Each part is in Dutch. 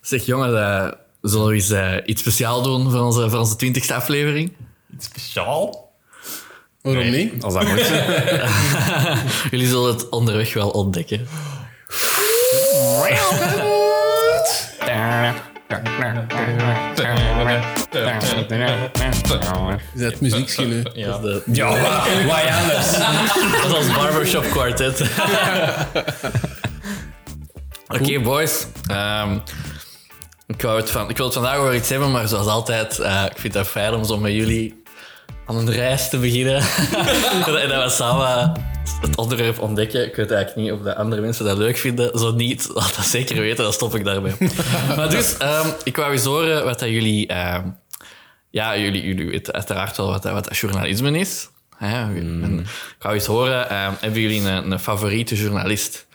Zeg jongen, eh, zullen we eens eh, iets speciaal doen voor onze, voor onze 20e aflevering? Speciaal? Oh, Waarom niet? Als dat moet. Jullie zullen het onderweg wel ontdekken. Is dat muziekschillen? Ja. Dat, is Dus de- Ja, wa- wat anders? dat is ons barbershop quartet. Oké, boys. Ehm, ik, wou het van, ik wil het vandaag over iets hebben, maar zoals altijd, eh, ik vind het fijn om zo met jullie aan een reis te beginnen. en dat we samen het onderwerp ontdekken. Ik weet eigenlijk niet of de andere mensen dat leuk vinden. Zo niet, laat dat zeker weten, dan stop ik daarbij. maar dus, ehm, ik wou eens horen wat dat jullie... ehm, ja, jullie, jullie weten uiteraard wel wat, dat- wat dat journalisme is. Hè? En ik wou eens horen, ehm, hebben jullie een, een favoriete journalist?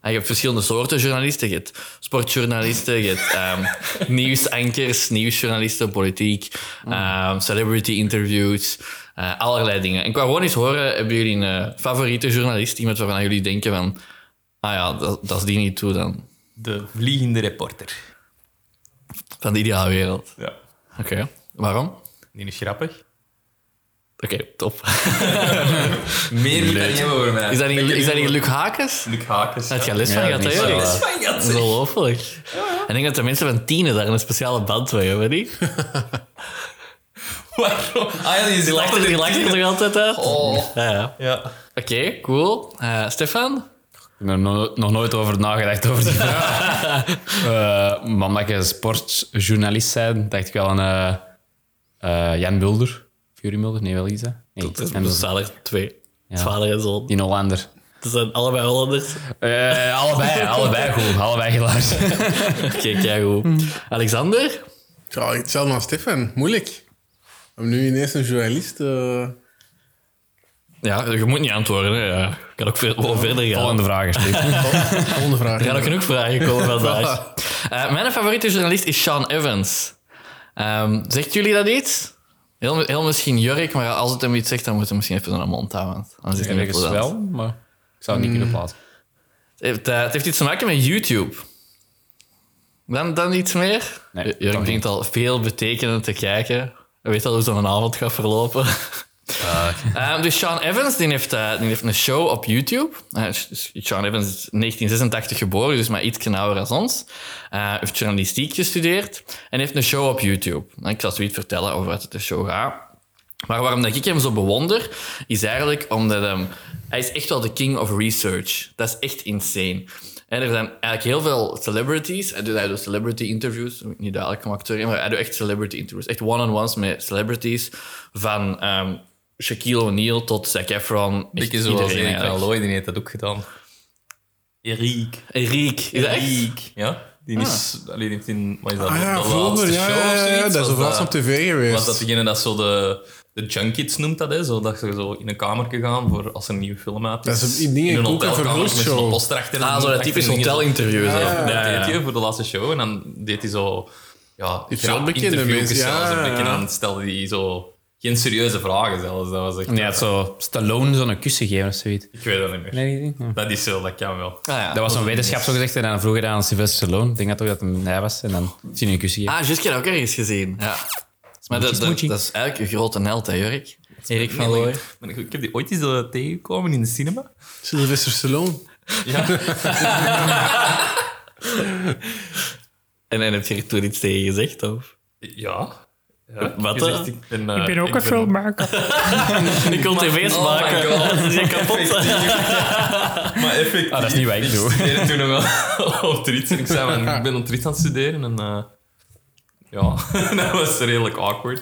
En je hebt verschillende soorten journalisten. Je hebt sportjournalisten, je hebt ehm, nieuwsankers, nieuwsjournalisten, politiek, ehm, celebrity interviews, eh, allerlei dingen. En ik wou gewoon eens horen, hebben jullie een eh, favoriete journalist? Iemand waarvan jullie denken van, ah ja, dat, dat is die niet toe dan. De vliegende reporter. Van de ideale wereld. Ja. Oké, waarom? Die is grappig. Oké, top. Meer moet dat niet hebben over mij. Is dat niet, is dat niet Luc Hakes? Luc Hakes? Dat je les van Ja, gaat, dat is hè? wel- jongens? Ongelooflijk. En ik denk dat de mensen van tienen daar een speciale band mee hebben, niet? Waarom? Ah ja, die is Die lacht er, die lacht er toch altijd uit? Oh. Ja, ja. Ja. Oké, cool. Eh, Stefan? Ik heb er no- nog nooit over nagedacht, over die vraag. Eh, maar omdat je sportjournalist bent, dacht ik wel aan eh, eh, Jan Mulder. Fury Mulder? Nee, wel Isa. Nee, Dat Jan Mulder. zijn er twee. Het vader en zoon. Die Hollander. Dat zijn allebei Hollanders. Eh, allebei, allebei goed. Allebei geluid. Oké, kijk hoe. Alexander? Ja, hetzelfde als Stefan. Moeilijk. Om nu ineens een journalist... eh, Ja, je moet niet antwoorden. Hè. Ja. Ik kan ook ver, gewoon verder gaan. Volgende vraag, alsjeblieft. Volgende vraag. Er gaan ook genoeg vragen komen vandaag. Eh, mijn favoriete journalist is Sean Evans. Ehm, zegt jullie dat iets? Heel, heel misschien Jurk, maar als het hem iets zegt, dan moet hij misschien even naar de mond houden. want Anders is het niet Ergens plezant. wel, maar ik zou het niet kunnen plaatsen. Het heeft, eh, het heeft iets te maken met YouTube. Dan, dan iets meer? Nee, J- toch Jurk begint al veel betekenend te kijken. Hij weet al hoe zo'n avond gaat verlopen. Ehm, dus Sean Evans die heeft, eh, die heeft een show op YouTube. Eh, dus Sean Evans is 1986 geboren, dus maar iets ouder als ons. Eh, heeft journalistiek gestudeerd en heeft een show op YouTube. En ik zal zoiets vertellen over wat het de show gaat. Maar waarom dat ik hem zo bewonder, is eigenlijk omdat ehm, hij is echt wel de king of research. Dat is echt insane. En er zijn eigenlijk heel veel celebrities. Hij doet, hij doet celebrity interviews. Niet duidelijk gemaakt, sorry. Maar hij doet echt celebrity interviews. Echt one-on-ones met celebrities. Van ehm, Shaquille O'Neal tot Zac Efron. Echt Beetje zoals iedereen Erik van eigenlijk. Looy, die heeft dat ook gedaan. Erik. Erik. Is dat echt? Ja? Die is... Allee, die heeft in... Wat is dat? Ah ja, de laatste vroeger. Ja, show ja, of ja, zoiets? ja, dat is Was laatst op tv geweest. Was dat degene dat zo de... De junkies noemt dat, hè? Zo, dat ze zo in een kamer gaan voor als er een nieuwe film uit is. Dat is een- die in een koek- en hotelkamer met verhuurshow. zo'n poster achter. Ah, zo dat typisch hotelinterview. zo. Ja, Ja, dat ja, ja. deed hij voor de laatste show. En dan deed hij zo... Ja, heeft zo grap- bekende interviewjes mensen, zelfs ja, een beetje. ja. En dan stelde hij zo... Geen serieuze vragen zelfs. Dat was echt... Nee, had zo Stallone zo'n kussen geven of zoiets. Ik weet dat niet meer. Nee, niet? Ja. Dat is zo, dat kan wel. Ah, ja. Dat was een wetenschap zo gezegd en dan vroeg hij dat aan Sylvester Stallone. Ik denk dat ook dat hem hij was en dan zien we een kusje. Ah, juist, ik heb dat ook ergens gezien. Ja. Maar dat, dat, smoochie. dat is eigenlijk een grote held, hè, Jurk? Erik van Nee, Looy. maar- maar ik, ik heb die ooit eens eh, tegengekomen in de cinema. Sylvester Stallone. Ja. En dan heb je er toen iets tegen gezegd, of? ja. ja Wat, ik, heb gezegd, eh? ik, ben, eh, Ik ben ook een filmmaker. Ik kon tv's Oh my maken. god. Ze zijn kapot. Maar effectief. Ah, dat is niet wat ik doe. studeerde toen nog wel op trits. En ik zei, man, ik ben op trits aan het studeren. En eh, ja, dat was redelijk awkward.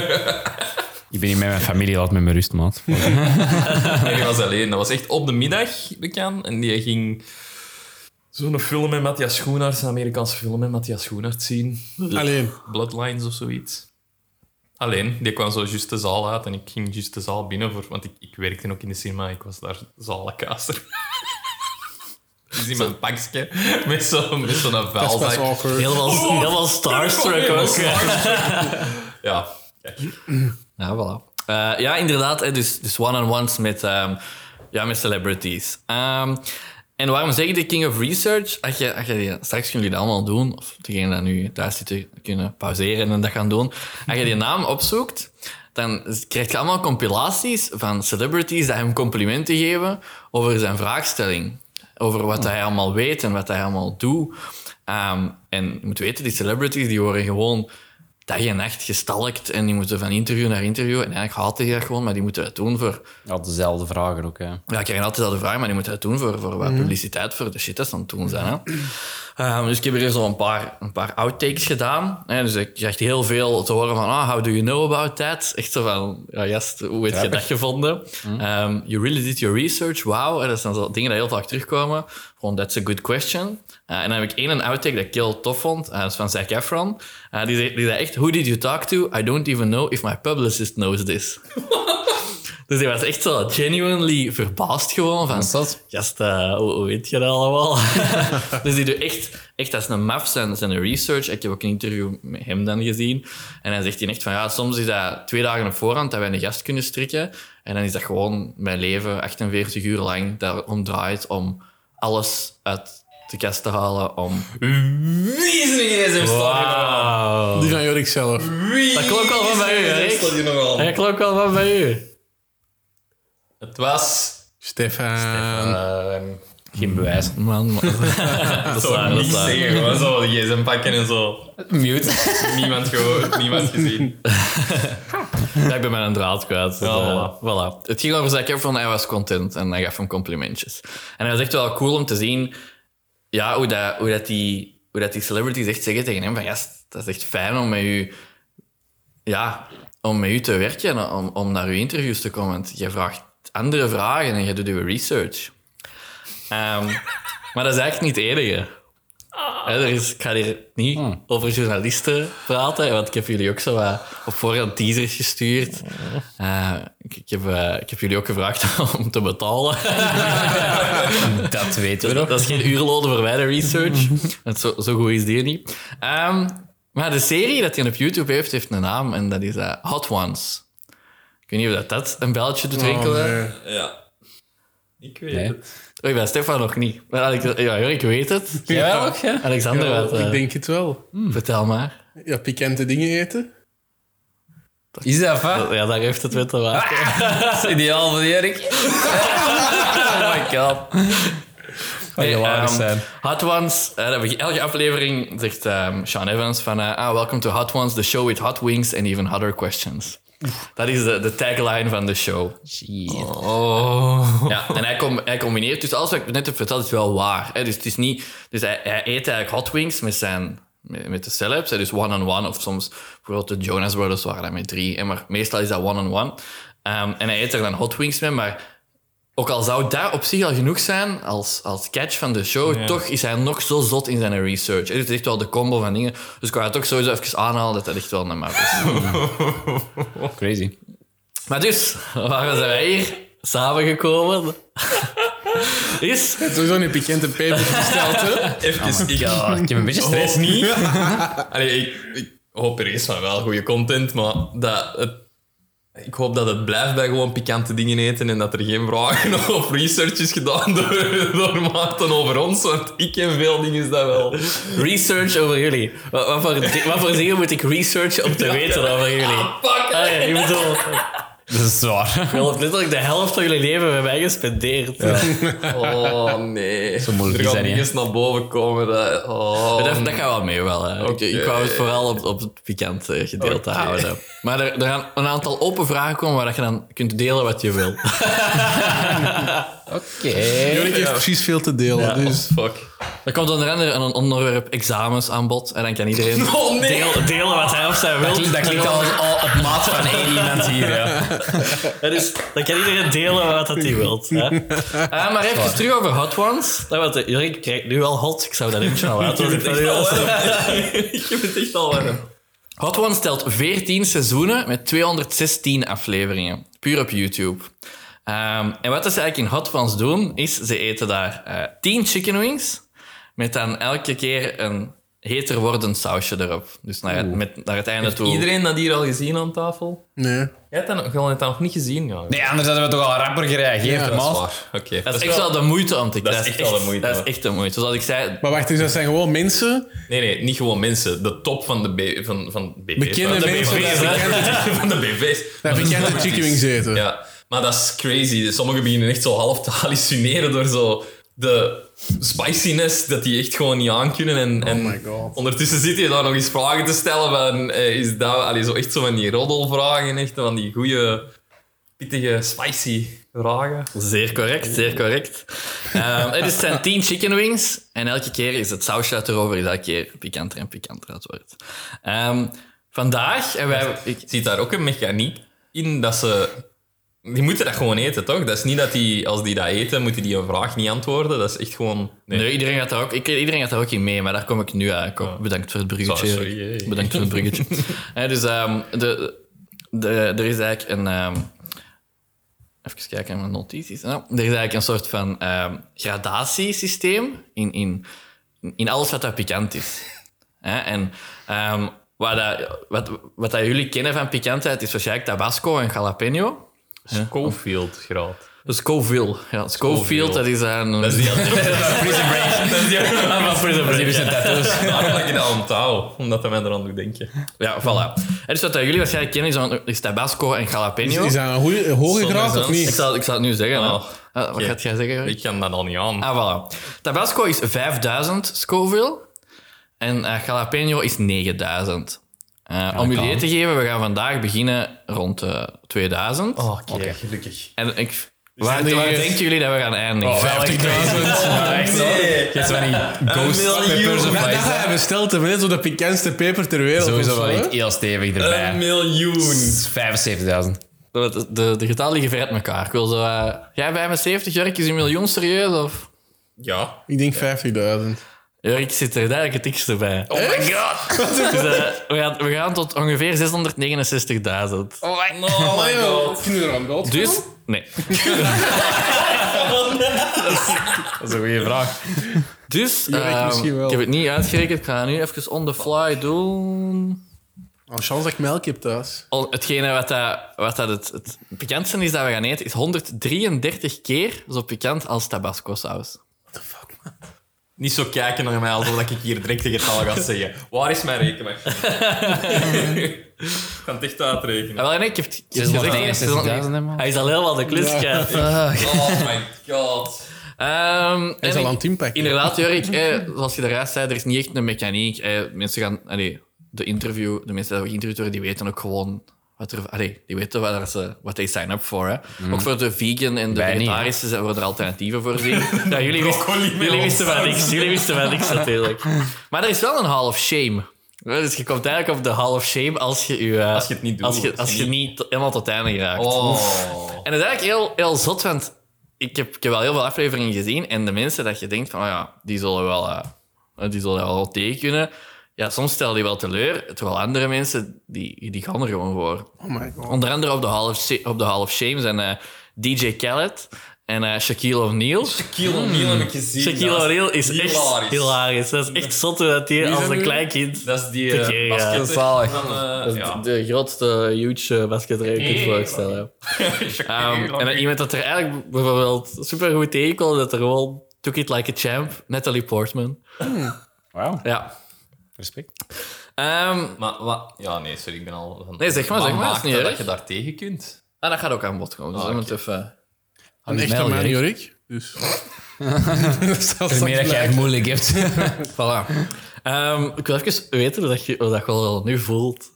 Ik ben hier met mijn familie, laat me met rust, maat. En ik was alleen. Dat was echt op de middag bekend. En die ging zo'n film met Matthias Schoenaerts, een Amerikaanse film met Matthias Schoenaerts zien. Alleen. Bloodlines of zoiets. Alleen, die kwam zo juist de zaal uit en ik ging juist de zaal binnen, voor, want ik, ik werkte ook in de cinema, ik was daar zalenkaster. Dus in mijn pakje, met zo'n met zo'n Dat is best vuilzak. awkward. Helemaal, helemaal starstruck ook. Ja, kijk. Ja, voilà. Eh, ja, inderdaad. hè, Dus, dus one-on-ones met, ehm, ja, met celebrities. Ehm, En waarom zeg ik de King of Research? Als je, als je die- straks kunnen jullie dat allemaal doen, of degene die nu thuis zitten kunnen pauzeren en dat gaan doen. Als je die naam opzoekt, dan krijg je allemaal compilaties van celebrities die hem complimenten geven over zijn vraagstelling. Over wat hij allemaal weet en wat hij allemaal doet. Ehm, en je moet weten, die celebrities die worden gewoon dag en nacht gestalkt en die moeten van interview naar interview. En eigenlijk haalt hij dat gewoon, maar die moeten dat doen voor Altijd dezelfde vragen ook, hè. ja, ik krijg altijd al de vraag, maar die moet dat doen voor, voor wat publiciteit, voor de shit dat ze aan het doen zijn. Hè? Ehm, dus ik heb hier zo een paar, een paar outtakes gedaan. Hè? Dus ik krijg heel veel te horen van, ah, how do you know about that? Echt zo van, ja, gast, hoe heb je dat gevonden? Ehm, you really did your research, wow. En dat zijn zo dingen die heel vaak terugkomen. Gewoon, that's a good question. Eh, en dan heb ik één een outtake dat ik heel tof vond. Eh, dat is van Zac Efron. Eh, die, zei- die zei echt, who did you talk to? I don't even know if my publicist knows this. Dus die was echt zo genuinely verbaasd gewoon van... is dat? Gast, eh, hoe, hoe weet je dat allemaal? dus die doet echt, echt als een maf zijn, zijn research. Ik heb ook een interview met hem dan gezien. En hij zegt hij echt van... Ja, soms is dat twee dagen op voorhand dat wij een gast kunnen strikken. En dan is dat gewoon mijn leven 48 uur lang daarom draait om alles uit de kast te halen om... Wie is er in gsm staan? Wauw. Die van Jorik zelf. Wie Dat klonk wel van bij u, is er in hè? gsm staat hier nog aan? Dat klopt wel wat bij u. Het was... Stefan. Oh, ehm, Geen bewijs. Man, man. Mm, dat is waar, Zo dat niet is waar. zeggen, gewoon zo die gsm pakken en zo. Mute. Niemand gehoord, niemand gezien. Ja, ik ben mijn draad kwijt. Dus, Ja, eh, voilà. Het ging over Zac Efron, hij was content en hij gaf hem complimentjes. En dat was echt wel cool om te zien ja, hoe, dat, hoe, dat die, hoe dat die celebrities echt zeggen tegen hem van ja, dat is echt fijn om met u, ja, om met u te werken, en om, om naar uw interviews te komen. Want je vraagt andere vragen en je doet uw research. Ehm, maar dat is eigenlijk niet het enige. Hè, er is, ik ga hier niet Hmm. over journalisten praten, want ik heb jullie ook zo wat op voorhand teasers gestuurd. Eh, ik, ik heb, eh, ik heb jullie ook gevraagd om te betalen. Dat weten Dat, we nog. Mhm. dat is geen uurloden voor mijn research. Want zo, zo goed is die niet. Ehm, maar de serie dat hij op YouTube heeft, heeft een naam en dat is eh, Hot Ones. Ik weet niet of dat, dat een belletje doet rinkelen. Oh, nee. Ja. Ik weet Nee. het. Oei, bij Stefan nog niet. Maar Alex- ja, ik weet het. Jij wel ook, hè? Alexander, Ja, wat, eh, ik denk het wel. vertel maar. Ja, pikante dingen eten. Is dat va? Ja, daar heeft het weer te maken. Dat is ideaal voor Erik. oh my god. Kan Nee, hilarisch ehm, zijn. Hot Ones, eh, dat begint- elke aflevering zegt ehm, Sean Evans van eh, ah, Welcome to Hot Ones, the show with hot wings and even hotter questions. Dat is de, de tagline van de show. Oh. Ja, en hij, com- hij combineert dus alles wat ik net heb verteld, is wel waar. Hè? Dus, het is niet, dus hij, hij eet eigenlijk hot wings met, zijn, met, met de celebs. Hè? Dus one-on-one of soms bijvoorbeeld de Jonas Brothers waren daar met drie. Hè? Maar meestal is dat one-on-one. Ehm, en hij eet er dan hot wings mee, maar ook al zou dat op zich al genoeg zijn als, als catch van de show, toch is hij nog zo zot in zijn research. hè. Dus Het is echt wel de combo van dingen. Dus ik wou het ook sowieso even aanhalen dat dat echt wel een map is. Oh, Crazy. Maar dus, waarom zijn wij hier samengekomen? Is Je hebt sowieso een pikante peper besteld, hè? Ah, Even, ik Ja, ik heb een beetje stress. hoop niet. Allee, ik, ik hoop er eerst van wel goede content, maar dat het- ik hoop dat het blijft bij gewoon pikante dingen eten en dat er geen vragen of research is gedaan door, door Maarten over ons, want ik ken veel dingen dat wel. research over jullie. Wat, wat, voor, wat voor dingen moet ik researchen om te weten over jullie? Fuck! Ah, ja, ik bedoel, dus Dat is zwaar. je hebt letterlijk de helft van jullie leven bij mij gespendeerd. Oh nee. Zo moeilijk er is gaan dat niet, dingen naar boven komen. Dat, oh. Maar Dat, dat gaat wel mee wel. Hè. Ik- Ik, Oké. wou het vooral op, op het pikante gedeelte Oké. houden. Maar er, er gaan een aantal open vragen komen waar dat je dan kunt delen wat je wil. Oké. Jorik heeft precies veel te delen, dus... Fuck. Er komt onder andere een onderwerp examens aan bod. En dan kan iedereen Oh, nee. deel- delen wat hij of zij wil. Dat klinkt al, al op maat van één iemand hier. Ja. Ja, dus dan kan iedereen delen wat dat hij wilt. Hè? Ah, maar even terug over Hot Ones. Dat was, Jurk krijgt nu al hot. Ik zou dat even snel laten. want ik ben nu al zo- Ik heb het echt al warm. Hot Ones stelt 14 seizoenen met 216 afleveringen. Puur op YouTube. Ehm, en wat dat ze eigenlijk in Hot Ones doen, is ze eten daar eh 10 chicken wings. Met dan elke keer een heter wordend sausje erop. Dus naar het, met, naar het einde toe. Iedereen dat hier al gezien aan tafel? Nee. Jij hebt dat nog, jij hebt dat nog niet gezien, ja. Nee, anders hadden we toch al rapper gereageerd, ja, Ja, dat is man. Waar, Oké. Dat is echt wel de moeite om te Dat is echt wel de moeite, Dat is hoor. echt de moeite. Zoals ik zei, Maar wacht, dus dat zijn gewoon mensen, Nee, nee, niet gewoon mensen. De top van de B, van, van BV's. Bekende van de mensen BV's, die hè. van de BV's. dat bekende chicken wings eten. Ja, maar dat is crazy. Sommigen beginnen echt zo half te hallucineren door zo de spiciness dat die echt gewoon niet aankunnen. En, en Oh my God. ondertussen zit je daar nog eens vragen te stellen. Van, eh, is dat, allee, zo echt zo van die roddelvragen, echt van die goede, pittige, spicy vragen. Zeer correct, zeer correct. Ehm, het is- het zijn tien chicken wings en elke keer is het sausje dat erover is elke keer pikanter en pikanter aan het wordt. Ehm, vandaag, en wij, ik, zit daar ook een mechaniek in dat ze. Die moeten dat gewoon eten, toch? Dat is niet dat die, als die dat eten, moeten die een vraag niet antwoorden. Dat is echt gewoon. Nee. Oh. nee, iedereen, gaat daar ook, ik, iedereen gaat daar ook in mee, maar daar kom ik nu eigenlijk op. Bedankt voor het bruggetje. Sorry, sorry, hey. Bedankt voor het bruggetje. Hè, dus ehm, de, de, er is eigenlijk een... ehm, even kijken naar mijn notities. Nou, er is eigenlijk een soort van ehm, gradatiesysteem in, in, in alles wat dat pikant is. Hè, en ehm, wat, dat, wat, wat dat jullie kennen van pikantheid is waarschijnlijk tabasco en jalapeno. Schofield graad. Dus Scoville. Ja, Scoville, Scoville. dat is een... Dat is die andere. Prison Break. Dat is die andere. Ah, van Prison Break. Daarom dat je dat aan touw, omdat dat mij eraan doet denken. Ja, voilà. En dus wat dat jullie waarschijnlijk kennen is, dan- is tabasco en jalapeno. Is, is dat een, goeie, een hoge Soms graad dan. of Ik niet? zal, ik zal het nu zeggen. hè. Oh. Ah, wat Oké. gaat jij zeggen? Jorik? Ik kan dat al niet aan. Ah, voilà. Tabasco is 5000 Scoville. En eh, jalapeno is 9000. Eh, om jullie kan. idee te geven, we gaan vandaag beginnen rond eh 2000. Oké, gelukkig. En ik, waar, er waar hier- denken jullie dat we gaan eindigen? echt zo. Nee. Geef ze van die ghost miljoen. peppers of Maar Maar dat wat hebben we besteld, hè, net zo de pikantste peper ter wereld. Sowieso of zo, wel hè? ik heel stevig Een erbij. miljoen. 75.000. De, de, de getallen liggen ver uit elkaar. Ik wil zo... eh, jij 75, Jurk is een miljoen serieus? Of? Ja. Ik denk 50.000. Jurk zit er duidelijk het dikste bij. Oh my god! dus, eh, we, gaan, we gaan tot ongeveer 669.000. Oh my, oh my god. Kunnen we er aan dood? Dus, nee. Dat is een goede vraag. Dus, ik ehm, misschien wel. ik heb het niet uitgerekend. Ik ga nu even on the fly doen. Al Oh, chance dat ik melk heb thuis. Al- Hetgene wat, dat, wat dat het, het pikantste is dat we gaan eten, is 133 keer zo pikant als tabasco-saus. Niet zo kijken naar mij alsof ik hier direct de getallen ga zeggen. Waar is mijn rekenmachine? ik kan het echt uitrekenen. Ah, wel, nee, ik heb het ik heb het gezegd. 669.000 hè, man. Hij is al helemaal de klus kwijt. Oh my god. Ehm, en Hij is al ik- aan het inpakken. Inderdaad, Jorik, eh, zoals je daaruit zei, er is niet echt een mechaniek. Eh, mensen gaan, allee, de interview, de mensen die geïnterviewd worden, die weten ook gewoon wat er, allee, die weten waar ze, wat they sign up voor. Hè. Ook voor de vegan en de Wij niet, hè. vegetarische zijn- worden er alternatieven voorzien. ja, jullie, wisten, Broccoli met jullie wisten van ons. niks, jullie wisten van niks natuurlijk. Maar er is wel een hall of shame. Ja, Dus je komt eigenlijk op de hall of shame als je, je, eh, Als je het niet doet, Als je, als je niet to- helemaal tot het einde geraakt. Oh. En dat is eigenlijk heel, heel zot, want ik heb, ik heb wel heel veel afleveringen gezien. En de mensen dat je denkt van, oh ja, die zullen wel, eh, die zullen wel wat tegen kunnen. Ja, soms stellen die wel teleur. Terwijl andere mensen, die, die gaan er gewoon voor. Oh my god. Onder andere op de Hall of, Sh- op de Hall of Shame zijn eh, DJ Khaled en eh, Shaquille O'Neal. Shaquille O'Neal heb ik gezien. Hmm. Shaquille Dat O'Neal is hilarisch. echt hilarisch. Dat is echt zot hoe dat die als dat een nu? klein kind... Dat is die Te eh, gay, ja. basketter Dat is zalig. van, eh, ja. de grootste eh, huge basketrijder die je kunt voorstellen. Shaquille Um, en dan O'Neal. iemand dat er eigenlijk bijvoorbeeld supergoed tegenkomt, dat er gewoon took it like a champ, Natalie Portman. Wauw, Ja. respect. Ehm, Maar wat? Ja, nee, sorry, ik ben al... van- Nee, zeg maar, Wat zeg maar, maakt is niet dat erg. dat je daar tegen kunt? ah, dat gaat ook aan bod komen. Dus we moeten even... Een echte melk, man, Jorik. Jorik. Dus. dat Het is meer dat jij het moeilijk hebt. Voilà. Ehm, ik wil even weten hoe dat je, hoe dat je wel nu voelt.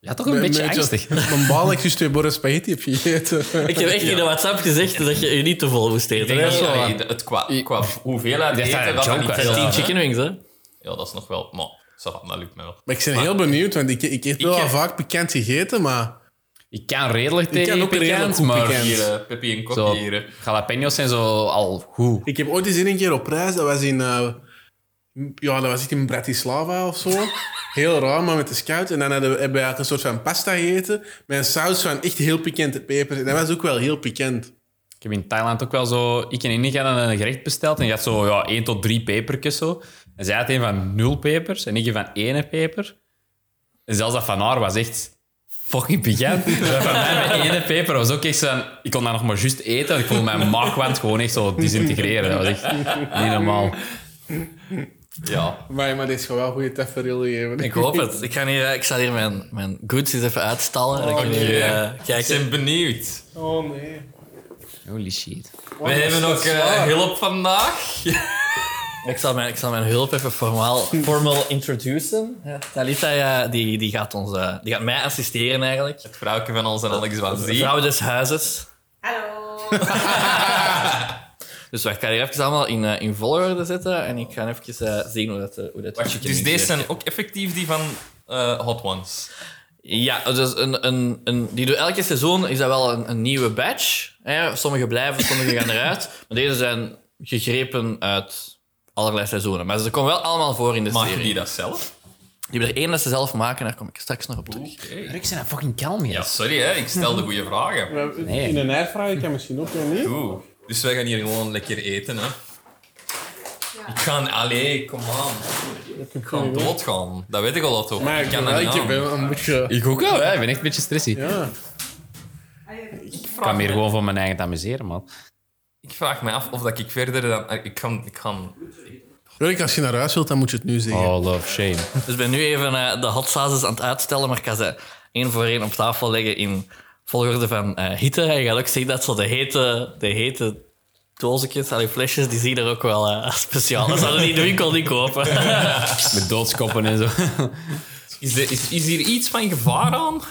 Ja, toch een beetje angstig. Mijn baal, ik juist twee borden spaghetti heb gegeten. Ik heb echt in de WhatsApp gezegd dat je je niet te vol moest eten. Nee, Dat is wel waar. nee, het qua, qua hoeveelheid Ja, eten, dat joke, dat niet hè. veel Tien aan, hè. chicken wings, hè? Ja, dat is nog wel... Maar, ça va, dat lukt mij wel. Maar ik ben heel benieuwd, want ik, ik heb wel Ik- al vaak bekend gegeten, maar Ik kan redelijk tegen kan ook pikant, redelijk goed maar pikant. Hier, eh, Peppy en zo, kopiëren. jalapenos zijn zo al goed. ik heb ooit eens in een keer op reis, dat was in, eh, ja, dat was echt in Bratislava of zo. Heel raar, maar met de scout. En dan hadden we, hebben we eigenlijk een soort van pasta gegeten met een saus van echt heel pikante pepers. En dat was ook wel heel pikant. Ik heb in Thailand ook wel zo... Ik en Inge hadden een gerecht besteld en je had zo ja, één tot drie pepertjes zo. En En zij had een van nul pepers en ik een van één peper. En zelfs dat van haar was echt fucking pikant. Dat van mij met één peper was ook echt zo... van- Ik kon dat nog maar juist eten, want ik voelde mijn maagwand gewoon echt zo disintegreren. Dat was echt niet normaal. Ja. Maar, maar dit is gewoon wel goede tafereel gegeven. Ik hoop het. Ik, ga hier, eh, ik zal hier mijn, mijn goods eens even uitstallen. en dan kunnen Oké. jullie, eh, Ik kijken. ben benieuwd. Oh nee. Holy shit. We hebben ook eh, hulp vandaag. Ik zal mijn, ik zal mijn hulp even formaal, formal introducen. Ja. Talita ja, die, die gaat ons, eh, die gaat mij assisteren eigenlijk. Het vrouwtje van ons en Alex De Wazie. vrouw des huizes. Hallo. Dus wacht, ik ga die even allemaal in, eh, in volgorde zetten en ik ga even eh, zien hoe dat, eh, hoe dat Wacht, Dus deze zijn ook effectief die van eh, Hot Ones. Ja, dus een, een, een, die door elke seizoen is dat wel een, een nieuwe badge. Hè? Sommige blijven, sommige gaan eruit. Maar deze zijn gegrepen uit allerlei seizoenen. Maar ze komen wel allemaal voor in de Maak je serie. die dat zelf? Die hebben er één dat ze zelf maken, daar kom ik straks nog op terug. Ik zijn dat fucking kalm, Ja, sorry hè, ik stel de goede vragen. Nee. In een airfryer kan misschien ook wel niet. Oeh. Dus wij gaan hier gewoon lekker eten hè. Ja. Ik ga, allee, kom aan. Ik Ik ga doodgaan. Dat weet ik al dat ook. Maar ik kan dat wel, niet ik heb aan. wel een beetje... Ik ook wel, hè. ik ben echt een beetje stressy. Ja. Ik kan meer gewoon voor mijn eigen te amuseren, man. Ik vraag me af of dat ik verder dan... eh, Ik kan... Ik kan... Jorik, als je naar huis wilt, dan moet je het nu zeggen. Oh, love, shame. Dus ik ben nu even eh, de hot sauces aan het uitstellen, maar ik ga ze één voor één op tafel leggen in volgorde van eh, hitte. En je gaat ook zien dat zo de hete, de hete doosjes, al die flesjes, die zien er ook wel eh, speciaal. Dat zouden die in de winkel niet kopen. Met doodskoppen en zo. Is, de, is, is hier iets van gevaar aan?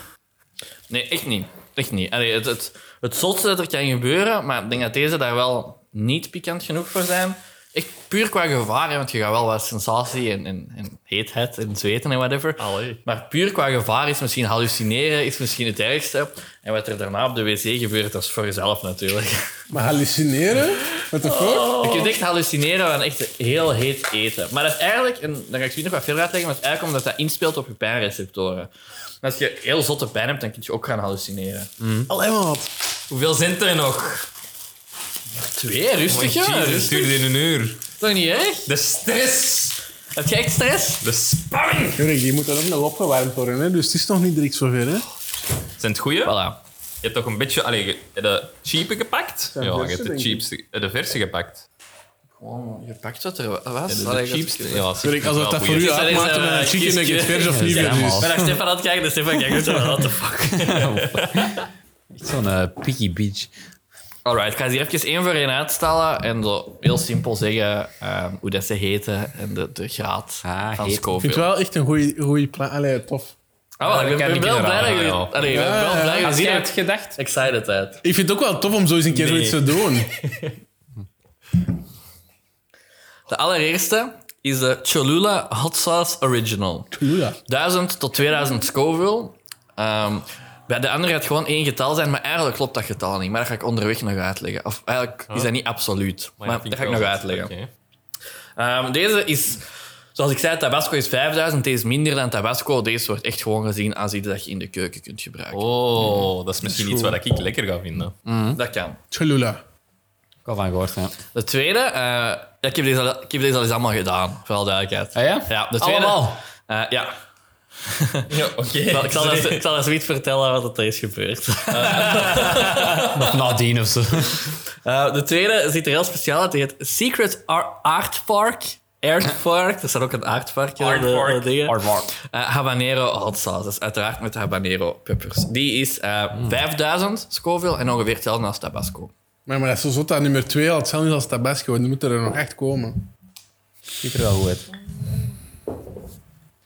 Nee, echt niet. Echt niet. Allee, het, het, het zotste dat er kan gebeuren, maar ik denk dat deze daar wel niet pikant genoeg voor zijn. Echt puur qua gevaar, hè, want je gaat wel wat sensatie en, en, en heetheid en zweten en whatever. Allee. Maar puur qua gevaar is misschien hallucineren, is misschien het ergste. En wat er daarna op de wc gebeurt, dat is voor jezelf natuurlijk. Maar hallucineren? What the fuck? Oh. Je kunt echt hallucineren van echt heel heet eten. Maar dat is eigenlijk, en daar ga ik zo nog wat verder uitleggen, maar het is eigenlijk omdat dat inspeelt op je pijnreceptoren. En Als je heel zotte pijn hebt, dan kun je ook gaan hallucineren. Allee, maat. Mm. Hoeveel zijn er nog? Twee, rustig ja. het rustig. duurde een uur. Toch niet erg? De stress. Heb jij echt stress? De spanning. Jorik, die moet er ook nog opgewarmd worden, hè? dus het is nog niet direct zover. Hè? Zijn het goeie? Voilà. Je hebt toch een beetje... Allee, je hebt de cheape gepakt? Ja, de verse, je hebt de, denk ik. cheapste, eh, de verse gepakt. Gewoon, je pakt wat er was. De, Allee, de cheapste. dat- Ja, dat is Jorik, als dat wel dat voor goeie. u Dat is, uitmaakt, eh, dan een chicken kieskje. nugget vers of niet Ja, meer man. Ik ben naar Stefan aan het kijken, dus Stefan kijkt zo van, what the fuck. Echt Zo'n eh, picky bitch. Alright, ik ga ze hier even één voor één uitstellen en zo heel simpel zeggen ehm, hoe dat ze heten en de, de graad Ah, van heet. Ik vind Scoville. het wel echt een goede plan. Allee, tof. Ah, wel, ik ben, Ken ben ik wel blij inderdaad, dat ja, jullie... ja. Allee, ik ben wel blij Ja, ja. dat Had jullie jij er het gedacht? excited uit. Ik vind het ook wel tof om zo eens een keer zoiets te doen. De allereerste is de Cholula Hot Sauce Original. Ja. 1000 tot 2000 Scoville. Ehm, bij de andere gaat gewoon één getal zijn, maar eigenlijk klopt dat getal niet. Maar dat ga ik onderweg nog uitleggen. Of eigenlijk is dat niet absoluut. Maar, dat vind dat ga ik nog wel- uitleggen. Oké. Ehm, deze is, zoals ik zei, Tabasco is 5000. Deze is minder dan Tabasco. Deze wordt echt gewoon gezien als iets dat je in de keuken kunt gebruiken. Oh, dat is misschien iets wat ik lekker ga vinden. Dat kan. Cholula. Ik had van gehoord, ja. De tweede, eh, ja, ik, heb deze al, ik heb deze al eens allemaal gedaan, voor alle duidelijkheid. Ah ja? Ja, de tweede. Allemaal? Eh, ja, Ja, oké. ik zal, ik zal, eens- ik zal eens iets vertellen wat er is gebeurd. Of nadien of zo. Eh, de tweede ziet er heel speciaal uit. Die heet Secret Ar- Art Park. Art Park. Er staat ook een aardpark in Art de- de Park. dingen. Hardward. Eh, habanero hot sauce. Dat is uiteraard met habanero peppers. Die is eh, 5000 Scoville en ongeveer hetzelfde als Tabasco. Maar, maar dat is zo zot aan nummer 2 al hetzelfde is als Tabasco. Die moeten er nog echt komen. Ziet er wel goed uit.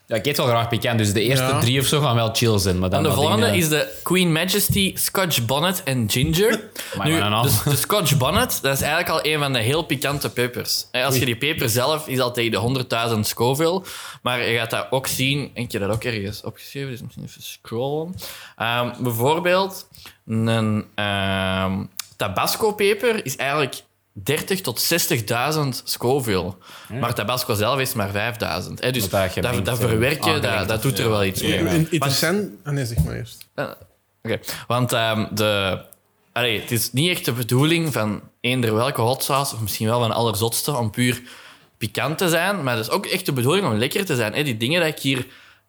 Ja, ik eet wel graag pikant, dus de eerste Ja. drie of zo gaan wel chill zijn. Maar dan En de dat ding, volgende eh, is de Queen Majesty Scotch Bonnet en Ginger. Maar maar dan al. dus de Scotch Bonnet, dat is eigenlijk al een van de heel pikante peppers. Eh, Als je die peper zelf, is al tegen de 100.000 Scoville. Maar je gaat dat ook zien... Ik heb dat ook ergens opgeschreven, dus misschien even scrollen. Ehm, bijvoorbeeld, een ehm, Tabasco-peper is eigenlijk 30 tot 60.000 Scoville. Maar Tabasco zelf is maar 5.000. hè. dus Wat dat dat, gemengd, dat, eh, verwerken, dat, aanbrengt dat doet er wel iets mee. Ja. In- Interessant. Ah, nee, zeg maar eerst. Eh, Oké, want ehm, de, allee, het is niet echt de bedoeling van eender welke hot sauce, of misschien wel van de allerzotste, om puur pikant te zijn, maar dat is ook echt de bedoeling om lekker te zijn. Hè? Die dingen dat ik hier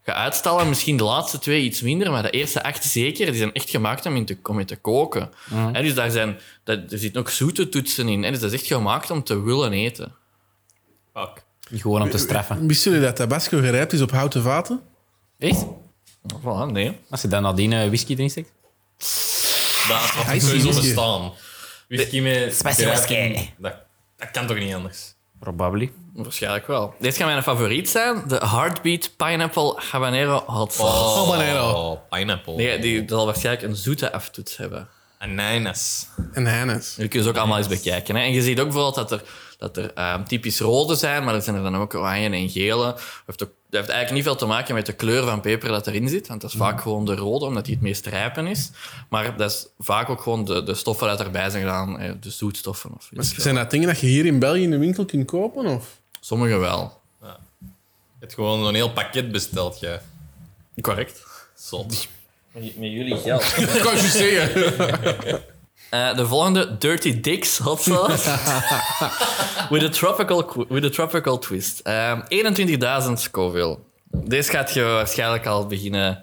ga uitstellen, misschien de laatste twee iets minder, maar de eerste acht zeker, die zijn echt gemaakt om, in te, om in te koken. Hè, dus daar zijn, dat, er zitten ook zoete toetsen in. Hè? Dus dat is echt gemaakt om te willen eten. Fuck. Gewoon om te straffen. Wisten Ah. jullie dat tabasco gerijpt is op houten vaten? Echt? Voilà, nee. Als je dan nadien eh, whisky erin steekt? Dat had Hij ik is sowieso whisky. bestaan. Whisky met... Spicy whisky. kruiden, Dat, dat kan toch niet anders? Probably. Waarschijnlijk wel. Dit gaat mijn favoriet zijn. De Heartbeat Pineapple Habanero Hot Sauce. Oh, Habanero. Pineapple. Nee, die zal waarschijnlijk een zoete aftoets hebben. Ananas. En hennis. Je kunt ze ook allemaal eens bekijken. Hè. En je ziet ook bijvoorbeeld dat er, dat er ehm, typisch rode zijn, maar er zijn er dan ook oranje en gele. Dat heeft, ook- dat heeft eigenlijk niet veel te maken met de kleur van peper dat erin zit, want dat is vaak gewoon de rode, omdat die het meest rijpen is. Maar dat is vaak ook gewoon de, de stoffen die erbij zijn gedaan, hè, de zoetstoffen. Of weet ik veel. Zijn dat dingen dat je hier in België in de winkel kunt kopen? Of? Sommige wel. Je hebt gewoon zo'n heel pakket besteld, jij. Correct. Zot. Met jullie geld. Dat kan je zeggen. Eh, de volgende, Dirty Dicks hot sauce. with, a tropical, qu- with a tropical twist. Ehm, 21.000 Scoville. Deze gaat je waarschijnlijk al beginnen...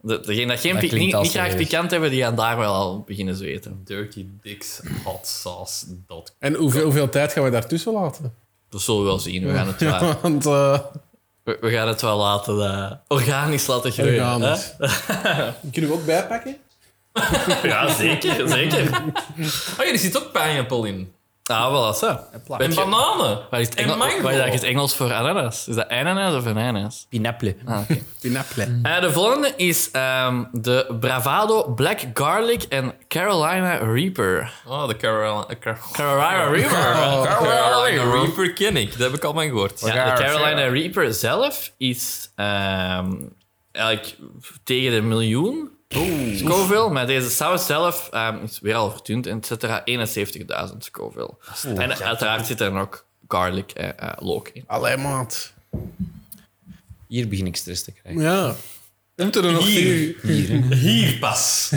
De, degene dat geen Dat pi- klinkt niet, al niet graag serieus. pikant hebben, die gaan daar wel al beginnen zweten. Dirty Dicks Hot Sauce. dot En hoeveel, hoeveel tijd gaan we daartussen laten? Dat zullen we wel zien. We gaan het wel, Want eh we, we gaan het wel laten... eh, organisch laten groeien. organisch. Kunnen we ook bijpakken? hè? Ja, zeker. zeker. Oh ja, er zit ook pineapple in. Ah, voilà, zo. En Weet je- bananen. Waar is het En Engel- mango. waar is het Engels voor ananas? Is dat ananas of ananas? Pinaple. Ah, Pinaple. Eh, de volgende is ehm, de Bravado Black Garlic en Carolina Reaper. Oh. Oh, de Carolina... Carolina Carolina Reaper. Carolina Reaper ken ik. Dat heb ik al van gehoord. Ja, de Carolina Reaper zelf is ehm, eigenlijk tegen de miljoen. Scoville, maar deze saus zelf ehm, is weer al vertuind en et cetera, 71.000 Scoville. en uiteraard zit er dan ook garlic en eh, look in. Allee, maat. Hier begin ik stress te krijgen. Ja. We moeten er nog Hier. vier. Hier pas.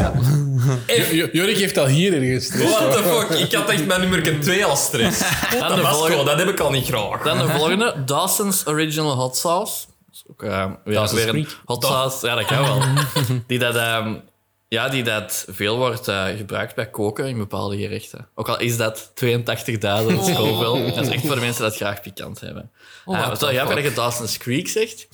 Jo- Jorik heeft al hier ergens. stress. What the fuck? Ik had echt mijn nummer 2 al stress. Dan de, Tabasco, volgende, dat heb ik al niet graag. dan de volgende, Dawson's Original Hot Sauce. Dat is ook ehm, weer, Dawson's weer een Creek. hot sauce. Ja, dat kan wel. Die dat, ehm, ja, die dat veel wordt eh, gebruikt bij koken in bepaalde gerechten. Ook al is dat 82.000 zoveel. Dat is echt voor de mensen dat graag pikant hebben. Oh, uh, wat wel grappig dat je Dawson's Creek zegt.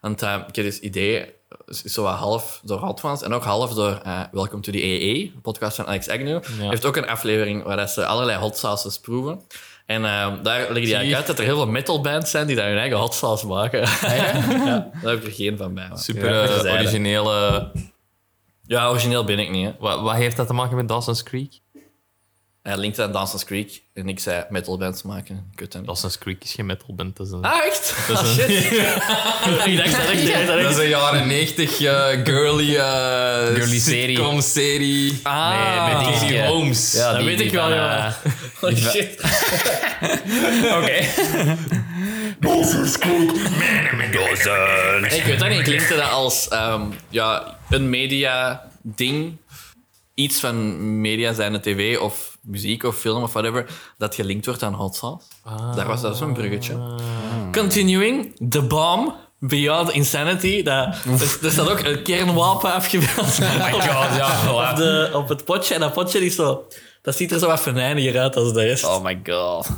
Want eh, ik heb dus idee, is is zo wat half door Hot Ones en ook half door eh, Welcome to the EE, de podcast van Alex Agnew. heeft ook een aflevering waar dat ze allerlei hot sauces proeven. En ehm, daar leggen die eigenlijk uit dat er heel veel metal bands zijn die daar hun eigen hot sauce maken. Ah, ja, daar heb ik er geen van bij. maar- Super Ja, eh, dat is eigenlijk- originele... Ja, origineel ben ik niet. Hè. Wat, wat heeft dat te maken met Dawson's Creek? Hij linkte aan Dawson's Creek en ik zei metal bands maken. Ik weet dat niet. Dawson's Creek is geen metalband. Dat is een, Ah, echt? Ah, shit. ik dacht dat echt. ik dacht dat echt. dat is een jaren 90 eh, girly, eh Girly serie. sitcom serie. Ah. met die- Katie ja. Holmes. Ja, dat die- weet die ik wel, van, ja. eh, Oh, shit. Ik weet dat niet. Klinkt dat als ehm, ja, een media-ding? Iets van media zijn de tv of muziek of film of whatever, dat gelinkt wordt aan hot sauce. Ah. Daar was dat zo'n bruggetje. Continuing, The Bomb, Beyond Insanity. Daar er, er staat ook een kernwapen afgebeeld Oh my god, ja, op, de, op het potje. En dat potje is zo... Dat ziet er zo wat venijniger uit als de rest. Oh my god.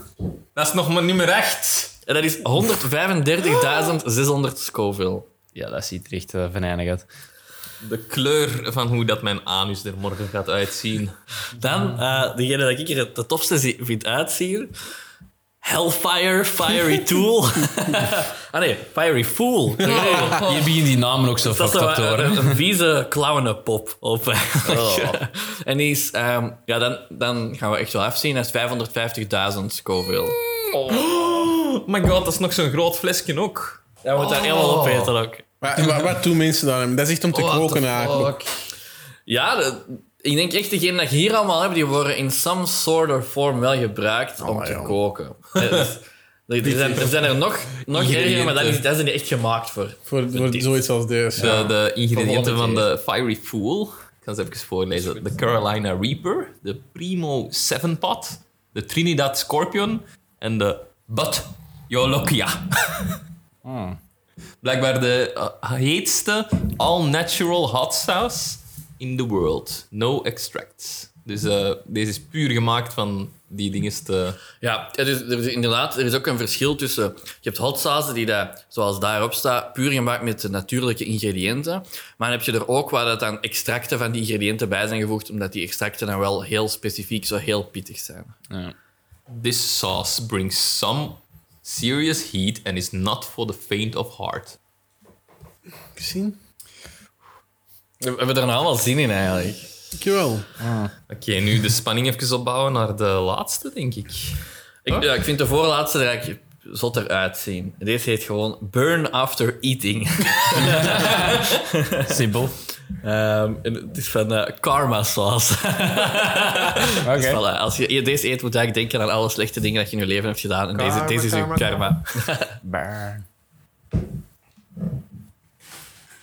Dat is nog maar nummer 8. En dat is 135.600 Scoville. Ja, dat ziet er echt uh, venijnig uit. De kleur van hoe dat mijn anus er morgen gaat uitzien. Dan, eh, degene dat ik er het de tofste zie- vind uitzien. Hellfire, Fiery Tool. ah nee, Fiery Fool. Nee, Hier begint die namen ook zo Ah. Dat is fucked zo up Oh. te een, worden. een, een vieze clownenpop op. eigenlijk. en die is, ehm, ja, dan, dan gaan we echt wel afzien. Dat is 550.000 Scoville. Oh my god, dat is nog zo'n groot flesje ook. Dat moet daar helemaal Oh. op eten ook. Wa- wa- Wat doen mensen dan? Dat is echt om te koken eigenlijk. Ja, de- ik denk echt degene dat je hier allemaal hebt, die worden in some sort of form wel gebruikt om Ah, maar te jong. koken. Dat is- Er zijn, er zijn er nog, nog erger, maar daar is- daar zijn die echt gemaakt voor. Voor, voor dit. zoiets als deze. De, de ingrediënten van de Fiery Fool. Ik kan ze even voorlezen. De Carolina Reaper, de Primo Seven Pot, de Trinidad Scorpion en de Butt Jolokia. Blijkbaar de eh, heetste all-natural hot sauce in the world. No extracts. Dus eh, deze is puur gemaakt van die dingetste... Ja, het is, er is inderdaad, er is ook een verschil tussen... Je hebt hot sauce die daar, zoals daarop staat, puur gemaakt met de natuurlijke ingrediënten. Maar dan heb je er ook waar dat dan extracten van die ingrediënten bij zijn gevoegd, omdat die extracten dan wel heel specifiek zo heel pittig zijn. This sauce brings some serious heat and is not for the faint of heart. Gezien? We hebben er nou allemaal zin in, eigenlijk. Dankjewel. Oké, nu de spanning even opbouwen naar de laatste, denk ik. Ik, ja, ik vind de voorlaatste er eigenlijk zotter uitzien. Deze heet gewoon Burn After Eating. Simpel. Ehm, en het is van eh, Karma Sauce. Oké. Dus voilà, als je je deze eet, moet je eigenlijk denken aan alle slechte dingen dat je in je leven hebt gedaan. En deze, Karma, deze is uw karma, karma.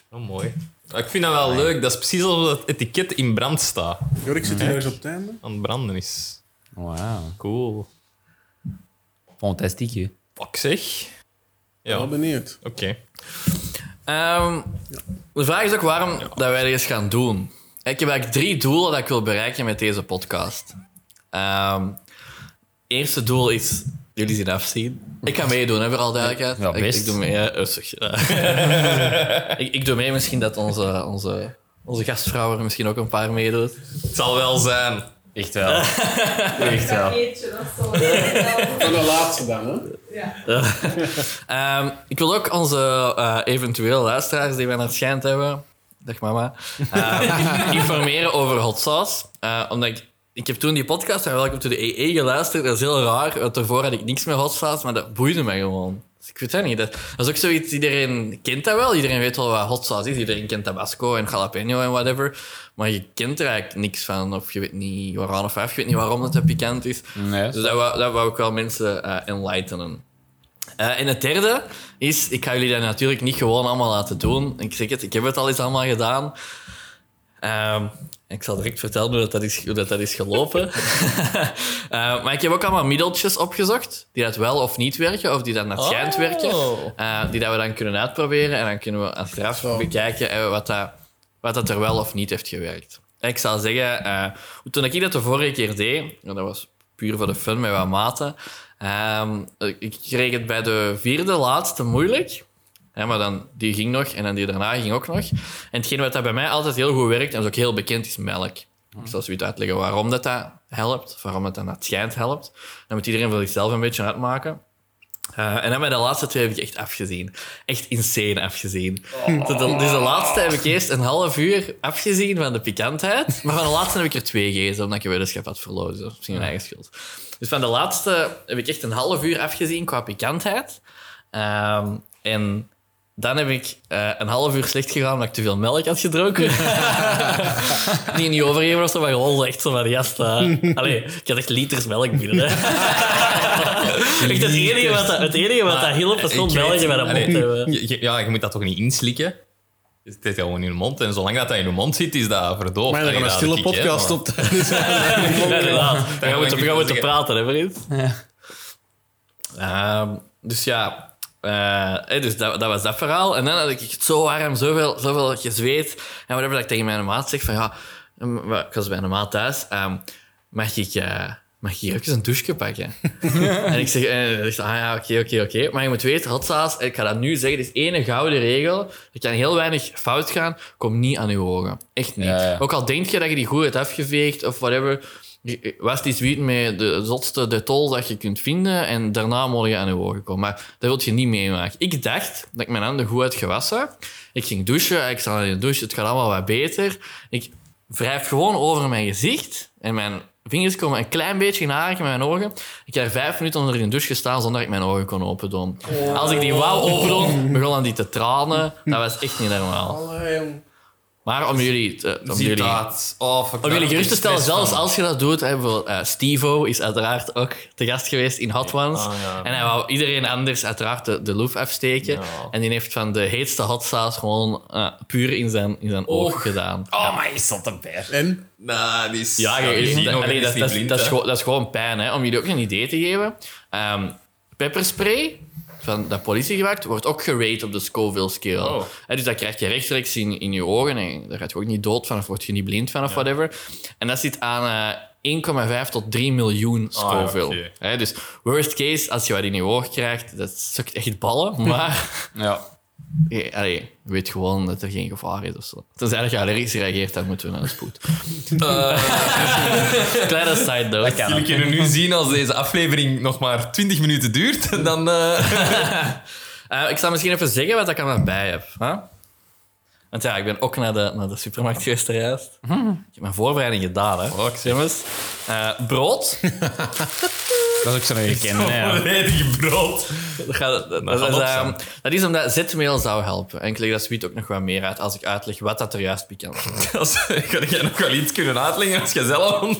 Oh, mooi. Ah, Ik vind dat wel leuk. Dat is precies alsof het etiket in brand staat. Jorik zit hier ergens op het einde. Aan het branden is. Wauw. Cool. Fantastiek, hè. Fuck zeg. Ja, Wel oké. benieuwd. Ehm, de vraag is ook waarom dat wij dit eens gaan doen. Ik heb eigenlijk drie doelen dat ik wil bereiken met deze podcast. Ehm, eerste doel is jullie zien afzien. Ik ga meedoen, hè, voor al duidelijkheid. Ja, Ik, best. ik doe mee. hè. Eh, zeg, ja. ik, ik doe mee misschien dat onze, onze, onze gastvrouw er misschien ook een paar meedoet. Het zal wel zijn. Echt wel. Echt wel. Eetje, dat zal wel. En de laatste dan, hè? Ja. Ehm, ik wil ook onze eh, eventuele luisteraars die wij naar het schijnt hebben, dag mama, eh, informeren over hot sauce. Eh, omdat ik, ik heb toen die podcast van Welcome to the EE geluisterd. Dat is heel raar, want daarvoor had ik niks met hot sauce, maar dat boeide me gewoon. Dus ik weet dat niet. Dat, dat is ook zoiets, iedereen kent dat wel. Iedereen weet wel wat hot sauce is. Iedereen kent tabasco en jalapeno en whatever. Maar je kent er eigenlijk niks van. Of je weet niet waaraan of af. Je weet niet waarom het dat pikant is. Nee. Dus dat wou, dat wou ik wel mensen eh, enlightenen. Eh, en het derde is, ik ga jullie dat natuurlijk niet gewoon allemaal laten doen. Ik zeg het, ik heb het al eens allemaal gedaan. Ehm, ik zal direct vertellen hoe dat, dat, is, hoe dat, dat is gelopen. Eh, maar ik heb ook allemaal middeltjes opgezocht die dat wel of niet werken, of die dat naar het schijnt werken. Oh. Eh, die dat we dan kunnen uitproberen en dan kunnen we achteraf Zo. bekijken eh, wat, dat, wat dat er wel of niet heeft gewerkt. Ik zal zeggen, eh, toen ik dat de vorige keer deed, en dat was puur voor de fun met wat maten, ehm, ik kreeg het bij de vierde laatste moeilijk. Hè, maar dan, die ging nog en dan die daarna ging ook nog. En hetgeen wat dat bij mij altijd heel goed werkt, en dat is ook heel bekend, is melk. Ik zal zoiets uitleggen waarom dat, dat helpt, waarom dat, dat naar het schijnt helpt. Dan moet iedereen voor zichzelf een beetje uitmaken. Eh, en dan bij de laatste twee heb ik echt afgezien. Echt insane afgezien. Tot de- dus de laatste heb ik eerst een half uur afgezien van de pikantheid. Maar van de laatste heb ik er twee gegeten, omdat ik een weddenschap had verloren. Dus dat is misschien mijn eigen schuld. Dus van de laatste heb ik echt een half uur afgezien qua pikantheid. Ehm, en dan heb ik eh, een half uur slecht gegaan omdat ik te veel melk had gedronken. Die niet overgeven of zo, maar gewoon echt zo van gast. eh, Allee, ik had echt liters melk binnen. hè. Echt het enige wat dat, het enige wat dat hielp, was gewoon Ik weet- België bij de mond Allee, hebben. je- je- Ja, je moet dat toch niet inslikken? Het zit gewoon in je mond. En zolang dat, dat in je mond zit, is dat verdoofd. Maar er Allee, gaat een dat stille denk ik, hè, podcast maar- op het einde zijn. Ja, inderdaad. We gaan kan moeten, ik we gaan niet moeten zeggen. praten, hè, vriend? Ehm, dus ja, eh, hè, dus dat, dat was dat verhaal. En dan had ik het zo warm, zoveel, zoveel gezweet. En whatever, dat ik tegen mijn maat zeg van ja, mm, wa- ik was bij een maat thuis. ehm, mag ik... eh, Mag ik hier even een douche pakken? en ik zeg, en ik zeg, ah ja, oké, oké, oké. Maar je moet weten, hot sauce, ik ga dat nu zeggen, dit is één gouden regel. Er kan heel weinig fout gaan. Kom niet aan uw ogen. Echt niet. Ja, ja. Ook al denk je dat je die goed hebt afgeveegd of whatever, je- was die wiet met de zotste detail dat je kunt vinden en daarna moet je aan je ogen komen. Maar dat wil je niet meemaken. Ik dacht dat ik mijn handen goed had gewassen. Ik ging douchen, ik zat in de douche, het gaat allemaal wat beter. Ik wrijf gewoon over mijn gezicht en mijn vingers komen een klein beetje in aanraking met mijn ogen. Ik heb vijf minuten onder in de douche gestaan zonder dat ik mijn ogen kon opendoen. Als ik die wou opendoen, begon die te tranen. Dat was echt niet normaal. Allee, jong. Maar om jullie... te- om Zie jullie dat. Oh, fuck, om daar jullie heb ik gerust te stellen, stress zelfs van. als je dat doet, hè, bijvoorbeeld, eh, Stevo is uiteraard ook te gast geweest in Hot Ones. ah, ja. En hij wou iedereen anders uiteraard de, de loef afsteken. Ja. En die heeft van de heetste hot sauce gewoon eh, puur in zijn, in zijn oog gedaan. Oh, maar is dat een beer? En? Nou, die is... Ja, je- die je- ziet nog, allee, die dat, is dat, niet blind, dat is hè. gewoon, dat is gewoon pijn. Hè. Om jullie ook een idee te geven. ehm, pepperspray van de politie gewerkt, wordt ook gerate op de Scoville-scale. Oh. Hè, dus dat krijg je rechtstreeks in, in je ogen en daar gaat je ook niet dood van of word je niet blind van of whatever. En dat zit aan eh 1,5 tot 3 miljoen Scoville. Ah, oké. Hè, dus worst case, als je wat in je oog krijgt, dat sukt echt ballen, maar... Ja. Je, allee, je weet gewoon dat er geen gevaar is of zo. Tenzij dat je allergisch reageert, dan moeten we naar de spoed. Eh, kleine side note. Jullie kunnen nu zien als deze aflevering nog maar 20 minuten duurt, dan... eh, Eh, ik zal misschien even zeggen wat ik er maar bij heb. Hè? Want ja, ik ben ook naar de, naar de supermarkt geweest juist. Ik heb mijn voorbereiding gedaan, hè. Jongens, eh, brood. Dat is ook zo'n gekende. hè, ja. Volledig brood. Dat, gaat, dat, dat gaat is, op ehm, zijn. dat is omdat zetmeel zou helpen. En ik leg dat zoiets ook nog wat meer uit als ik uitleg wat dat er juist pikant is. Als- Kan jij nog wel iets kunnen uitleggen als je zelf... Ah!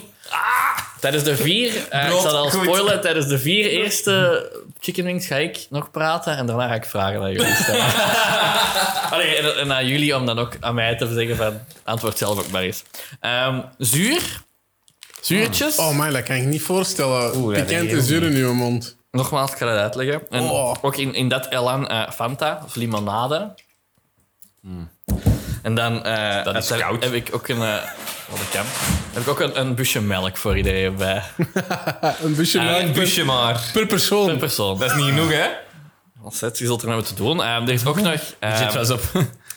Tijdens de vier, eh, Brood, ik zal al goed. spoilen, tijdens de vier eerste chicken wings ga ik nog praten en daarna ga ik vragen aan jullie stellen. Allee, en, en aan jullie om dan ook aan mij te zeggen van antwoord zelf ook maar eens. Ehm, zuur, zuurtjes. Oh man, dat kan ik niet voorstellen. Oeh, ja, Pikant die en heel zuur in uw mond. Nogmaals, ik ga dat uitleggen. En Oh. Ook in, in dat elan eh, Fanta of limonade. En dan eh, Hmm. Dat is heb- koud. heb ik ook een, eh, wat ik kan, heb ik ook een, een busje melk voor iedereen bij. Een busje Een melk per, busje maar. per Ah, Per persoon. persoon. Dat is niet genoeg, hè? Ontzettend, je zult er nou wat te doen. Ehm, er is ook nog... ehm, Zit was op.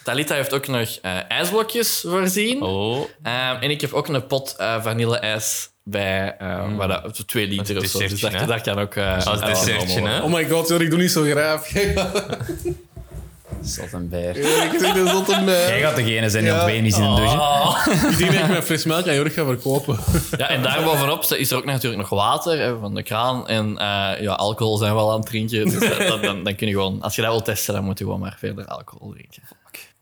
Talita heeft ook nog eh, ijsblokjes voorzien. Oh. Ehm, en ik heb ook een pot eh vanille-ijs bij ehm wat dat, 2 liter of zo. Dus Hmm. dessertje, dat, hè? dat kan ook... Als eh, uitgenomen dessertje, worden. hè? Oh my god, sorry, ik doe niet zo graaf. ik Zot een beer. zeg dat zot een Jij eh, gaat degene zijn die Ja. op benen is in de douche. Oh. Ik denk dat ik mijn fles melk aan Jorg ga verkopen. Ja, en daarbovenop is er ook natuurlijk nog water hè, van de kraan. En eh, ja, alcohol zijn we al aan het drinken. Dus dat- dat- dan, dan kun je gewoon... Als je dat wil testen, dan moet je gewoon maar verder alcohol drinken. Ik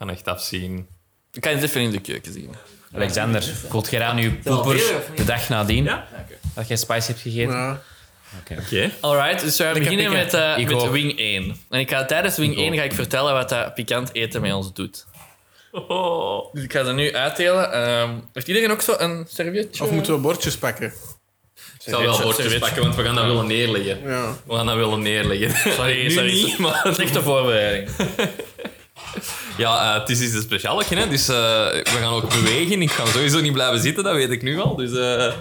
kan echt afzien. Ik kan je het even in de keuken zien. Alexander, voelt jij aan je poepers de dag nadien? Dat jij spice hebt gegeten? Ja. Oké. Alright, dus we beginnen pikken. met, eh, Ik met ook. Wing 1. En ik ga, tijdens Wing 1 ga ik vertellen wat dat pikant eten met ons doet. Dus ik ga dat nu uitdelen. Ehm, heeft iedereen ook zo een servietje? Of moeten we bordjes pakken? Ik zal wel bordjes pakken, want we gaan dat willen neerleggen. Ja. We gaan dat willen neerleggen. Sorry, Nu sorry. niet, maar... Slechte voorbereiding. Ja, eh, het is iets een speciaalke, hè. Dus eh, we gaan ook bewegen. Ik ga sowieso niet blijven zitten, dat weet ik nu al. Dus eh,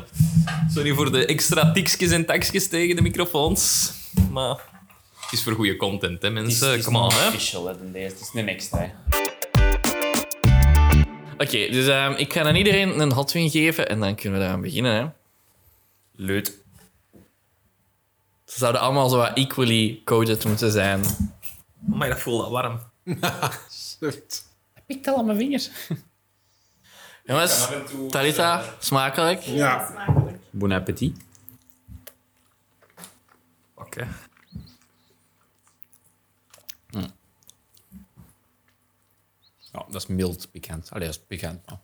sorry voor de extra tikjes en takjes tegen de microfoons. Maar het is voor goede content, hè, mensen. Eh, Kom aan, hè. official, hè, dan deze. Het is een extra. Oké, dus ehm, ik ga aan iedereen een hotwing geven en dan kunnen we daaraan beginnen. Hè. Leut. Ze zouden allemaal zo wat equally coded moeten zijn. Maar dat voelt dat warm. Pikt al aan mijn vingers. Jongens, Talita, smakelijk. Ja. Bon appetit. Oké. Ja, dat is mild pikant. Allee, dat is pikant. maar-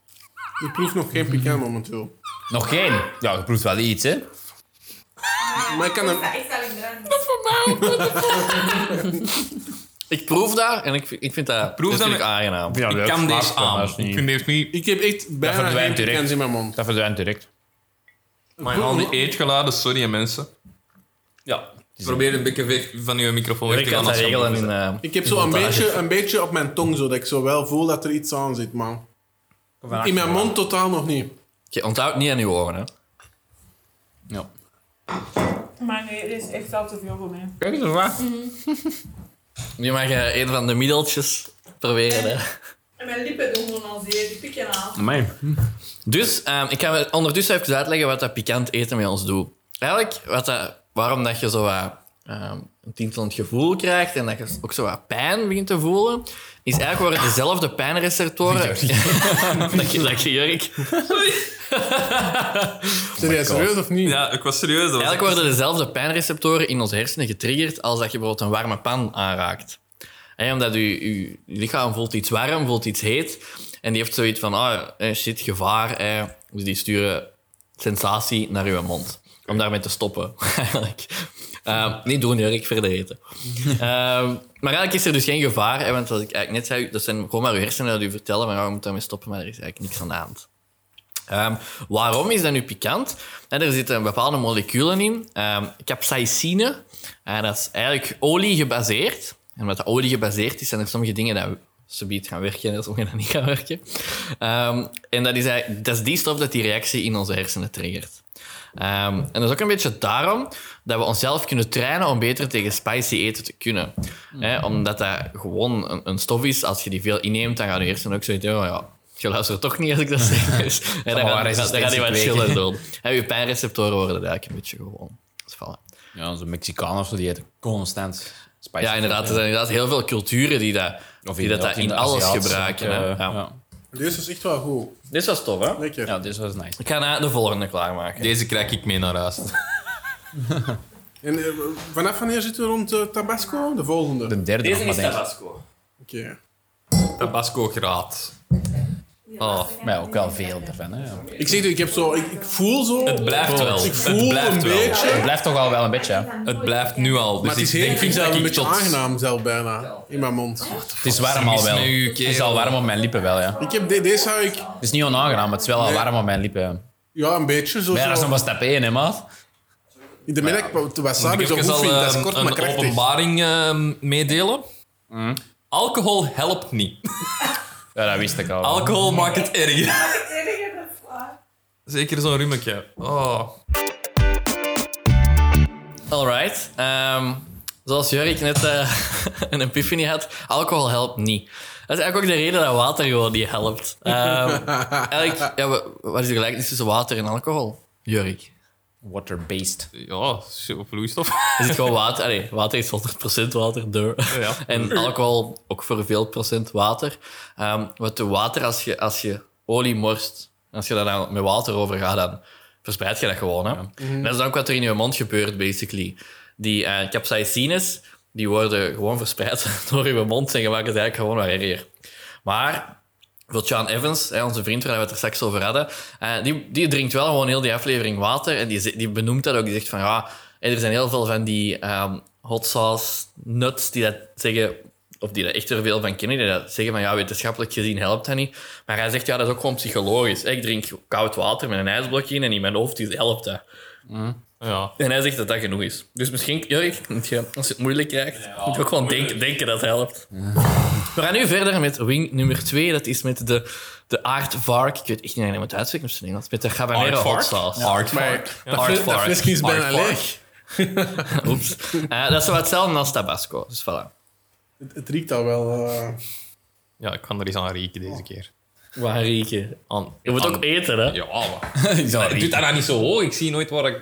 Ik proef nog geen pikant momenteel. Nog geen? Ja, je proeft wel iets, hè? Maar ik kan hem... Ik sta in de ruimte. Ik proef dat en ik, vind- ik vind dat, Proef dat dat vind ik met- aangenaam. Ja, Ik kan deze aan. Ik vind deze niet... Ik heb echt Dat bijna geen verdwijnt direct. pikant in mijn mond. Dat verdwijnt direct. Maar al die eetgeluiden, sorry, hè, mensen. Ja. Probeer een beetje weg van je microfoon weg Ik te kan gaan. dat als je regelen hem in... eh, Ik heb zo een beetje, een beetje op mijn tong, zo, dat ik zo wel voel dat er iets aan zit, man. In mijn mond totaal nog niet. Je onthoudt niet aan je oren, hè. Ja. Maar nee, dit is echt al te veel voor mij. Kijk eens wat. Nu mag je een van de middeltjes proberen. Hè. En mijn lippen doen gewoon al zeer, die pikken aan. Dus ehm, ik ga wel ondertussen even uitleggen wat dat pikant eten met ons doet. Eigenlijk, wat dat, waarom dat je zo wat, ehm, een tintelend gevoel krijgt en dat je ook zo wat pijn begint te voelen, is eigenlijk worden dezelfde pijnreceptoren. dat je, dat je Jurk. Zijn jij serieus of niet? Ja, ik was serieus. Dat was Eigenlijk worden dezelfde pijnreceptoren in ons hersenen getriggerd als dat je bijvoorbeeld een warme pan aanraakt. Hè, omdat je, je, je lichaam voelt iets warm, voelt iets heet. En die heeft zoiets van, ah, eh, shit, gevaar. hè. Dus die sturen sensatie naar je mond. Om daarmee te stoppen, eigenlijk. Ehm, niet doen, Jurk, verder eten. Ehm, maar eigenlijk is er dus geen gevaar. Hè, want "Oh, zoals ik eigenlijk net zei, dat zijn gewoon maar je hersenen die u vertellen van, ah, je moet daarmee stoppen, maar er is eigenlijk niks aan de hand. Ehm, waarom is dat nu pikant? Hè, er zitten bepaalde moleculen in. Ehm capsaicine, eh, dat is eigenlijk olie gebaseerd. En omdat de olie gebaseerd is, zijn er sommige dingen dat subiet gaan werken en sommige dat niet gaan werken. Ehm, en dat is, eigenlijk- dat is die stof dat die reactie in onze hersenen triggert. Ehm, en dat is ook een beetje daarom dat we onszelf kunnen trainen om beter tegen spicy eten te kunnen. Hè, omdat dat gewoon een, een stof is. Als je die veel inneemt, dan gaan de hersenen ook zoiets oh ja, je luistert toch niet als ik dat zeg. Dus, hè, dan, wel gaan, dan, resistentie gaan die wat kweken. chillen doen. Hè, je pijnreceptoren worden eigenlijk een beetje gewoon. Dus Dat is vallen. Ja, onze Mexicanen of zo, die eten constant spicy. Ja, inderdaad. Er zijn inderdaad heel veel culturen die dat, Of die dat, dat in alles Aziatische, gebruiken. hè. eh, Ja. ja. Deze is echt wel goed. Dit was tof, hè? Lekker. Ja, dit was nice. Ik ga na de volgende klaarmaken. Deze krijg ik mee naar huis. En eh, vanaf wanneer zitten we rond eh, Tabasco? De volgende. De derde nog maar, denk ik. Tabasco. Oké. Tabasco graad. Maar ja, ook wel veel ervan. Hè. Ja. Ik zeg het, ik heb zo... Ik, ik voel zo... Het Oh. blijft wel. Ik het voel blijft een wel. beetje... Het blijft toch al wel een beetje. hè. Het blijft nu al. Dus Maar het ik is heel, ik denk vind het dat zelf een ik beetje tot- aangenaam zelf bijna. In mijn mond. Het is warm al wel. Het is al warm op mijn lippen wel, ja. Ik heb de- deze zou ik... Het is niet onaangenaam, maar het is wel al Nee. warm op mijn lippen. ja. Ja, een beetje zo. Maar ja, dat is zo- nog maar stap 1, hè, maat. in de middag wat Moet wasabi ik zo even goed al, vind. Dat is ehm, kort, een maar krachtig. openbaring ehm, meedelen. Mm. Alcohol helpt niet. Ja, dat wist ik al. Alcohol maakt het erger. Het enige dat is waar. Zeker zo'n rummetje. Oh. Alright. Ehm, zoals Jurk net eh, een epiphany had, alcohol helpt niet. Dat is eigenlijk ook de reden dat water gewoon niet helpt. Ehm, eigenlijk, ja, wa- wat is de gelijkenis tussen water en alcohol? Jurk. Water-based. Ja, zo- vloeistof. Er zit gewoon water. Allee, water is 100% water, duh. Ja. Mm. En alcohol ook voor veel procent water. Ehm wat de water, als je, als je olie morst, als je daar dan met water over gaat, dan verspreid je dat gewoon. Hè? En Dat is dan ook wat er in je mond gebeurt, basically. Die eh capsaicines, die worden gewoon verspreid door je mond en je maakt het eigenlijk gewoon wat erger. Maar voor Sean Evans, hè, onze vriend waar we het er straks over hadden, eh, die, die drinkt wel gewoon heel die aflevering water. En die, ze- die benoemt dat ook. Die zegt van ja, er zijn heel veel van die ehm, hot sauce nuts die dat zeggen, of die er echt er veel van kennen, die dat zeggen van ja, wetenschappelijk gezien helpt dat niet. Maar hij zegt ja, dat is ook gewoon psychologisch. Ik drink koud water met een ijsblokje in en in mijn hoofd die helpt dat. Ja. En hij zegt dat dat genoeg is. Dus misschien, Jurk, moet je, als je het moeilijk krijgt, moet je ook gewoon denken, denken dat het helpt. We gaan nu verder met wing nummer 2. Dat is met de, de aardvark. Ik weet echt niet hoe het uitspreekt op zijn Nederlands. Met de habanero hot sauce. Aardvark. Dat fles- dat Aardvark. flesje is bijna Aardvark. leeg. Oeps. Eh, dat is wel hetzelfde als tabasco. Dus voilà. Het, het riekt al wel... eh, Ja, ik kan er eens aan rieken deze keer. Waar rieken? Aan. Je moet ook eten, hè? Ja, maar... Ik zal Doe rieken. dat nou niet zo hoog. Ik zie nooit waar ik...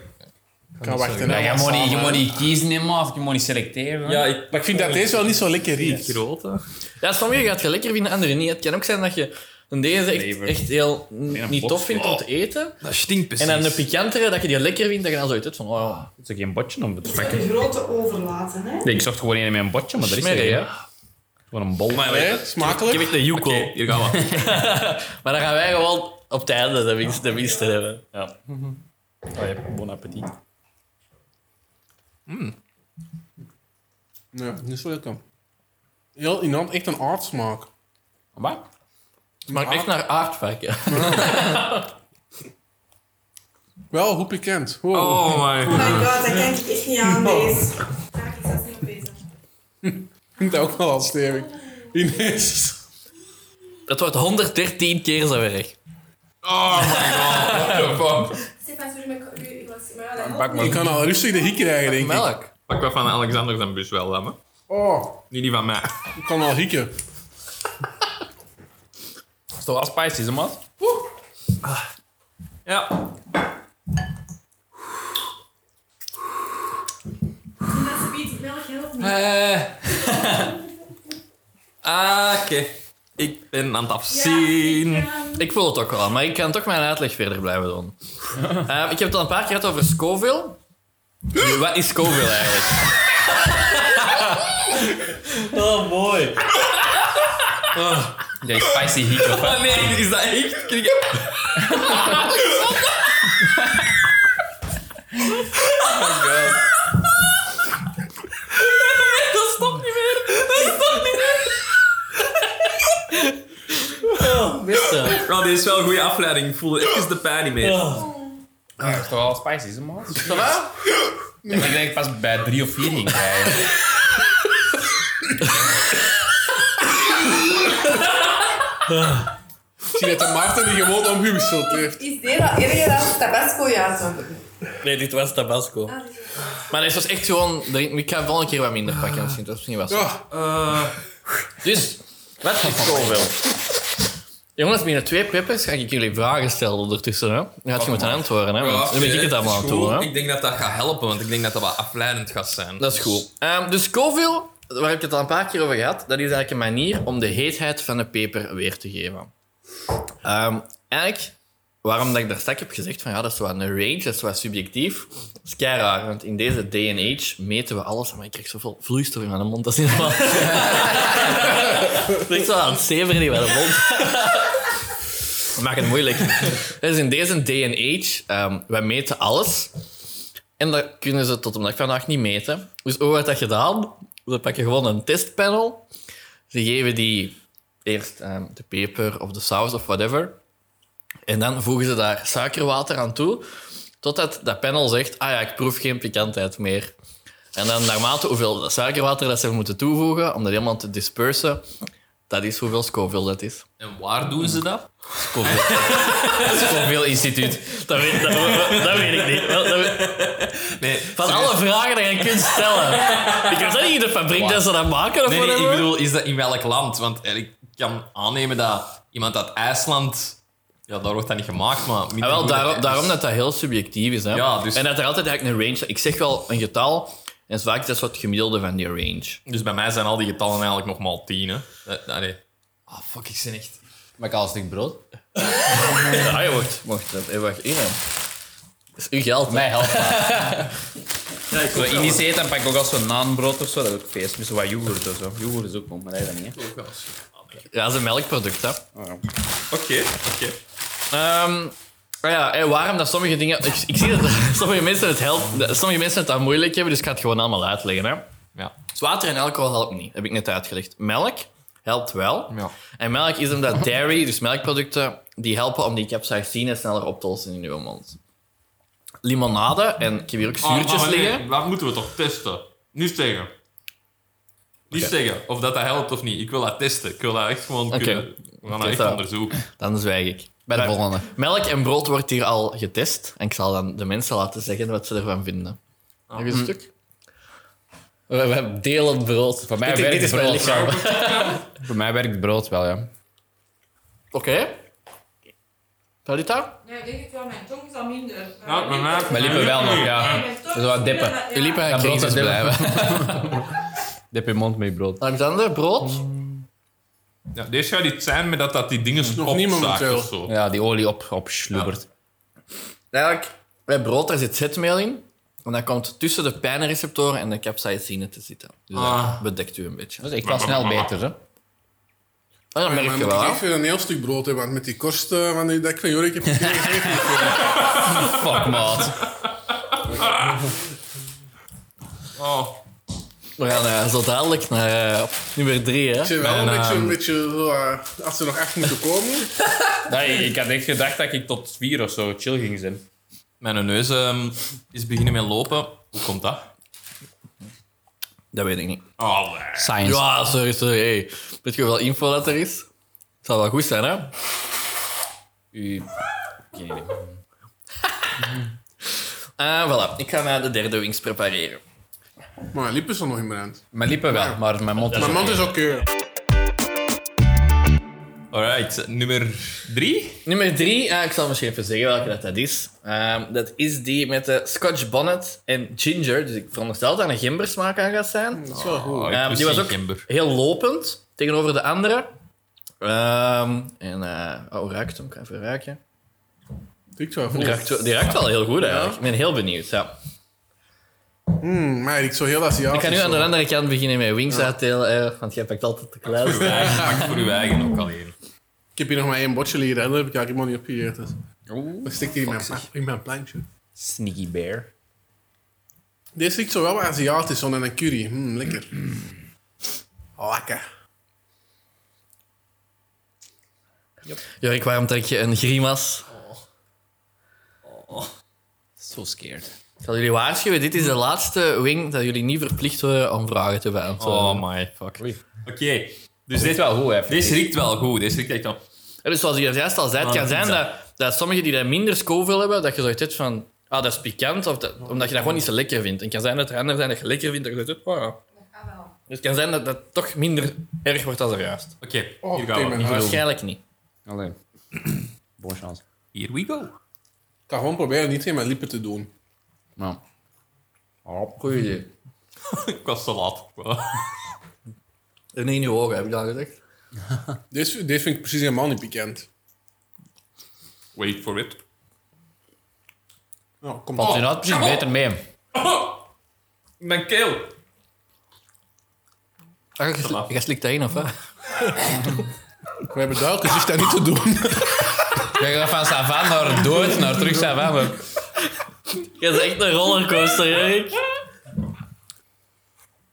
kan wachten. Ja, hè, je want moet niet- samen- je moet niet kiezen, hè, maat. Je moet niet selecteren. Ja, ik... Maar ik vind dat deze wel niet zo lekker riekt. Grote. Ja, sommige gaat je lekker vinden, andere niet. Het kan ook zijn dat je een deze echt, Flavor. echt heel n- een niet bot. tof vindt om te eten. Dat stinkt Oh, precies. En dan een pikantere, dat je die lekker vindt, dat je dan zoiets hebt van... Oh, ja. Het is ook geen botje om te pakken. De grote overlaten, hè? Nee, ik zocht gewoon een met een botje, maar er is er Smerig, geen, hè? hè. Gewoon een bol. Hè, Ik Smakelijk. heb echt een joekel. Oké, hier gaan we. Maar dan gaan wij gewoon op het einde de winst, de winst hebben. Ja. Oh, ja, bon appetit. Nee, niet zo lekker. Heel in hand, echt een aardsmaak. Wat? Maar echt naar aardvark, ja. Wel goed bekend. Wow. Oh Oh my... my god, dat kan ik echt niet aan deze. Daar is dat niet bezig. Ik vind dat ook wel al stevig. Ineens. Dat wordt 113 keer zo erg. Oh my god. What the fuck? Zit natuurlijk met u, ik was maar ja, dat Pak helpt Ik maar. kan al rustig de hik krijgen, denk ik. Melk. Pak wat van Alexander zijn bus wel, dan, hè. Oh, Niet die van mij. ik kan al hikken. Dat is toch wel spicy, hè, maat? Ja. niet. Dat biedt melk helpt niet. Eh. Ah, Oké. Ik ben aan het afzien. Ja, ik, ehm, Ik voel het ook wel, maar ik kan toch mijn uitleg verder blijven doen. Eh, ik heb het al een paar keer gehad over Scoville. Nu, Wat is Scoville eigenlijk? Oh, mooi. Oh. Ja, spicy heat of Ah, nee, is dat echt? Kijk. Dat stopt niet meer. Dat stopt niet meer. Oh, beste. Wel, dit is wel een goede afleiding. Ik voel even de pijn niet meer. Dat is toch wel spicy, is man? Ik denk dat ik pas bij drie of vier ging krijgen. Ik zie dat de Maarten die gewoon omgewisseld heeft. Is dit al eerder dan Tabasco? Ja, zo. Nee, dit was Tabasco. Maar dit was echt gewoon... Ik ga volgende keer wat minder pakken. Misschien, dat is misschien wel zo. Eh, Ja, Dus, wat is zoveel? Jongens, binnen twee peppers ga ik jullie vragen stellen ondertussen. Hè? Dan gaat je moeten antwoorden. Hè? Ah, Want dan ben ik het allemaal aan het doen. Hè? Ik denk dat dat gaat helpen, want ik denk dat dat wat afleidend gaat zijn. Dat is goed. Ehm, dus Scoville, waar heb ik het al een paar keer over gehad, dat is eigenlijk een manier om de heetheid van de peper weer te geven. Ehm, eigenlijk, waarom dat ik daar straks heb gezegd van ja, dat is wel een range, dat is wel subjectief. Dat is kei raar, want in deze day and age meten we alles. Maar ik krijg zoveel vloeistof in mijn mond, dat is niet normaal. Het ligt wel aan het zeveren in mijn mond. We maken het moeilijk. Dus in deze day and age, ehm, wij meten alles. En dat kunnen ze tot op dag vandaag niet meten. Dus hoe wordt dat gedaan? We pakken gewoon een testpanel. Ze geven die eerst ehm, de peper of de saus of whatever. En dan voegen ze daar suikerwater aan toe. Totdat dat panel zegt, ah ja, ik proef geen pikantheid meer. En dan naarmate hoeveel suikerwater dat ze moeten toevoegen, om dat helemaal te dispersen, dat is hoeveel Scoville dat is. En waar doen ze dat? Scoville Instituut. Dat weet, dat, dat weet ik niet. Wel, dat weet- Nee, Van alle vragen die je kunt stellen. Ik weet dat niet in de fabriek dat ze dat maken of nee, nee, ik whatever. bedoel, is dat in welk land? Want eh, ik kan aannemen dat iemand uit IJsland... Ja, daar wordt dat niet gemaakt, maar... Ja, minder wel, goed daarom, is. daarom dat dat heel subjectief is. Hè? Ja, dus- En dat er altijd eigenlijk een range... Ik zeg wel een getal, en vaak dat is wat het gemiddelde van die range. Dus bij mij zijn al die getallen eigenlijk nog maar tien, hè. Eh, nou, Nee. Ah, fuck, ik zin echt... Maar ik al een stuk brood. Ah, je mocht... mocht dat even wacht, hier dan. Dat is uw geld, Mij helpt dat. Zo Indisch eten, dan pak ik ook al zo'n naanbrood of zo. Dat is ook feest. Met zo wat yoghurt of zo. Yoghurt is ook nog, maar dat is dat niet. hè. Ja, dat is een melkproduct, hè. Oké, oké. Ehm, maar ja, hé, waarom dat sommige dingen... Ik, ik zie dat sommige mensen het helpt, dat sommige mensen het aan moeilijk hebben, dus ik ga het gewoon allemaal uitleggen, hè. Ja. Dus water en alcohol helpt niet, heb ik net uitgelegd. Melk helpt wel. Ja. En melk is omdat dairy, dus melkproducten, die helpen om die capsaicine sneller op te lossen in uw mond. Limonade, en ik heb hier ook Ah, zuurtjes liggen. Waar moeten we toch testen? Niet zeggen. Niet zeggen of dat, dat helpt of niet. Ik wil dat testen. Ik wil dat echt gewoon kunnen... We gaan dat echt Testa. onderzoeken. Dan zwijg ik. Bij de volgende. Melk en brood wordt hier al getest. En ik zal dan de mensen laten zeggen wat ze ervan vinden. Heb je een stuk? We, we delen brood. Voor mij Dit- werkt dit is mijn brood. lichaam. Oké. Voor mij werkt brood wel, ja. Talita? Ja, ik denk het wel. Mijn tong is al minder. Ja, Nou, bij mij... Mijn lippen wel nog, ja. Mijn tong Zo wat dippen. Ja, Jullie ja. Ja, hebben brood brood is blijven. Dip je mond met je brood. Alexander, brood? Ja, deze gaat iets zijn met dat, dat die dingen Nog niet opzaakt momenteel. of zo. Ja, die olie op, opslubbert. Eigenlijk, bij brood daar zit zetmeel in. En dat komt tussen de pijnreceptoren en de capsaicine te zitten. Dus dat bedekt u een beetje. Dat is echt wel snel beter, hè. Oh, dat merk maar je moet wel. ik hè? echt weer een heel stuk brood hebben, want met die korsten van die, dat ik van Jorik heb gekregen. Fuck, maat. Oh. We gaan eh, zo dadelijk naar eh, nummer drie. Hè? Ik zit wel een beetje, ehm, een beetje zo, eh, als ze nog echt moeten komen. Nee, ik had echt gedacht dat ik tot vier of zo chill ging zijn. Mijn neus ehm, is beginnen met lopen. Hoe komt dat? Dat weet ik niet. Oh, nee. Science. Ja, sorry, sorry. Hey. Weet je hoeveel info dat er is? Zal wel goed zijn, hè? U... Ah, voilà. Ik ga naar de derde wings prepareren. Maar mijn lippen zijn nog in mijn hand. Mijn lippen wel, maar mijn mond is Mijn mond oké. is oké. Alright, nummer drie. Nummer drie, ah, ik zal misschien even zeggen welke dat, dat is. Ehm, dat is die met de Scotch Bonnet en ginger. Dus ik veronderstel dat er een gembersmaak aan gaat zijn. Dat is wel goed. Oh, ik Ehm, lust die was geen ook gember. heel lopend tegenover de andere. Ehm, en, eh oh, ruikt hem? Ik ga even ruiken. Ik zou Die ruikt, wel- die ruikt wel heel goed eigenlijk. Ik ben heel benieuwd. Ja. Mm, maar ik zo heel Aziatisch. Ik ga nu aan de zo. andere kant beginnen met wings uitdelen, eh, want jij pakt altijd de kluis. Pak voor uw eigen ook alleen. Ik heb hier nog maar één botje liggen, dat heb ik eigenlijk helemaal niet opgegeten. Dus. Dat stikt hier in mijn, pla- in mijn plankje. Sneaky bear. Deze stikt zo wel Aziatisch, zo naar een curry. Mm, lekker. Lekker. Jorik, waarom trek je een grimas? So scared. Ik zal jullie waarschuwen, dit is de laatste wing dat jullie niet verplicht worden om vragen te beantwoorden. Oh my fuck. Oké, dus Dit dit, is wel goed, hè. deze riekt wel goed. Deze riekt echt wel. Ja, dus zoals je juist al zei, het kan zijn dat, dat sommigen die daar minder scoville hebben, dat je zoiets hebt van, ah, dat is pikant, of dat, omdat je dat gewoon niet zo lekker vindt. En het kan zijn dat er anderen zijn dat je lekker vindt, dat je zoiets hebt, oh ja. Ah, Dus het kan zijn dat dat toch minder erg wordt dan er juist. Oké, Oh, hier gaan tegen we. mijn huis. Ik Waarschijnlijk niet. Allee. Bon chance. Here we go. ga gewoon proberen niet tegen mijn lippen te doen. Nou. Goeie idee. Ik was te laat. En niet in je ogen, heb ik al gezegd. Deze, deze vind ik precies helemaal niet pikant. Wait for it. Nou, kom Valt op. je nou precies beter mee? Mijn keel. Ah, je, sli- je slikt daarin, of wat? We hebben duidelijk gezegd dat niet te doen. Kijk, dat van Savan naar dood, naar terug Savan. maar- Je is echt een rollercoaster, Erik.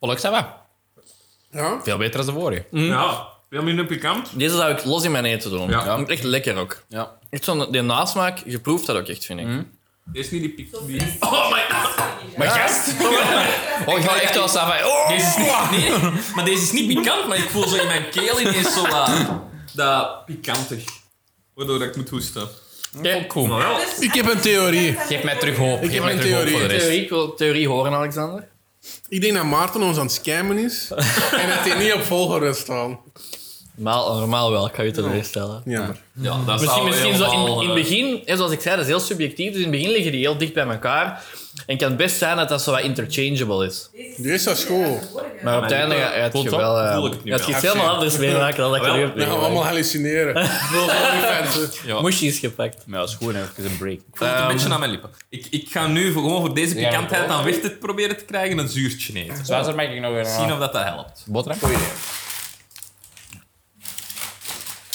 Volk Savan. Ja? Veel beter dan de vorige. Ja, veel minder pikant. Deze zou ik los in mijn eten doen. Ja. Ja. Echt lekker ook. Ja. Echt zo'n die nasmaak, je proeft dat ook echt, vind ik. Mm. Dit is niet die pik. Die... Maar gast! Oh, ik ga echt wel Savan. Oh! Deze is niet, nee, maar deze is niet pikant, maar ik voel zo in mijn keel ineens zo dat, dat pikantig. Waardoor ik moet hoesten. Oké. Cool. Ik heb een theorie. Geef mij terug hoop. Ik Geef heb mij een terug hoop theorie. voor de rest. Theorie, ik wil theorie horen, Alexander. Ik denk dat Maarten ons aan het scammen is. en dat hij niet op volgorde staat. Normaal, normaal wel, ik ga je teleurstellen. Jammer. Ja, dat is Misschien, al misschien zo in, helemaal, in het begin, hè, zoals ik zei, dat is heel subjectief. Dus in het begin liggen die heel dicht bij elkaar. En kan het best zijn dat dat zo wat interchangeable is. Deze is school. Maar op het einde ga- gaat je wel... eh, Voel ik het nu gaat je wel. Ah, iets helemaal anders meemaken dan dat ik Wel, nu heb Dan gaan we meegemaakt. allemaal hallucineren. Voor OnlyFans. allemaal- Moesje is gepakt. Ja, dat is goed, hè. Even een break. eh, Ik voel ehm, het een beetje aan mijn lippen. Ik, ik ga nu voor- gewoon voor deze Ja, pikantheid maar- aan weg te proberen te krijgen een zuurtje Ah. eten. Zwaarder maak ik nog weer Zien een of dat, dat helpt. boterham.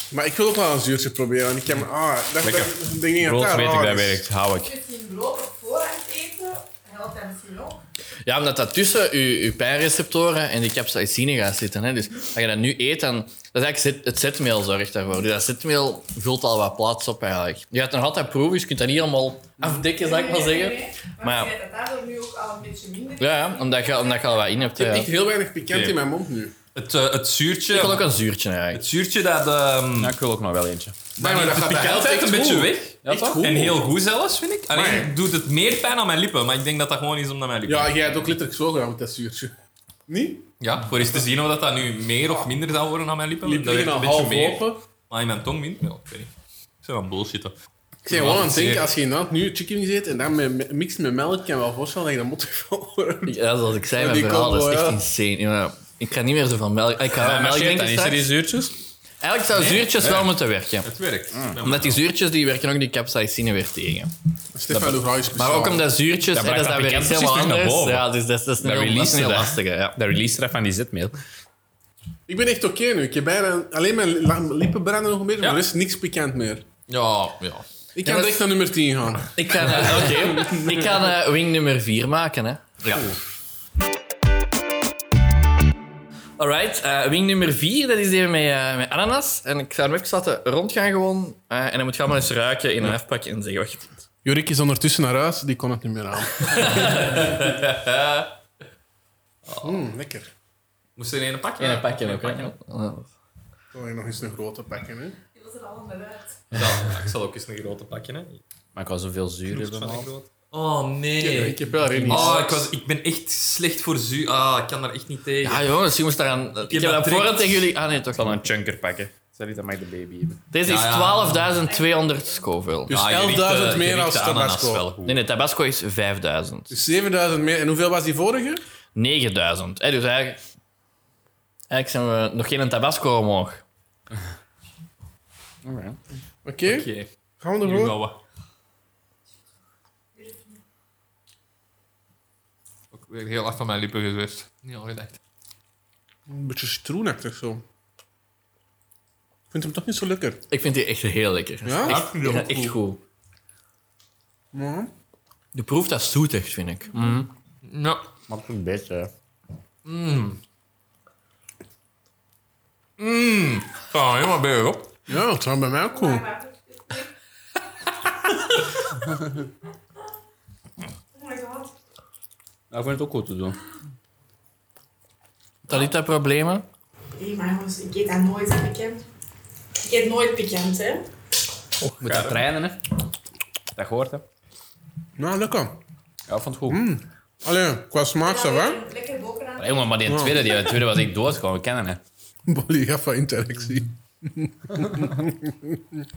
Maar ik wil ook wel een zuurtje proberen. Want ik heb... Ah, dat, dat, Lekker. dat ding in Rood elkaar Ah, dus weet ik, dat raar is. werkt. Hou ik. Misschien brood op voorhand eten, helpt dat misschien ook. Ja, omdat dat tussen je, je pijnreceptoren en die capsaicine gaat zitten. Hè. Dus als je dat nu eet, dan... Dat is eigenlijk zet- het zetmeel zorgt daarvoor. Dus dat zetmeel vult al wat plaats op eigenlijk. Je gaat het nog altijd proeven, dus je kunt dat niet helemaal afdekken, zou ik maar zeggen. Maar- Maar je weet dat daardoor nu ook al een beetje minder Ja, ja, omdat je, omdat je al wat in hebt. Ja. Echt Ik heel weinig pikant in mijn mond nu. Het, eh, het wil ook zuurtje... een zuurtje eigenlijk. Het zuurtje dat... ehm Ja, ik wil ook nog wel eentje. Maar, maar dat de gaat bij pikantheid altijd een beetje weg. Echt goed. En heel goed zelfs, vind ik. Alleen doet het meer pijn aan mijn lippen, maar ik denk dat dat gewoon is omdat mijn lippen. Ja, jij hebt ook letterlijk zo gedaan met dat zuurtje. Niet? Ja, voor eens te zien of dat, dat nu meer of minder zou worden aan mijn lippen. Liep dat liggen werkt al een beetje half meer. open. Maar in mijn tong minder. Ja, ik weet niet. Ik zou aan bullshitten. Ik Ja, zeg gewoon aan dat is het denken, zeer. als je inderdaad nu chicken zit en dan met, met- mixt met melk, kan je wel voorstellen dat je dat moet worden. Ja, zoals ik zei, mijn Die verhaal dat is combo, echt ja. insane. Ja, ik ga niet meer zo van melk. Ik ga wel melk drinken straks. zuurtjes. Eigenlijk zou zuurtjes wel moeten werken. Het werkt. Omdat die zuurtjes die werken ook die capsaicine weer tegen. Stefan doet is Maar ook omdat zuurtjes, Dat hè, dat is brengt dan weer dat iets bekend helemaal precies terug naar anders. boven. Ja, dus dat is, dat is een heel- Dat dat is release een heel dat. lastige. Ja. De release eraf van die zetmeel. Ik ben echt oké nu. Ik heb bijna alleen mijn li- la- lippen branden nog een beetje, maar er is niks pikant meer. Ja, ja. Ik Ja, kan maar- direct naar nummer 10 gaan. Ik ga, eh, oké. ik ga eh, wing nummer 4 maken. Hè. ja. Alright, eh, wing nummer 4, dat is die met, eh, met ananas. En ik zou hem even laten rondgaan gewoon. Eh, en dan moet je allemaal eens ruiken in een afpak en zeggen wat je vindt. Jurik is ondertussen naar huis, die kon het niet meer aan. Mm, lekker. Moest er een pakje? In een pakje ook, hè. Kan je nog eens een grote pakken, hè? Je was er al onderuit. Ja, ik zal ook eens een grote pakje. Hè. Maar ik wil zoveel zuur hebben. Van een man. grote. Oh Ja, nee. ik heb wel redelijk. Oh, ik, was, ik ben echt slecht voor zuur. Ah, ik kan daar echt niet tegen. Ja, jongens, je moest daaraan... Ik heb dat dat direct- voorhand tegen jullie... Ah, nee, toch Ik zal een chunker pakken. Sorry, dat mag de baby hebben. Deze Ja, ja. is 12.200 Scoville. Dus Ah, je riekt, 11.000 eh, je meer riekt als de ananas Tabasco. wel goed. Nee, nee, Tabasco is 5.000. 9.000. Dus 7.000 meer. En hoeveel was die vorige? Hè, dus eigenlijk, eigenlijk zijn we nog geen Tabasco omhoog. Oké, Oké, nu gaan we ervoor? gaan we. Ook weer heel hard van mijn lippen gezwist. Niet al gedacht. Een beetje stroenachtig zo. Ik vind hem toch niet zo lekker. Ik vind die echt heel lekker. Ja? Echt, ja, echt goed. Je proeft dat zoet echt, vind ik. Ja. Maar een beetje. Ga helemaal beter op. Ja, dat zou bij mij ook komen. Oh my god. ik vind het ook goed te doen. Talita problemen? Hé, maar jongens, ik eet dat nooit, hè, pikant. Ik eet nooit pikant, hè. Moet je trainen, hè? Dat hoort, hè? Nou, lekker. Ja, ik vond het goed. Mm. Allee, qua smaak, ça va? Lekker boken aan. Hey, jongen, maar die tweede, die tweede was ik dood gewoon kennen, hè? Bolly gaat van interactie.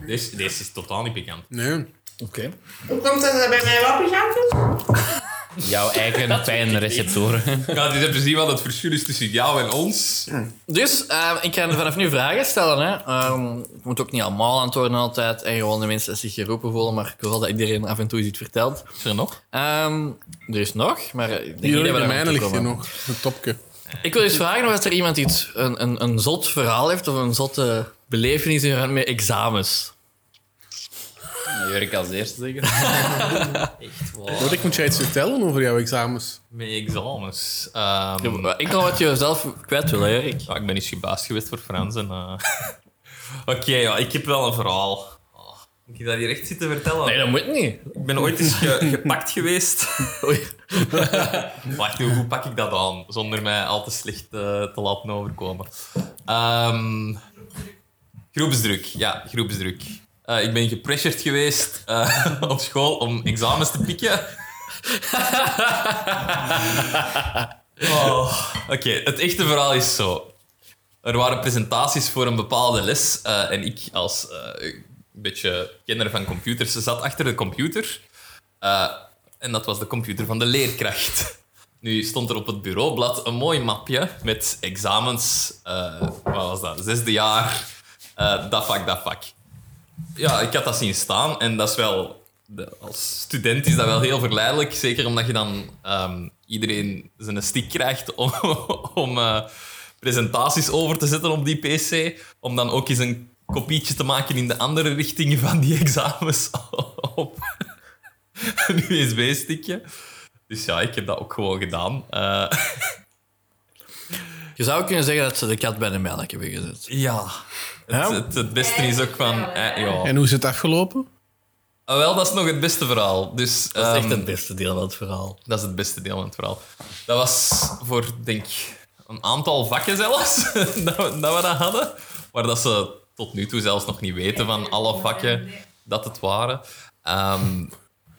Deze, deze is totaal niet bekend. Nee. Oké. Hoe komt dat dat bij mij wel pikant is? Jouw eigen pijnreceptoren. Ja, dus heb je zien wat het verschil is tussen jou en ons. Dus, ehm, ik ga vanaf nu vragen stellen. Hè. Ehm, ik moet ook niet allemaal antwoorden altijd. En gewoon de mensen die zich geroepen voelen. Maar ik wil wel dat iedereen af en toe iets vertelt. Is er nog? Ehm, er is nog, maar ik denk niet Die dat we de daar mijne aan toe ligt hier komen. nog. Een topje. Ik wil eens vragen of er iemand iets, een, een, een zot verhaal heeft of een zotte belevenis in verband met examens. Jurk als eerste, zeker? Wat, ik moet jij iets vertellen over jouw examens? Met examens. Ehm, Ik kan wat je zelf kwijt wil, hè, Erik. Ja, ik ben eens gebaasd geweest voor Frans. en, eh, Oké, ja, ik heb wel een verhaal. Oh, moet ik dat hier echt zitten vertellen? Nee, dat moet niet. Ik ben ooit eens ge- gepakt geweest. Oei. Wacht, hoe, hoe pak ik dat aan? Zonder mij al te slecht eh, te laten overkomen. Ehm, groepsdruk, ja, groepsdruk. Eh, ik ben gepressured geweest eh, op school om examens te pikken. Oh, Oké, het echte verhaal is zo. Er waren presentaties voor een bepaalde les eh, en ik als eh, een beetje kenner van computers zat achter de computer. Eh, en dat was de computer van de leerkracht. Nu stond er op het bureaublad een mooi mapje met examens. eh, wat was dat? Zesde jaar. eh, dat vak, dat vak. Ja, ik had dat zien staan en dat is wel. de- Als student is dat wel heel verleidelijk. Zeker omdat je dan ehm, iedereen zijn stick krijgt om, om eh, presentaties over te zetten op die PC. Om dan ook eens een kopietje te maken in de andere richting van die examens op een USB-stickje. Dus ja, ik heb dat ook gewoon gedaan. Eh, Je zou kunnen zeggen dat ze de kat bij de melk hebben gezet. ja. Het, het, het beste is ook van... eh, ja. En hoe is het afgelopen? Ah, wel, dat is nog het beste verhaal. Dus, Dat is echt ehm, het beste deel van het verhaal. dat is het beste deel van het verhaal. Dat was voor, denk ik, een aantal vakken zelfs, dat, we, dat we dat hadden. Maar dat ze tot nu toe zelfs nog niet weten van alle vakken dat het waren. Ehm,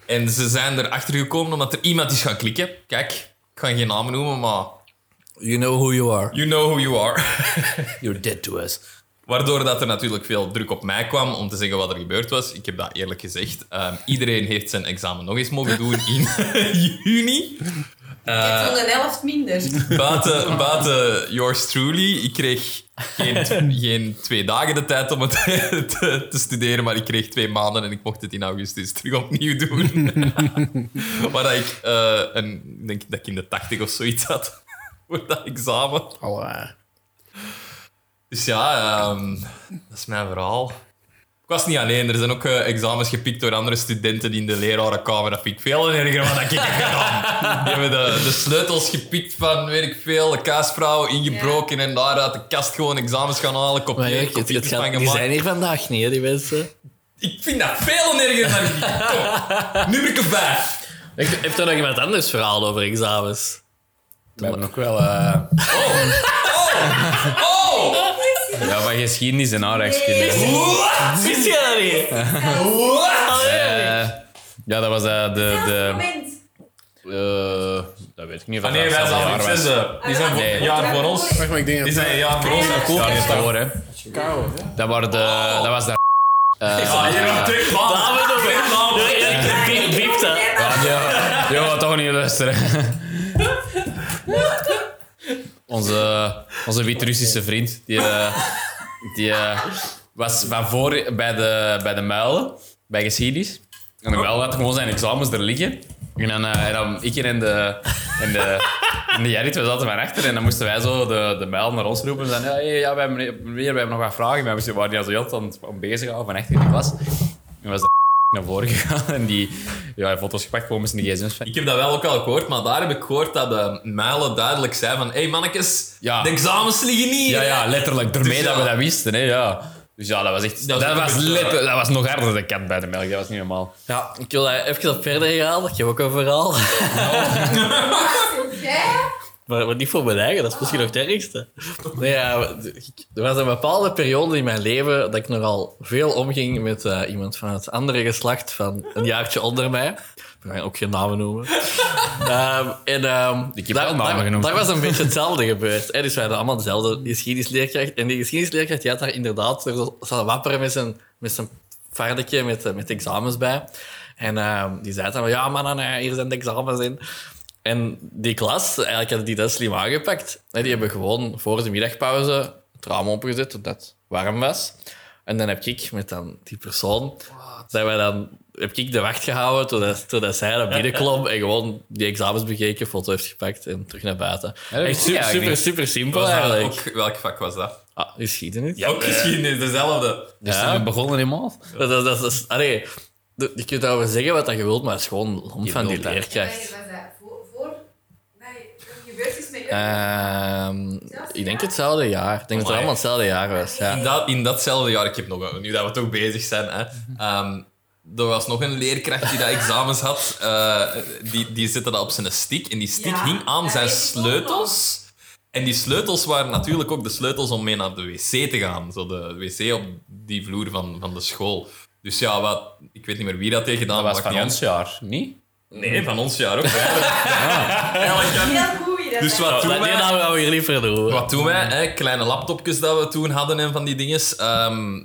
en ze zijn erachter gekomen omdat er iemand is gaan klikken. Kijk, ik ga geen namen noemen, maar You know who you are. you know who you are. You're dead to us. Waardoor dat er natuurlijk veel druk op mij kwam om te zeggen wat er gebeurd was. Ik heb dat eerlijk gezegd. Ehm, iedereen heeft zijn examen nog eens mogen doen in juni. Ik Eh, heb toen een helft minder. Buiten, buiten yours truly. Ik kreeg geen, t- geen twee dagen de tijd om het te, te studeren, maar ik kreeg twee maanden en ik mocht het in augustus terug opnieuw doen. maar dat ik, eh, een, ik denk dat ik in de tachtig of zoiets had voor dat examen. Alla. Dus ja, ehm, dat is mijn verhaal. Ik was niet alleen, er zijn ook eh, examens gepikt door andere studenten in de lerarenkamer. Dat vind ik veel erger dan dat ik heb gedaan. Die hebben de, de sleutels gepikt van, weet ik veel, de kaasvrouw ingebroken en daar uit de kast gewoon examens gaan halen, Maar kopieën, Erik, het, het kopietjes gaat- van die gemaakt. zijn hier vandaag niet, hè, die mensen. Ik vind dat veel erger dan ik Kom, nummer 5. Heeft- Heeft er nog iemand anders verhaal over examens? We hebben ook wel... eh, Oh! ja, van geschiedenis en aardrijkskunde. Wat? Wist je dat niet? Eh, ja, dat was eh, de... de Moment. eh, dat weet ik niet. of Ah nee, wij dat zijn hetzelfde al in was. zesde. Die zijn voor- een jaar voor ons. Wacht, maar ik denk Die dat... zijn een jaar voor ons. Dat Ja, klopt. die is door, hè. Dat, waren de, dat was Oh. de... Ah, hier, wat dik, man. Dik, man. Erik, wiept dat. Ja, ja, toch niet luisteren. onze onze Wit-Russische vriend, die, eh, die eh, was van voor bij de, bij de muilen, bij geschiedenis. En de muil had gewoon zijn examens er liggen. En dan, eh, en dan ik en de, en de, en de Gerrit, we zaten van achter. En dan moesten wij zo de, de muil naar ons roepen. En zeiden, ja, hey, ja, wij hebben, meneer, wij hebben nog wat vragen. Maar we waren die al zo heel de tijd aan het- aan bezig houden van achter in de klas. En was de naar voren gegaan. En die, ja, hij foto's gepakt, gewoon met zijn gsm's van. Ik heb dat wel ook al gehoord, maar daar heb ik gehoord dat de muilen duidelijk zijn van hé hey, mannetjes, Ja. de examens liggen niet. Ja, hè." ja, letterlijk. Daarmee Dus ja. dat we dat wisten, hè, ja. Dus ja, dat was echt... Dat Dat, was een was, beetje- lippen, dat was nog harder de kat bij de melk. Dat was niet normaal. Ja, ik wil daar even op verder gaan. Ik heb ook een verhaal. Maar, maar niet voor mijn eigen, dat is misschien nog het ergste. Nee, ja, ik- er was een bepaalde periode in mijn leven dat ik nogal veel omging met eh, iemand van het andere geslacht van een jaartje onder mij. We gaan ook geen namen noemen. Ehm, en, ehm, Ik heb daar- wel namen daar- genoemd. Daar was een beetje hetzelfde gebeurd. Hè? Dus we hadden allemaal dezelfde geschiedenisleerkracht. En die geschiedenisleerkracht die had daar inderdaad er zo- zat wapperen met zijn, met zijn vaardetje met, eh, met examens bij. En ehm, die zei dan, wel, ja man, eh, hier zijn de examens in. En die klas, eigenlijk hadden die dat slim aangepakt. Hè, Die hebben gewoon voor de middagpauze het raam opengezet, zodat het warm was. En dan heb ik met dan die persoon, zijn wij dan, heb ik de wacht gehouden totdat, totdat zij naar binnen klom en gewoon die examens bekeken, foto heeft gepakt en terug naar buiten. dat Echt is super, eigenlijk super, niet. super simpel Was dat eigenlijk. ook, welk vak was dat? Eh, Ah, geschiedenis. ook geschiedenis, dezelfde. Dus Ja. we begonnen helemaal. Dat, dat, dat, dat is- allee, de- je kunt daarover zeggen wat dat je wilt, maar het is gewoon lomp van die wilt dat. leerkracht. was dat voor... voor nee, er gebeurd is met Eh, jullie. Ehm, ik denk hetzelfde jaar. Ik denk Oh dat het Amai. allemaal hetzelfde jaar was. Ja. In, dat, in datzelfde jaar, ik heb nog een, nu dat we toch bezig zijn, hè, ehm, er was nog een leerkracht die dat examens had, eh, die, die zette dat op zijn stick en die stick Ja, hing aan dat zijn weet ik ook nog. sleutels. En die sleutels waren natuurlijk ook de sleutels om mee naar de wc te gaan. Zo de wc op die vloer van, van de school. Dus ja, wat, ik weet niet meer wie dat heeft gedaan. Dat was maakt van niet ons jaar, niet? uit. Nee, van ons jaar ook. Heel goed, dat dus was. Dat, wat doen die wij? namen gaan we hier niet verder horen. Wat doen wij? Hè? Kleine laptopjes dat we toen hadden en van die dinges. ehm,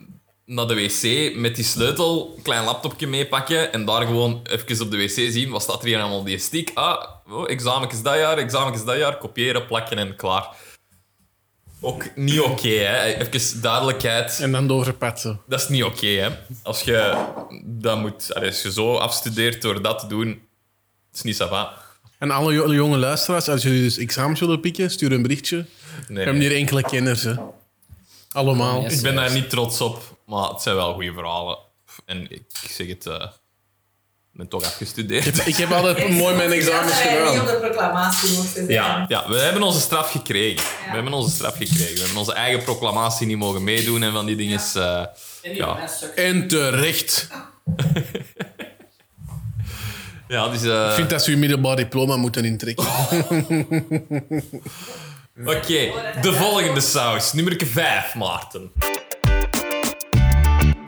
naar de wc met die sleutel, klein laptopje meepakken en daar gewoon even op de wc zien. Wat staat er hier allemaal op die stick? Ah, oh, examenjes dat jaar, examenjes dat jaar. Kopiëren, plakken en klaar. Ook niet oké, hè. Even duidelijkheid. En dan doorpatsen. Dat is niet oké, hè. Als je dat moet... allee, Als je zo afstudeert door dat te doen, het is niet sava. En alle jo- jonge luisteraars, als jullie dus examens willen pikken, stuur een berichtje. We Nee, hebben nee. hier enkele kenners, hè. Allemaal. Yes. Ik ben daar niet trots op, maar het zijn wel goede verhalen. En ik zeg het, eh, ik ben toch Ik afgestudeerd. heb, ik heb altijd mooi mijn examens Dat wij niet gedaan. op de proclamatie mochten zijn. Ja, ja, we hebben onze straf gekregen. We hebben onze straf gekregen. We hebben onze eigen proclamatie niet mogen meedoen en van die dingen. is, eh, ja. En terecht. ja, dus... Ik eh, vind dat ze hun middelbaar diploma moeten intrekken. Oké, de volgende saus. Nummer 5, Maarten.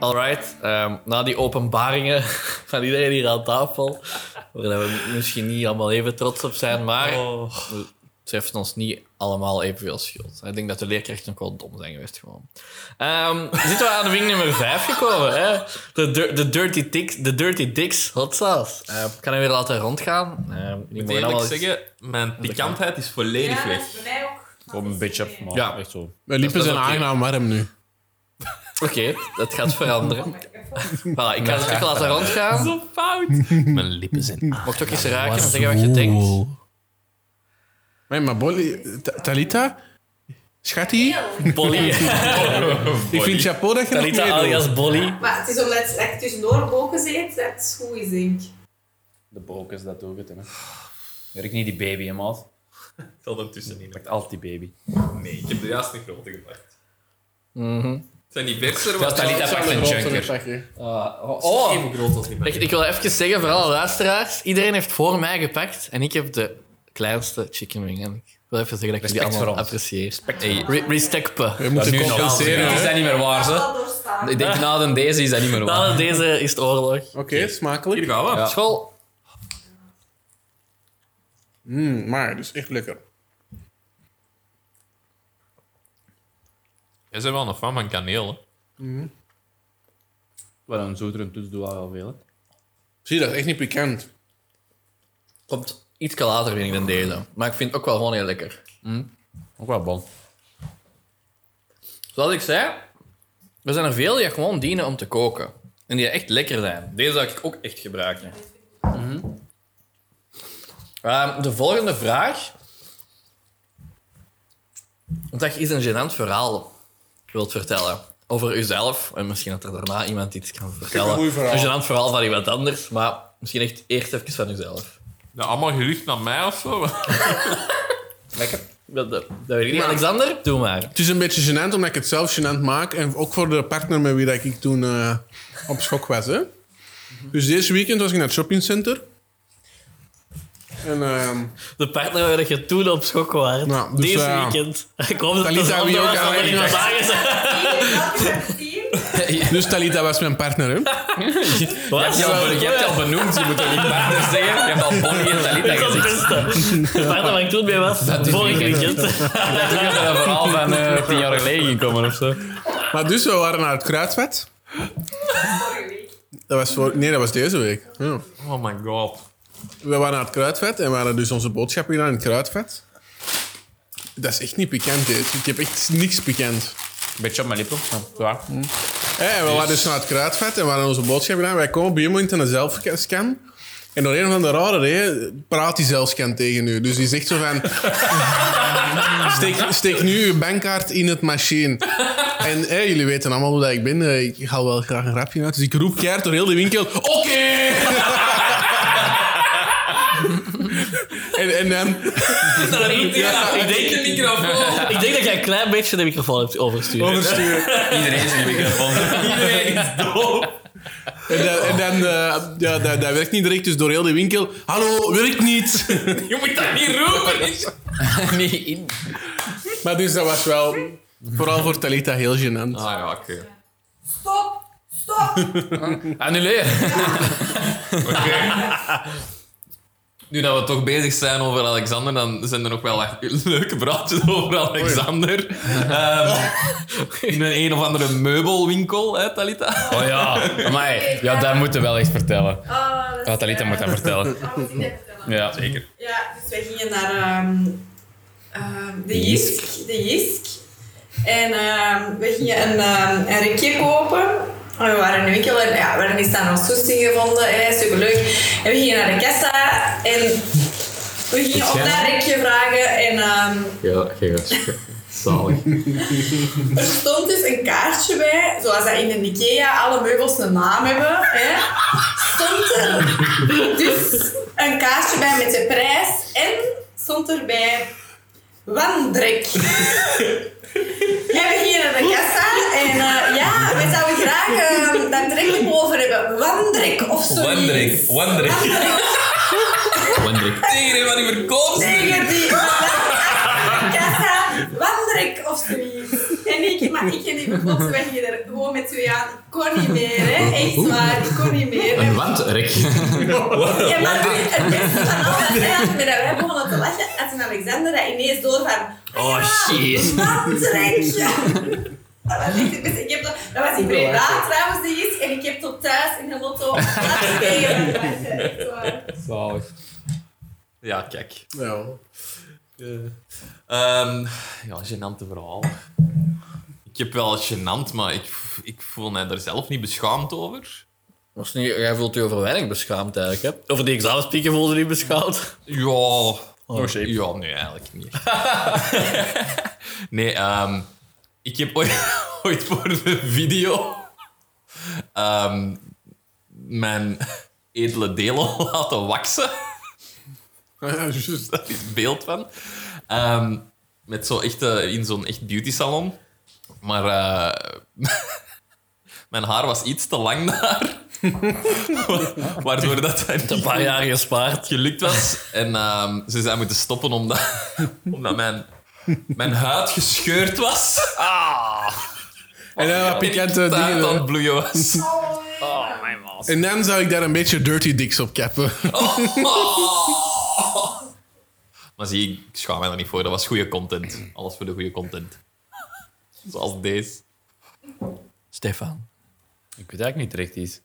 Alright, ehm, na die openbaringen van iedereen hier aan tafel, waar we misschien niet allemaal even trots op zijn, Oh, maar het heeft ons niet allemaal evenveel schuld. Ik denk dat de leerkrachten ook wel dom zijn geweest. Gewoon. Ehm, zitten we aan de wing nummer 5 gekomen? Hè? De, dir- de, dirty dicks, de Dirty Dicks hot sauce. Ehm, ik kan hem weer laten rondgaan. Ehm, die Ik mogen moet eerlijk allemaal- zeggen, mijn pikantheid is Ja, volledig dat weg. is bij mij ook. Op een beetje. Maar Ja. echt zo. Mijn lippen Dat is zijn oké. aangenaam warm nu. Oké, dat gaat veranderen. Voilà, ik ga het stuk laten rondgaan. Zo fout. Mijn lippen zijn Ah, aan. Mocht ook eens raken en zeggen wat je denkt. Hey, maar Bolly, Ta- Talita? Schattie? Polly. Ik vind chapeau dat je nog Talita meedoet. alias Bolly. Maar het is omdat ik tussendoor op boken zit, dat het goed is, denk ik. De bokers, dat doet het. Hè. Werk niet die baby, hè, maat. Ik zal er tussenin. Werkt altijd die baby. Nee, ik heb de juiste grote gepakt. Het zijn die verser, Mhm. Dat is Talita pakt een junker. Oh, Even groot als niet mijn ik, ik wil even zeggen voor alle luisteraars. Iedereen heeft voor mij gepakt en ik heb de kleinste chicken wing. En ik wil even zeggen dat ik die Respect voor allemaal ons. apprecieer. Re Respectpe. We moeten nu nog altijd. compenseren. Is hè. dat niet meer waar, ze? Wel doorstaan. Ik denk na de deze is dat niet meer waar. Nou, deze is de oorlog. Oké, smakelijk. Hier gaan we. School. Mm, maar, dus echt lekker. Jij bent wel een fan van kaneel, hè? Wat een zoetere toets doet wel veel. Zie je, dat is echt niet pikant. Komt iets later, vind ik, dan deze. Maar ik vind het ook wel gewoon heel lekker. Ook wel bon. Zoals ik zei, er zijn er veel die gewoon dienen om te koken. En die echt lekker zijn. Deze zou ik ook echt gebruiken. Mhm. Ehm, de volgende vraag. Dat je eens een gênant verhaal wilt vertellen. Over uzelf. En misschien dat er daarna iemand iets kan vertellen. goeie verhaal. Een gênant verhaal van iemand anders. Maar misschien Nou, echt eerst even van uzelf. Ja, allemaal gericht naar mij of zo. Lekker. Dat, dat, dat weet ik niet. Alexander, doe maar. Het is een beetje gênant, omdat ik het zelf gênant maak. En ook voor de partner met wie dat ik toen eh, op schok was. Hè. Dus deze weekend was ik naar het shoppingcenter. En ehm De partner waar je toen op schok was. Nou, dus, deze eh, weekend. Ik hoop dat Talita, het wie ook was dan aan niet mij meer zagen. dus Talita was mijn partner. Hè. Wat? Je hebt, je hebt je al benoemd, je moet toch niet partner zeggen? Je hebt al Bonnie en Talita Dat is het gezegd. beste. De partner waar ik toen bij was, vorig weekend. Ik heb dat verhaal van eh, tien jaar geleden gekomen of zo. Maar dus, we waren naar het kruidvat. Dat was voor, nee, dat was deze week. Ja. Oh my god. We waren naar het kruidvat en we hadden dus onze boodschappen gedaan in het kruidvat. Dat is echt niet pikant, deze. Ik heb echt niks pikant. Beetje op mijn lippen. Ja. Hey, we waren dus naar het kruidvat en we hadden onze boodschap gedaan. Wij komen bij iemand in een zelfscan. En door een van de rare reden praat die zelfscan tegen u. Dus die zegt zo van... steek, steek nu uw bankkaart in het machine. En hey, jullie weten allemaal hoe dat ik ben. Eh, Ik haal wel graag een rapje uit. Dus ik roep keihard door heel de winkel... Oké! en, en dan... Ja, ik denk de microfoon. Ik denk dat jij een klein beetje de microfoon hebt overstuurd. Iedereen is een microfoon. Iedereen is doof. En dan... en dan, eh, ja, dat, dat werkt niet direct. Dus door heel de winkel... Hallo, werkt niet! Je moet dat niet roepen. Nee, in. Maar dus dat was wel, vooral voor Talita, heel gênant. Ah ja, oké. Stop! Stop! Annuleer. Nu dat we toch bezig zijn over Alexander, dan zijn er nog wel wat leuke praatjes over Alexander. Ehm, in een een of andere meubelwinkel, hè, Talita? Oh ja, amai. Ja, dat moeten we wel iets vertellen. Oh, dat is, Ja, Talita eh, moet dat vertellen. dat moet ik net vertellen. Ja. Zeker. Ja, dus wij gingen naar ehm, ehm, de Jisk. De Jisk. En ehm, we gingen een, ehm, een rekje kopen. En we waren in de winkel en ja, we hadden iets aan ons toesting gevonden. Hè, superleuk. En we gingen naar de kassa en we gingen op dat rekje vragen. En ehm, Ja, Zalig. er stond dus een kaartje bij, zoals dat in de Ikea alle meubels een naam hebben. Hè, stond er dus een kaartje bij met de prijs en stond erbij Wandrek. Ja, we gingen naar de kassa en eh, ja, we zouden graag eh, daar direct op over hebben. Wandrek of zo. Wandrek, Wandrek. Wendrik. Iedereen wat die verkoopt. Tegen die kassa, Wandrek of zoiets. En ik, maar ik en die bossen, wij gingen er gewoon met twee aan. Ik kon niet meer, hè. Echt waar, ik kon niet meer. En Wandrek. Ja, maar het beste van alles was eigenlijk met dat wij begonnen te lachen, had een Alexander dat ineens door van... "Ah Oh, shit. Patrick! Dat was echt het beste. Ik heb dat, dat was in Breda trouwens, die is. En ik heb tot thuis in de lotto afgegeven. Dat is echt waar. Ja, kijk. Ja. Ehm, ja, gênante verhaal. Ik heb wel gênant, maar ik, ik voel mij daar zelf niet beschaamd over. Was niet, jij voelt je over weinig beschaamd eigenlijk. Hè? Over die examenspieken voelde je niet beschaamd. Ja. ja, nee, eigenlijk niet. nee, ehm, ik heb ooit, ooit voor de video ehm, mijn edele delen laten waksen. Ah, Ja, juist. dat is beeld van. Ehm, met zo echt, eh, in zo'n echt beauty salon. Maar eh, mijn haar was iets te lang daar. Wa- Waardoor dat hij Een paar jaar gespaard. gelukt was. En ehm, ze zijn moeten stoppen omdat, omdat mijn, mijn huid gescheurd was. Ah, En dan wat pikante ik dingen. taart aan het hè. bloeien was. En dan zou ik daar een beetje dirty dicks op kappen. Maar zie, ik schaam mij daar niet voor. Dat was goede content. Alles voor de goede content. Zoals deze. Stefan. Ik weet eigenlijk niet direct iets.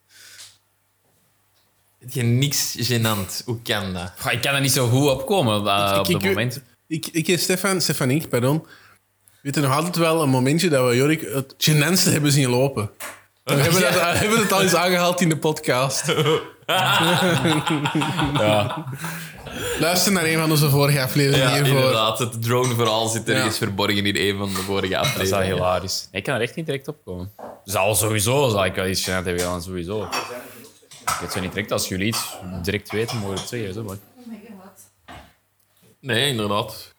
Je niks gênant. Hoe kan dat? Goh, ik kan er niet zo goed op komen eh, Ik- op ik- dat ik- moment. Ik, ik en Stefan, Stefanie, pardon. Weet je nog altijd wel een momentje dat we Jorik het gênantste hebben zien lopen? We hebben, dat, we hebben het al eens aangehaald in de podcast. Luister naar een van onze vorige afleveringen Ja, hiervoor. inderdaad. Het drone-verhaal zit ergens Ja. verborgen in een van de vorige afleveringen. Dat is wel hilarisch. Nee, ik kan er echt niet direct op komen. Zal sowieso, zal ik wel iets gedaan hebben gedaan, sowieso. Ik weet zo niet direct. Als jullie iets direct weten, mogen we het zeggen. Zo, maar. Nee, inderdaad.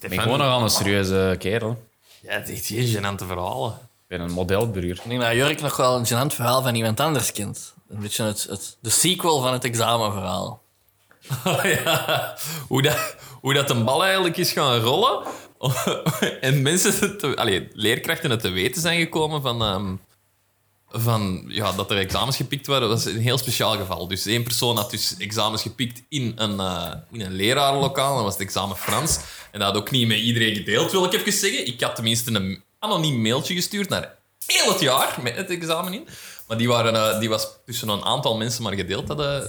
Ik ben gewoon nog wel een serieuze kerel. Ja, het is echt geen gênante verhalen. Ik ben een modelburger. Ik denk dat Jurk nog wel een gênant verhaal van iemand anders kent. Een beetje het, het, de sequel van het examenverhaal. Oh, ja. hoe, dat, hoe dat een bal eigenlijk is gaan rollen. en mensen, het te, allee, leerkrachten het te weten zijn gekomen van, ehm, van ja, dat er examens gepikt werden, was een heel speciaal geval. Dus één persoon had dus examens gepikt in een, eh, in een lerarenlokaal, dat was het examen Frans. En dat had ook niet met iedereen gedeeld, wil ik even zeggen. Ik had tenminste een anoniem mailtje gestuurd naar heel het jaar met het examen in. Maar die, waren, eh, die was tussen een aantal mensen maar gedeeld. Dat eh,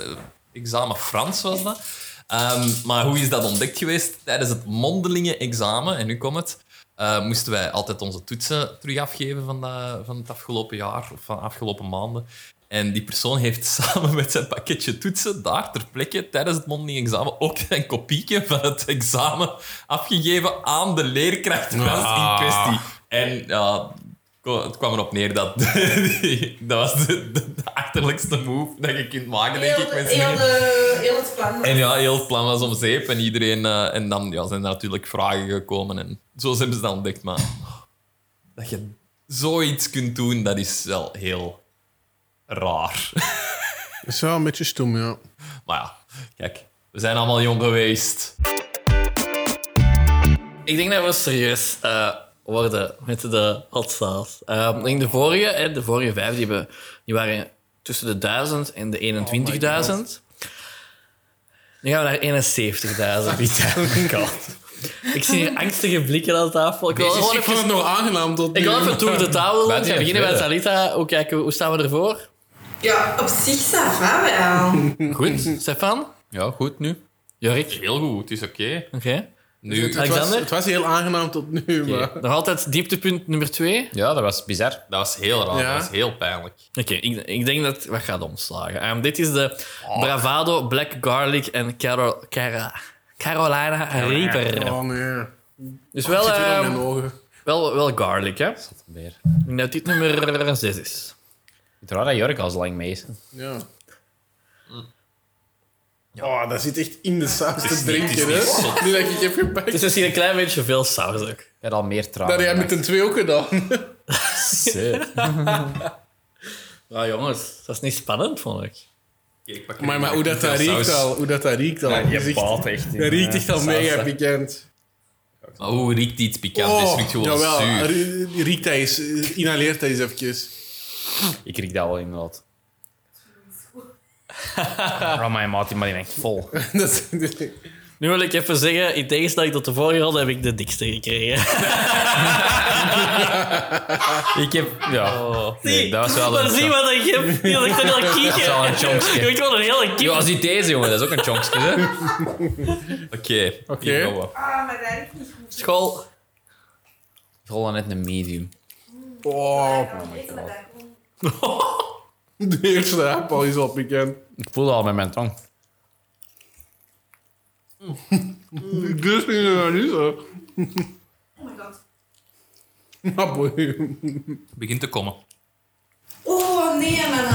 examen Frans was dat. Ehm, maar hoe is dat ontdekt geweest? Tijdens het mondelinge examen, en nu komt het, eh, moesten wij altijd onze toetsen terug afgeven van, dat- van het afgelopen jaar of van afgelopen maanden. En die persoon heeft samen met zijn pakketje toetsen daar ter plekke tijdens het mondeling examen ook een kopieke van het examen afgegeven aan de leerkracht Ah. in kwestie. En ja, ko- het kwam erop neer dat die- dat was de, de, de achterlijkste move dat je kunt maken, denk Heel, ik. de- met z'n heel, drieën. de- heel het plan. En ja, heel het plan was om zeep en iedereen... eh, en dan ja, zijn er natuurlijk vragen gekomen. En zo hebben ze dan ontdekt. Maar dat je zoiets kunt doen, dat is wel heel raar. Dat is wel een beetje stom, ja. Maar ja, kijk. We zijn allemaal jong geweest. Ik denk dat we serieus eh, worden met de hot sauce. Eh, ik denk de vorige, hè, de vorige vijf, die, hebben, die waren tussen de 1000 en de 21.000. nu gaan we naar 71.000. Ik zie hier angstige blikken aan tafel. Ik wil Dus gewoon ik vond het even, nog aangenaam tot nu. ik wil even toe de tafel. doen. We die gaan beginnen met verder. Salita. Hoe, kijken, we- hoe staan we ervoor? Ja, op zich Safa wel. Goed. Mhm. Stefan? Ja, goed nu. Jorik? Heel goed, het is oké. Oké. Het Nu, was- Alexander? Het was heel aangenaam tot nu, maar... Nog altijd dieptepunt nummer twee. Ja, dat was bizar. dat was heel raar. Ja. Dat was heel pijnlijk. Oké, ik, ik denk dat we gaan omslagen. Ehm, dit is de Oh. Bravado Black Garlic en Carol, Cara, Carolina Reaper. Oh nee. Dus wel, Het zit weer ehm, in mijn ogen. wel, wel garlic, hè? Weer. Ik denk dat dit nummer 6 is. Het raar dat Jurk al zo lang mee is. Ja. Oh, dat zit echt in de saus te drinken, niet hè? Nu dat ik heb gepakt. Het is misschien een klein beetje veel saus ook. Ik had al meer tranen. Dat heb jij met een twee ook gedaan. Shit. Ja, Ah, jongens, dat is niet spannend, vond ik. Kijk, pak Maar, maar hoe dat, dat riekt al, hoe dat, dat riekt al. dat, is echt- echt. dat riekt echt al mega pikant. Maar hoe riekt iets pikant? het Oh, riekt gewoon jawel. zuur. ri- Riekt hij eens, eh, inhaleert hij eens eventjes. Ik riek dat wel inderdaad. Ram mijn maat, die maar die echt vol. Dat, is- Nu wil ik even zeggen, in tegenstelling tot de vorige ronde heb ik de dikste gekregen. Ik heb... Ja. Oh, Nee, dat was wel Maar zie een... wat ik heb. Je ligt een heel kiekje. wel een Je chonksje. hebt gewoon een hele kiep. Ja, ziet deze, jongen. Dat is ook een chonksje, hè. Oké, Oké. hier gaan we. Ah, maar dat is niet goed. School. Ik rol dan net een medium. Oh, Dat is wat dat komt. de eerste appel is al pikant. Ik voel dat al met mijn tong. Dus niet zo, niet zo. Oh my god. Maar boei. Begint te komen. Oh nee, mannen.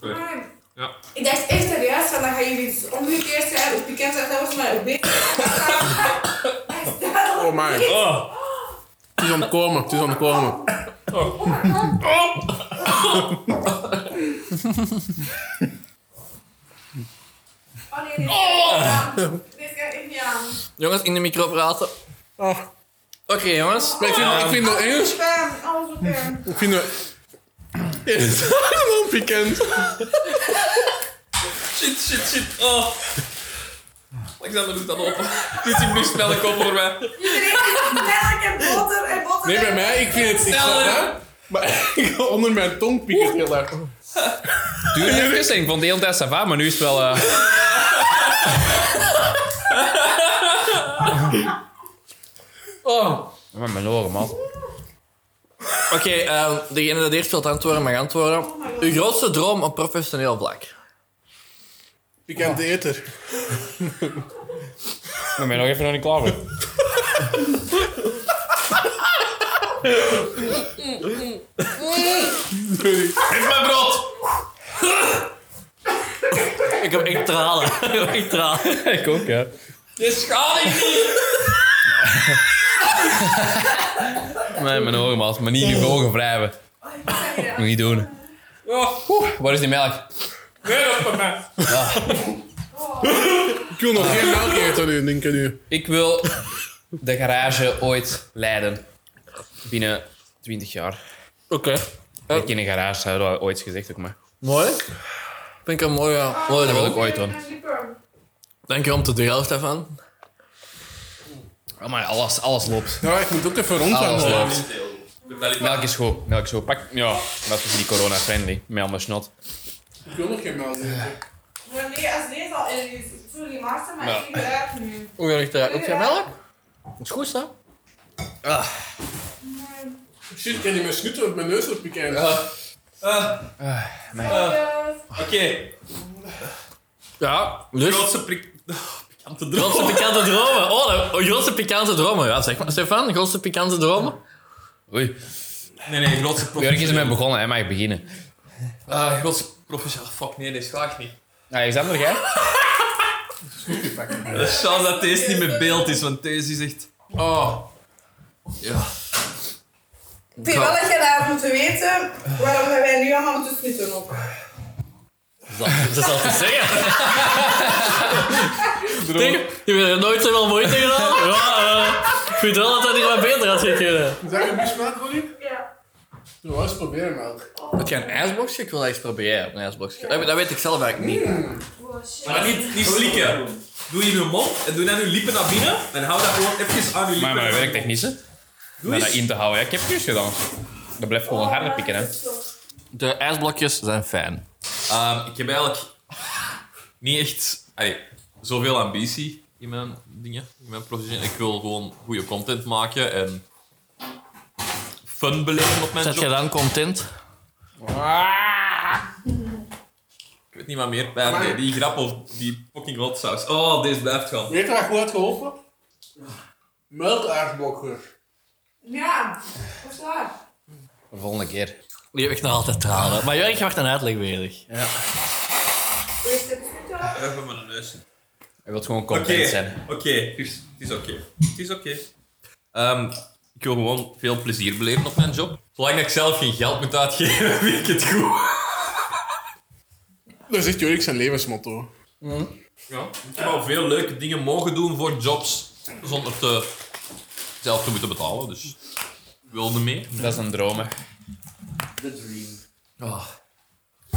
Ah, Ja. Ik dacht echt dat juist van, dan gaan jullie dus iets omgekeerd zijn. Hoe pikant dat dat was, maar hoe beter. Oh my. Het is ontkomen, het is ontkomen. Oh nee, nee. Oh. Dit gaat echt niet aan. Jongens, in de micro praten. Oh. Oké, jongens. Maar ik vind, ik vind nog eens. Bam, alles op hem. Ik vind nog. Is helemaal pikant. Shit, shit, shit. Oh. Alexander doet dat open. Dit is nu snel een kop voor mij. Iedereen is melk en boter en boter. Nee, bij mij, ik vind het. Ik snap dat. Maar onder mijn tong pikert heel erg. Duur even, ik vond de hele tijd sava, maar nu is het wel... eh, Oh. Ja, Met mijn oren, man. Oké, ehm, degene dat eerst wilt antwoorden mag antwoorden. Uw grootste droom op professioneel vlak? Pikante eter. Ik ben nog even nog niet klaar voor. Geef mijn brood. Ik heb echt tralen. Ik heb echt tralen. Ik ook, ja. Je schaadt ik niet! nee, mijn ogen, maat. Maar niet in uw ogen wrijven. Moet niet doen. Oh, oeh, waar is die melk? Nee, dat is voor mij. Ik wil nog geen melk eten nu, denk ik nu. Ik wil de garage ooit leiden. Binnen 20 jaar. Oké. Werk in een garage, hebben we ooit gezegd ook maar. Mooi. Vind ik een mooie, mooie Dat wil rol. ik ooit doen. Dank je om te de helft daarvan. Maar alles, alles loopt. Ja, ik moet ook even Alles rondwandelen. loopt. Melk is goed. Melk is goed. Pak. Ja, dat is niet corona-friendly. Met allemaal snot. Ik wil nog geen melk eten. Maar nee, als deze al in is, sorry Maarten, maar ik zie eruit nu. Hoe ga ik eruit? Ook jij melk? Dat is goed, hè? Shit, ik kan niet meer snutten, want mijn neus wordt bekend. Oké, Ja, dus... grootste prik... Pikante Grootste pikante dromen. Oh, dat- oh, grootste pikante dromen. Ja, zeg maar. Stefan, grootste pikante dromen? Oei. Nee, nee, grootste Jurk is professionele... ermee begonnen, hij mag beginnen. Ah, grootste professionele... Fuck, nee, deze ga ik niet. Alexander, jij? Het is Schade dat deze niet met beeld is, want deze is echt... Oh. Ja. Ik vind wel dat je dat moet weten waarom dat wij nu allemaal moeten snutten ook. Dat is al te zeggen. Denk, je bent er nooit zoveel moeite gedaan. Ja, eh, ik vind wel dat dat hier wat beter had gekregen. Zijn je mismelk, Ronnie? Ja. Doe wel eens proberen melk. Moet je een ijsboxje? Ik wil dat eens proberen, een ijsboxje. Dat, dat weet ik zelf eigenlijk niet. Oh, shit. Maar niet, niet slikken. Doe in je mond en doe dan je lippen naar binnen en hou dat gewoon even aan je lippen. Maar mijn werktechnische. Doe Om eens. dat in te houden. Ja, ik heb het juist gedaan. Dat blijft gewoon harder pikken, hè. De ijsblokjes zijn fijn. Ehm, ik heb eigenlijk niet echt allee, zoveel ambitie in mijn dingen, in mijn profession. Ik wil gewoon goede content maken en fun beleven op mijn Zet job. jij dan content? Ik weet niet wat meer pijn deed. Die grap of die fucking hot sauce. Oh, deze blijft gaan. Weet je wat goed had geholpen? Melkaardblokker. Ja, dat is waar. De volgende keer. Die heb ik nog altijd tranen. Maar Jurk, je wacht een uitleg bezig. Eerst heb je snutten. Even mijn neus. Hij wil gewoon Oké, content zijn. oké. Het is- het is oké. Het is oké. Ehm, ik wil gewoon veel plezier beleven op mijn job. Zolang dat ik zelf geen geld moet uitgeven, vind ik het goed. Dat is echt Jorik zijn levensmotto. Ja, ik heb al veel leuke dingen mogen doen voor jobs zonder te, zelf te moeten betalen. Dus ik wilde mee. Dat is een droom, hè. The dream. Oh.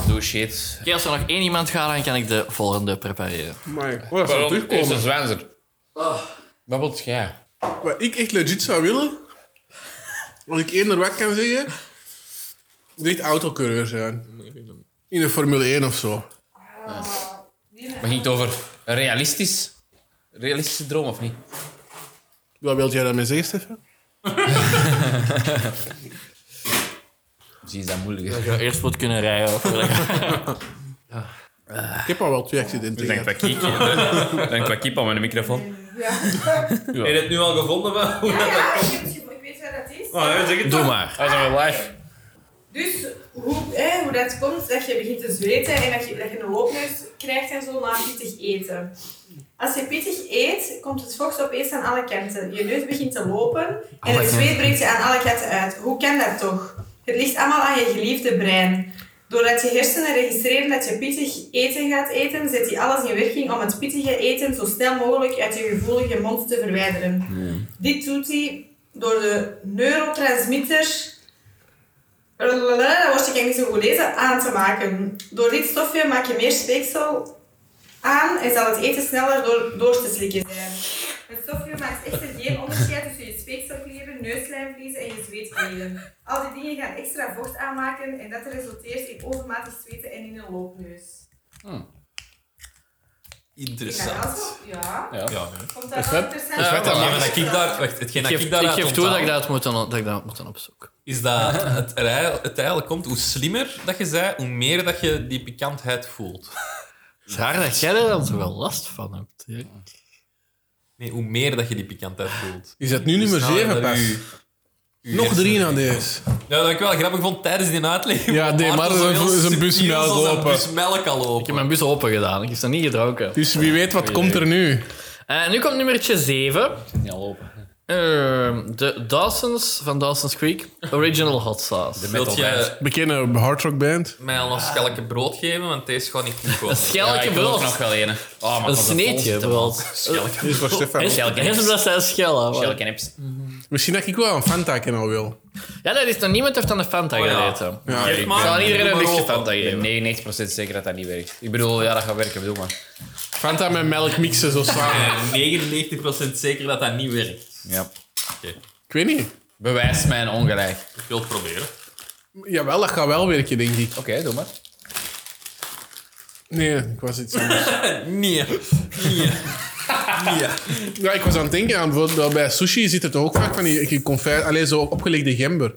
Doe shit. Oké, als er nog één iemand gaat, dan kan ik de volgende prepareren. Maar oh, dat zou Waarom is een terugkomen. zwanzer? Babbelt jij? Wat ik echt legit zou willen, wat ik eerder wat kan zeggen, dit autocoureur zijn. In de Formule 1 of zo. Maar ging het over een realistisch... Realistische droom, of niet? Wat wil jij daarmee zeggen, Stefan? Misschien is dat moeilijker. Je eerst moet kunnen rijden. Ik heb al wel twee accidenten Denk gehad. qua kiek. Denk qua kiep aan mijn microfoon. Heb je het nu al gevonden? Wel? Hoe dat- Ja, ik, heb het gevoel- ik weet waar dat is. Oh, ja, zeg het Doe toch. maar. Dat is een live. Dus hoe, hè, hoe dat komt, dat je begint te zweten en dat je, dat je een loopneus krijgt en zo na pittig eten. Als je pittig eet, komt het vocht opeens aan alle kanten. Je neus begint te lopen en het zweet breekt je aan alle kanten uit. Hoe kan dat toch? Het ligt allemaal aan je geliefde brein. Doordat je hersenen registreren dat je pittig eten gaat eten, zet die alles in werking om het pittige eten zo snel mogelijk uit je gevoelige mond te verwijderen. Dit doet hij door de neurotransmitter Lalalala, dat woordje kan ik niet zo goed lezen, aan te maken. Door dit stofje maak je meer speeksel aan en zal het eten sneller door, door te slikken zijn. Het stofje maakt echter geen onderscheid tussen je speekselklieren, neuslijmvliezen en je zweetklieren. Al die dingen gaan extra vocht aanmaken en dat resulteert in overmatig zweten en in een loopneus. Ik ga Interessant. dat zo- Ja. Ja, Komt dat wel interessant? is wat dat maar mag. wat ik daar, wacht, hetgeen Ik dat geef, ik daaruit ik geef toe dat ik onthaal- dat moet, aan- dat ik dat moet aan opzoeken. is dat het er ei- het eigenlijk komt, hoe slimmer dat je zij, hoe meer dat je die pikantheid voelt. Het is raar dat jij er dan zoveel last van hebt. Jurk. Nee, hoe meer dat je die pikantheid voelt. Is dat nu nummer Dus nou 7 dat pas? u- u Nog hersenen- drie aan deze. Ja, dat ik wel grappig vond tijdens die uitleg. Ja, nee, maar Maarten zo is heel een bus subtiel melk zo zijn open. bus melk al Ik heb open. mijn bus open gedaan. Ik heb ze niet gedronken. Dus wie weet wat komt er nu? Eh, Eh, nu komt nummertje 7. Niet al open. de Dawson's van Dawson's Creek. Original hot sauce. Wilt je Bekende hardrock band. mij al een schelke brood geven? Want deze gaat niet goed komen. Schelke brood. nog wel ene. Oh, maar Een van de sneetje volste brood. Die is voor Stefan. Schelke Hij is niks. omdat zij schellen. man. maar- Schelke nips. Misschien dat ik wel een Fanta kennen wil. Ja, dat is nog niemand heeft aan de Fanta Oh, ja. gegeten. Ja, Ik zal iedereen een lichtje Fanta Ah, Ik geven. ben 99% zeker dat dat niet werkt. Ik bedoel, ja, dat gaat werken, bedoel maar. Fanta met melk mixen zo samen. Ik ben 99% Eh, zeker dat dat niet werkt. Ja. Ik weet niet. Bewijs mijn ongelijk. Ik wil het proberen. Jawel, dat gaat wel werken, denk ik. Oké, doe maar. Nee, ik was iets anders. Nee. ja, ik was aan het denken aan bijvoorbeeld bij sushi zit er toch ook vaak van die, die confit, alleen zo opgelegde gember.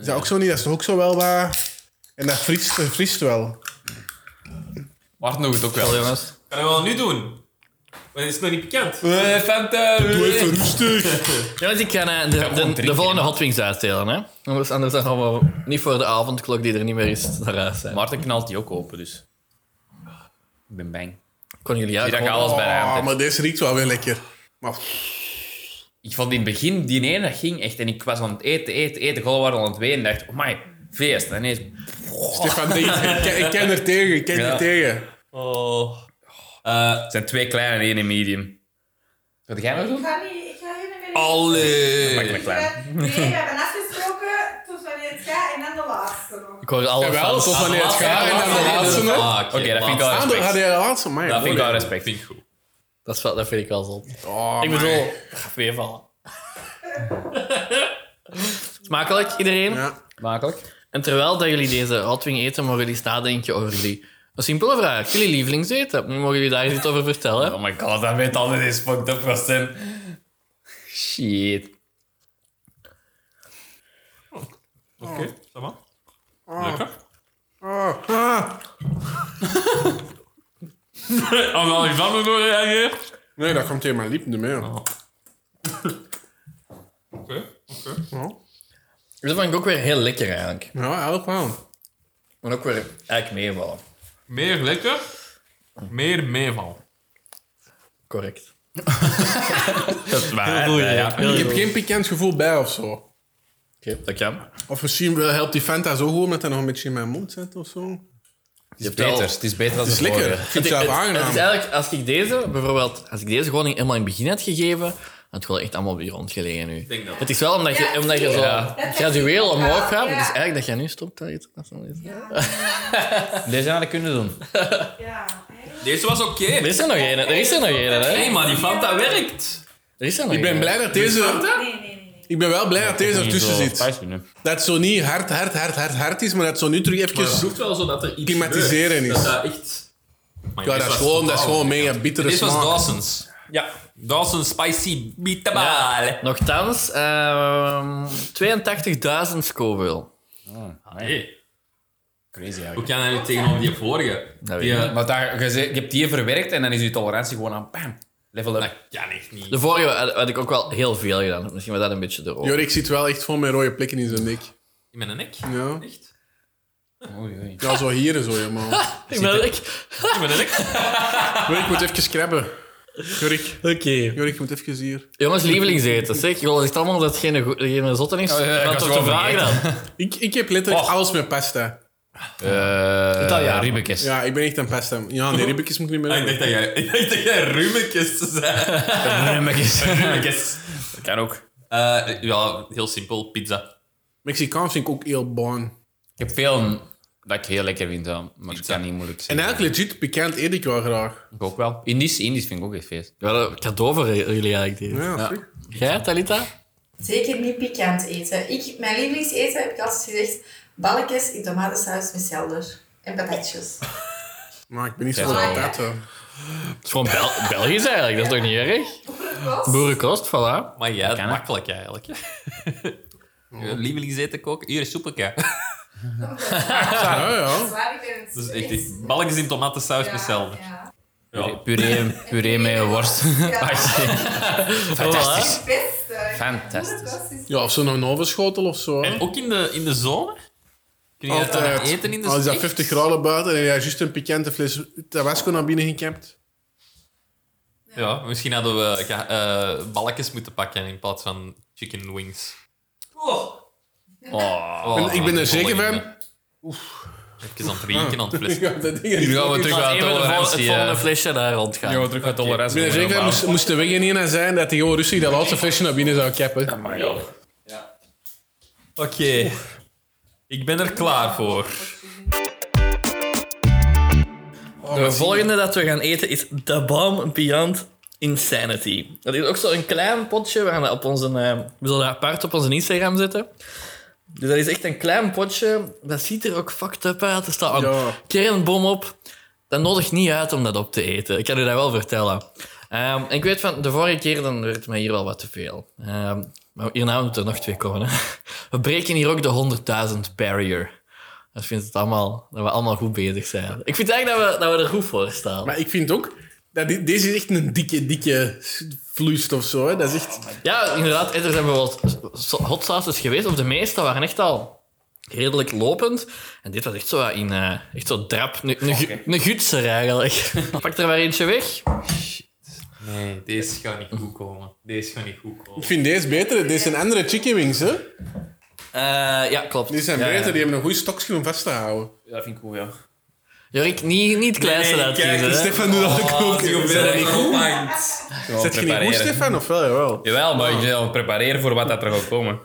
Is dat ook zo niet? Dat is toch ook zo wel wat. En dat vriest, eh, vriest wel. Wacht nog het ook wel. jongens. Kan je wel nu doen? Maar het is nog niet bekend. Even rustig. Jongens, ik ga eh, de, de, de, volgende Hot Wings uitdelen. Hè? Anders, anders dan gaan we niet voor de avondklok die er niet meer is naar huis zijn. Maar Maarten knalt die ook open, dus. Ik ben bang. kon jullie Hier uit. dat ik alles bij de Oh. hand Ah, heb. maar deze riekt wel weer lekker. Maar Ik vond in het begin, die ene dat ging echt. En ik was aan het eten, eten, eten. Gewoon waren aan het ween. En dacht, oh my, feest. En ineens, Stefan, denk, ik, ken- ik ken er tegen, ik ken Ja. er tegen. Oh. het Eh, zijn twee kleine en één medium. Wat ga jij nog Ik doen? ga niet, ik ga hier niet meer. Allee. Pak me klein. Nee, we hebben afgesproken tot wanneer het gaat en dan de laatste nog. Ik hoor alle Jawel, fans. tot wanneer het gaat. En dan de laatste nog. Ah, Oké, Oké, dat vind ik wel laatste. Ah, dan respect. had hij de laatste. Maar Dat vind ik wel moeilijk. respect. Vind ik goed. Dat, is wel- dat vind ik wel zot. Oh, ik maar- bedoel, ga weer vallen. Smakelijk, iedereen. Ja. Makkelijk. En terwijl dat jullie deze Hot Wing eten, mogen jullie eens nadenken over die... Een simpele vraag. Jullie lievelingseten. Mogen jullie daar iets over vertellen? Oh my god, dat weet altijd eens fucked up was zijn. Shit. Oké, ça va? Ah, ah. Oh, wel, ik zal me door reageren. Nee, dat komt tegen mijn liep niet meer. Oké, oké. Dat vond ik ook weer heel lekker eigenlijk. Ja, eigenlijk wel. Maar ook weer eigenlijk meevallen. Meer lekker, meer meeval. Correct. Dat is waar. hè, ja. Ik heb geen pikant gevoel bij of zo. Oké, dat kan. Of misschien wel helpt die Fanta zo goed omdat hij nog een beetje in mijn mond zit of zo. Het Het is beter. Het is beter dan is lekker. Ik vind het zelf Het is aangenaam. eigenlijk, als ik deze bijvoorbeeld, als ik deze gewoon helemaal in het begin had gegeven, had het gewoon echt allemaal op de grond gelegen nu. denk dat. Het is wel omdat je, Ja, omdat je zo ja. gradueel omhoog gaat, maar Ja. het is eigenlijk dat jij nu stopt. Dat je- dat is wel iets. Deze hadden we kunnen doen. Ja, eigenlijk. Deze was oké. Er is er nog één, er is er nog één, hè? Hey, maar die Fanta werkt. Er is er nog Ik ben blij dat deze... Nee, nee, nee. nee. Ik ben wel blij dat deze ertussen zit. Thuis binnen. Dat het zo niet hard, hard, hard, hard, hard is, maar dat het zo nu terug Het even... voelt wel zo dat er iets Klimatiseren gebeurt. is. Dat dat echt... Maar Ja, deze dat is was gewoon, dat is totaal- gewoon mega bittere Dit was smaak. Dawson's. Ja. Dawson's Spicy Bitterbal. Ja. Nochtans, ehm 82.000 Scoville. Hey, Crazy hoe eigenlijk. kan dat nu tegenover die vorige? Dat die, weet ik eh, Maar daar, je, zegt- je hebt die verwerkt en dan is je tolerantie gewoon aan bam, level up. dat kan echt niet. De vorige had, had ik ook wel heel veel gedaan. Misschien was dat een beetje erover. Jorik zit wel echt vol met rode plekken in zijn nek. In mijn nek? Ja, Echt? Oei, oei. ja zo hier en zo helemaal. Ik ben ik. In mijn nek? Jorik moet even scrabben. Jorik, Oké. Jorik moet even hier. Jongens, lievelingseten, zeg. Je wil echt allemaal dat het geen, go- geen zotten is. Oh, ja, ja, ik Wat was toch wel te vragen vergeten. dan? Ik, ik heb letterlijk Och. alles met pasta. Eh, Italiaan. Ribbekes. Ja, ik ben echt een pasta. Ja, die ribbekjes moet ik niet meer ik dacht hebben. dat jij, ik dacht dat jij Rumekes zei. Ribbekes. Rumekes. Dat kan ook. Eh, ja, heel simpel. Pizza. Mexicaan vind ik ook heel bon. Ik heb veel dat ik heel lekker vind, ja, maar het kan niet moeilijk En zijn. eigenlijk legit bekend eet ik wel graag. Ik ook wel. Indisch, Indisch vind ik ook echt feest. Wel, een cadeau voor jullie eigenlijk. dit. Ja, zie. Jij, Talita? Zeker niet pikant eten. Ik, mijn lievelingseten heb ik altijd gezegd: balkjes in tomatensaus met selder en patatjes. Maar ik ben niet zo van Ja. dat. hè. Het is gewoon Bel- Belgisch eigenlijk, dat is toch niet erg? Boerenkost, voilà. Maar jij, hè? makkelijk eigenlijk. Je Lievelingseten koken? Hier is soepelke. Ja, ja. Waar ik ben het Dus echt, echt balkjes in tomatensaus Ja, met zelden. ja. Ja. Puree, puree met worst. Ja. Fantastisch. Het beste. Fantastisch. Dat is- ja, of zo nog een ovenschotel of zo. hè. En ook in de, in de zone? Kun je dat dan Altijd. eten in de Al is dat echt? 50 graden buiten en jij hebt juist een pikante fles tabasco naar binnen gekapt. Ja, misschien hadden we ga- eh, balletjes moeten pakken in plaats van chicken wings. Oh. En ik ben er zeker van. van- Even aan het drinken, aan het flessen. Ja, dat ding is- Nu gaan we terug naar Even het de vol- tolerantie. het eh, volgende flesje daar rondgaan. gaan we terug naar Ik tolerantie. ben er zeker van, moest, moest de weg er niet naar zijn dat hij gewoon rustig dat laatste flesje naar binnen zou kappen. Oké. Ik ben er klaar voor. De volgende dat we gaan eten is The Bomb Beyond Insanity. Dat is ook zo'n klein potje. We, gaan dat op onze, eh, we zullen dat apart op onze Instagram zetten. Dus dat is echt een klein potje. Dat ziet er ook fucked up uit. Er staat een Ja. kernbom op. Dat nodigt niet uit om dat op te eten. Ik kan u dat wel vertellen. Ehm, ik weet van de vorige keer dan werd het mij hier wel wat te veel. Ehm, maar hierna moeten er nog twee komen. Hè. We breken hier ook de 100.000 barrier. Dat vindt het allemaal, dat we allemaal goed bezig zijn. Ik vind eigenlijk dat we, dat we er goed voor staan. Maar ik vind ook, dat dit- deze is echt een dikke, dikke vloeistof zo. Hè. Dat is echt... Ja, inderdaad. Er zijn bijvoorbeeld so- hot sauces geweest, of de meeste waren echt al redelijk lopend. En dit was echt zo wat in eh, echt zo drap. Een- Een gu- een gutser eigenlijk. Pak er maar eentje weg. Nee, deze gaat niet goed komen. Deze gaat niet goed komen. Ik vind deze beter. Deze zijn andere chicken wings, hè. Eh, ja, klopt. Die zijn Ja, ja. beter, die hebben een goede stokje om vast te houden. Ja, dat vind ik cool, ja. Jorik, niet, niet het kleinste Nee, dat kijk, kiezen, hè. Stefan doet dat ook. Zet je niet goed, prepareren. Stefan, of wel? Jawel. Jawel, maar ik ben al prepareren voor wat dat er gaat komen.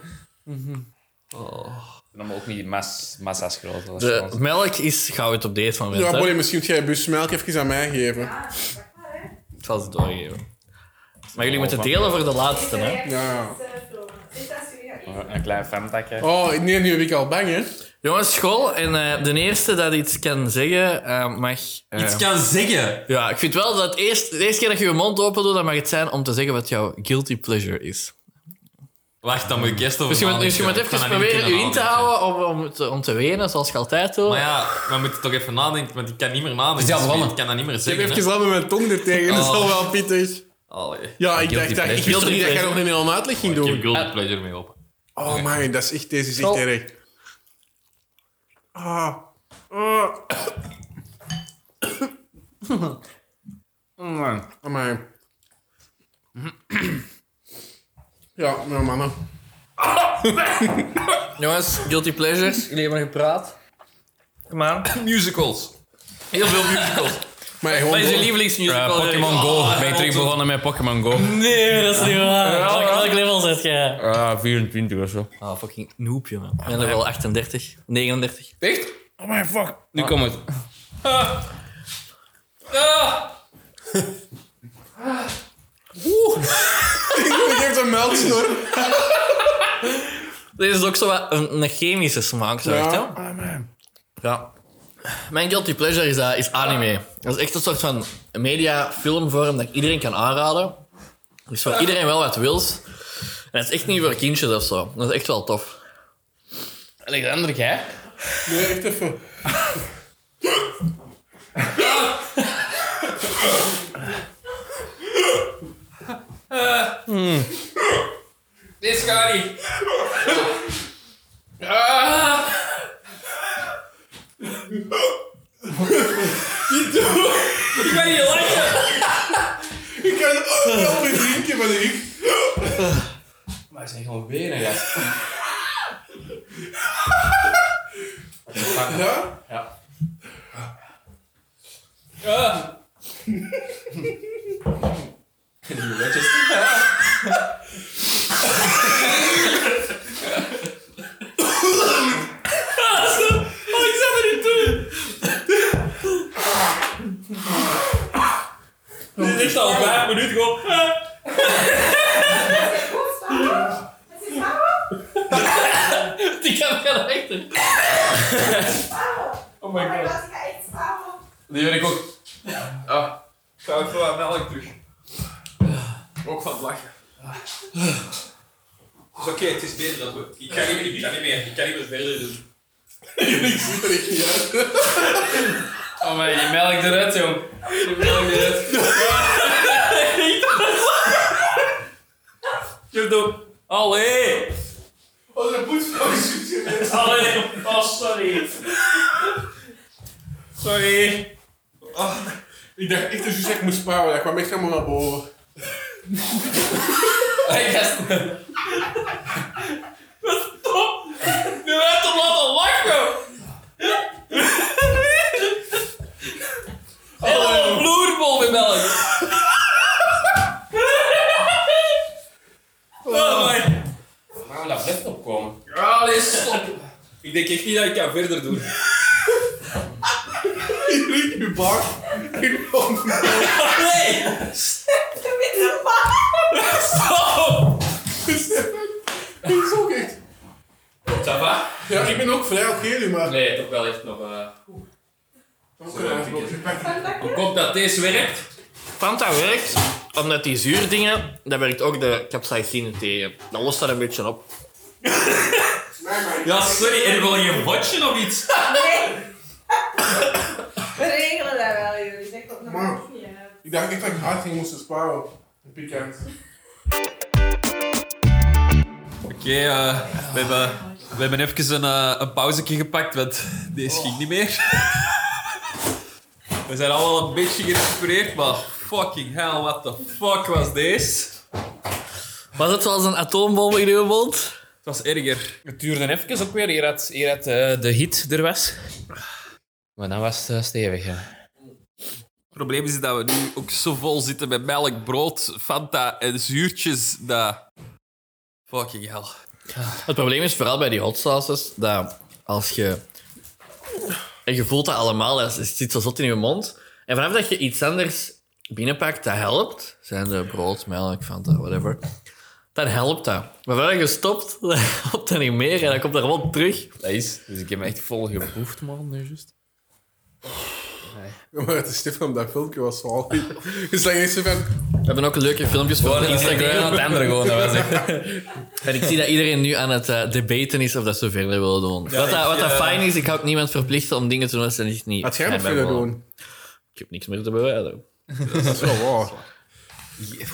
Oh. Dan ook niet mas, massa's groot. dat is gewoon De zo. melk is goud op deze moment. Ja, hè. Bolly, misschien moet jij je bus melk even aan mij geven. Ik zal ze doorgeven. Maar jullie moeten delen voor de laatste, hè. Ja. Een klein fantakje. Oh, nee, nu heb ik al bang, hè. Jongens, school. En eh, de eerste dat iets kan zeggen, eh, mag... eh, Iets kan zeggen. Ja, ik vind wel dat eerst, de eerste keer dat je je mond open doet, dan mag het zijn om te zeggen wat jouw guilty pleasure is. Wacht, dan moet ik eerst over Dus je moet, dus je moet nadenken. Ik even kan dat niet proberen je kunnen in te nadenken. houden om, om, te, om te wenen, zoals je altijd doet. Maar ja, we moeten toch even nadenken, want ik kan niet meer nadenken. zelf Dus begonnen. ik kan dat niet meer Ik zeggen. heb hè. even al met mijn tong er tegen, dat is al wel pittig. Allee. Ja, ik dacht dat pleasure. ik wist toch Guilty niet dat jij pleasure. nog een hele uitleg ging Ik heb doen. Eh, guilty pleasure mee op. Oh man, dat is echt, deze is echt Stop. erg. Ah. Ah. Oh Amai. Ja, nou mannen. Jongens, guilty pleasures. Jullie hebben gepraat. Kom aan. Musicals. Heel veel musicals. Maar gewoon... Oh Wat is je door. lievelingsmusical? Eh, Pokémon Go. ben je terug begonnen met Pokémon Go? Nee, dat is niet waar. Welk, welk level zit jij? Ah, 24 of zo. Ah, fucking noob, jongen. Ik ben er wel 38, 39. Echt? Oh my fuck. Nu komt het. Je geeft een melksnor. Dit is ook zo wat een, een chemische smaak, zo echt, hè? Ah, man. Ja. Mijn guilty pleasure is, eh, is anime. Dat is echt een soort van media-filmvorm dat ik iedereen kan aanraden. Dus van iedereen wel wat wils. En dat is echt niet voor kindjes of zo. Dat is echt wel tof. Alexander, jij? Nee, echt even. Dit gaat niet. Ik kan ook wel weer drinken, maar ik... Maar het zijn gewoon benen, ja. Ja? Dit is al vijf minuten gewoon. Die kan wel achter. Oh my god. Dat ga echt stapel. Die wil ik ook. Ah. Ik ga ook wel aan melk terug. Ook van het lachen. Oké, het is beter dan we. Ik kan niet, ik kan niet meer. Ik kan niet meer verder doen. Ik zit er echt niet uit. Oh man, je melk eruit, jong. Je melk eruit. Je hebt ook. Allee! Oh, dat poetsvrouw is Allee! Oh, sorry. Sorry. Ik dacht echt dat je zegt moest sparen. Dat kwam echt helemaal naar boven. Hey, gasten. Wat top. Nu werd hem laten lachen. Hele vloer vol met melk. Oh my. Waarom dat blijft opkomen? Ja, allee, stop. Ik denk echt niet dat ik kan verder doen. Nee! Stop! Ik is ook echt. Ça va? Ja, ik ben ook vrij oké nu, maar... Nee, toch wel echt nog... eh, Oké, maar ik pak het. Ik hoop dat deze werkt. Fanta werkt omdat die zuurdingen, dat werkt ook de capsaicine tegen. Dat lost dat een beetje op. Ja, sorry, en wil je een watje of iets? Nee. We regelen dat wel, jullie. Ik dat nog niet uit. Ik dacht echt dat ik hard ging moesten sparen. Pikant. Oké, eh, we, hebben, we hebben even een, eh, een pauzetje gepakt, want deze ging niet meer. We zijn allemaal een beetje gerecupereerd, maar fucking hell, what the fuck was deze? Was het zoals een atoombom in uw mond? Het was erger. Het duurde even ook weer, eer dat, eer dat eh, de hit er was. Maar dan was het eh, stevig, ja. Het probleem is dat we nu ook zo vol zitten met melk, brood, Fanta en zuurtjes dat... Fucking hell. Het probleem is vooral bij die hot sauces dat als je. En je voelt dat allemaal, dat is- het zit zo zot in je mond. En vanaf dat je iets anders binnenpakt dat helpt, zijn de brood, melk, Fanta, whatever. Dan helpt dat. Maar vanaf dat je stopt, dan helpt dat niet meer en dan komt dat gewoon terug. Dat is. Dus ik heb me echt vol geproefd, man, nu juist. Maar het is Stefan, dat filmpje was zo al. Dus dan is Stefan... We hebben ook leuke filmpjes voor op Instagram. aan het andere gewoon, dat was echt... En ik zie dat iedereen nu aan het eh, debaten is of dat ze verder willen doen. wat dat, wat dat eh, fijn is, ik ga ook niemand verplichten om dingen te doen als ze niet... niet Had jij nog fijn bij willen voelen. doen? Ik heb niks meer te bewijzen. Dat is wel waar. Ik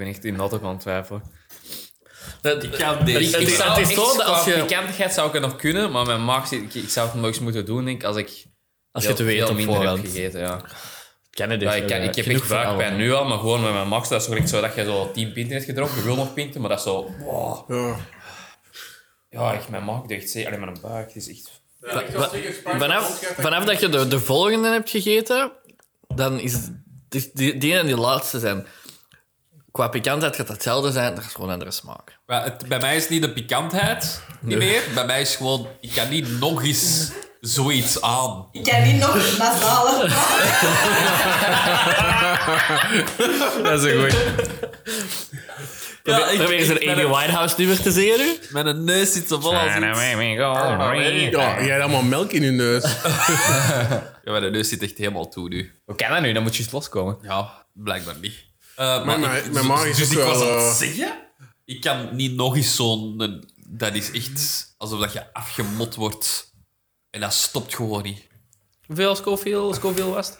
ben echt in dat ook aan het twijfelen. Dat, Ik ga deze... Het is- het is echt, zo dat als qua je- pikantheid zou ik het nog kunnen, maar mijn maag zit... Ik, ik zou het nog eens moeten doen, denk ik, als ik... als je heel- het weet veel op minder heb voorhand. gegeten, ja. Ken het dus Ja, ik, kan- ik heb echt buikpijn nu al, maar gewoon met mijn max, dat is zo gelijk zo dat je zo 10 pinten hebt gedronken. Je wil nog pinten, maar dat is zo... wow. Ja. Ja, echt, mijn maag doet echt zeer. Alleen mijn buik, het is echt... Vanaf, vanaf dat je de, de volgende hebt gegeten, dan is het- die, die, die en die laatste zijn... Qua pikantheid gaat dat hetzelfde zijn, dat is gewoon een andere smaak. Maar het- bij mij is niet de pikantheid niet meer. Bij mij is gewoon, ik kan niet nog eens zoiets aan. Ik kan niet nog nasale. Dat is een goeie. Ja, ik- Probeer eens ik- een mijn- Amy Winehouse-nummer te zien nu. Mijn neus zit zo vol als iets. Ja, jij hebt allemaal melk in je neus. Ja, mijn neus zit echt helemaal toe nu. Hoe kan dat nu? Dan moet je eens loskomen. Ja, blijkbaar niet. Eh, maar mijn- ik- mijn maag is dus ook ik was wel, aan eh, het zeggen, ik kan niet nog eens zo'n... Dat is echt alsof dat je afgemot wordt. En dat stopt gewoon niet. Hoeveel Scoville, Scoville was het?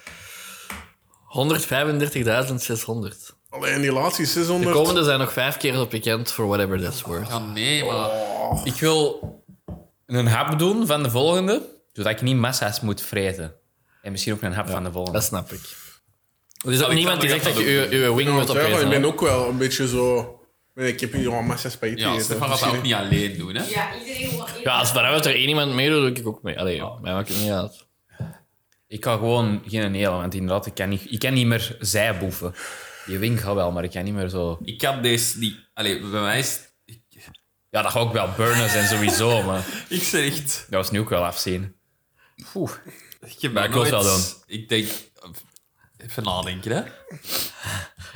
135.600. eh, Alleen die laatste De 600. komende zijn nog vijf keer op weekend, for whatever that's worth. Ja, nee, maar... Oh, Ik wil een hap doen van de volgende, zodat ik niet massa's moet vreten. En misschien ook een hap van de volgende. Dat snap ik. Dus Er is ook ik niemand kan die nog zegt dat even je je je wing moet Ja, maar ik opeten. ben hè. ook wel een beetje zo... Ik heb hier al massa spaghetti Ja, gegeten. Stefan gaat dat ook niet alleen doen, hè. Ja, iedereen wil nog Ja, als vanavond er één iemand meedoet, doe ik ook mee. Allee, joh, mij maakt het niet uit. Ik kan gewoon geen hele, want inderdaad, ik kan niet, ik kan niet meer zijboeven. Je wink gaat wel, maar ik kan niet meer zo... Ik kan deze niet... Allee, bij mij is... Ja, dat ga ook wel burnen zijn sowieso, maar... Ik zeg echt... Dat was nu ook wel afzien. Oeh. Ik heb Maar nog ik wil nooit- het wel doen. Ik denk... Even nadenken, hè.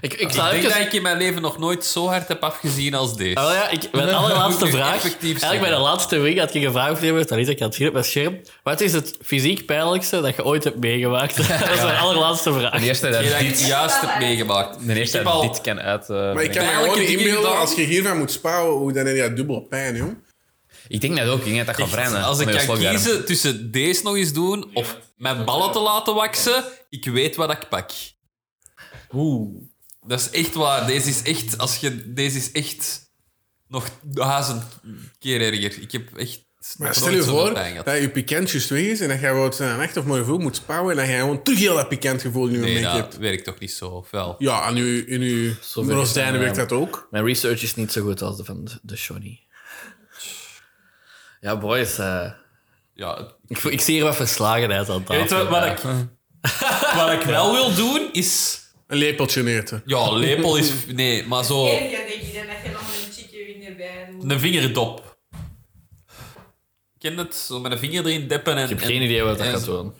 Ik, ik Ik Ah, zal denk even... dat ik in mijn leven nog nooit zo hard heb afgezien als deze. Ah, wel ja, ik, mijn allerlaatste Moet ik vraag. effectief Eigenlijk bij zeggen. de laatste week had ik een vraag gegeven, dat is ik had het hier op mijn scherm. Wat is het fysiek pijnlijkste dat je ooit hebt meegemaakt? Dat is mijn allerlaatste vraag. De eerste dat Ik denk dat ik dit, het juist heb meegemaakt. de eerste ik dat heb dit kan uit... eh, Maar ik brengen. kan me Eigenlijk gewoon niet heb ik inbeelden, gedaan- als je hiervan moet sparen, hoe dan heb je dubbel pijn, joh. Ik denk dat ook, ik denk dat dat gaat Echt, brennen. Als ik Onder je kan slokdarm. kiezen tussen deze nog eens doen of mijn ballen te laten waksen, ik weet wat ik pak. Oeh. Dat is echt waar. Deze is echt... Als je, deze is echt nog duizend keer erger. Ik heb echt... Maar nooit stel je zo'n voor pijn gehad. dat je pikant juist weg is en dat jij wat een echt of mooi gevoel moet spouwen en dat jij gewoon te heel dat pikant gevoel in je Nee, nek dat hebt. werkt toch niet zo fel. Ja, en u, in uw werkt rozijnen het, werkt ja. dat ook. Mijn research is niet zo goed als de van de- de Johnny. Ja, boys. eh, Ja, het- ik, voel- ik zie hier wat verslagenheid aan tafel. Weet je wat ik, wat ik wel wil doen is. Een lepeltje neerten. Ja, lepel is. Nee, maar zo. Erger denk ik dan dat je nog een chickie in de wijn moet. Een vingerdop. Ken je het? Zo met een vinger erin deppen en. Ik heb geen idee wat dat en gaat zo. doen.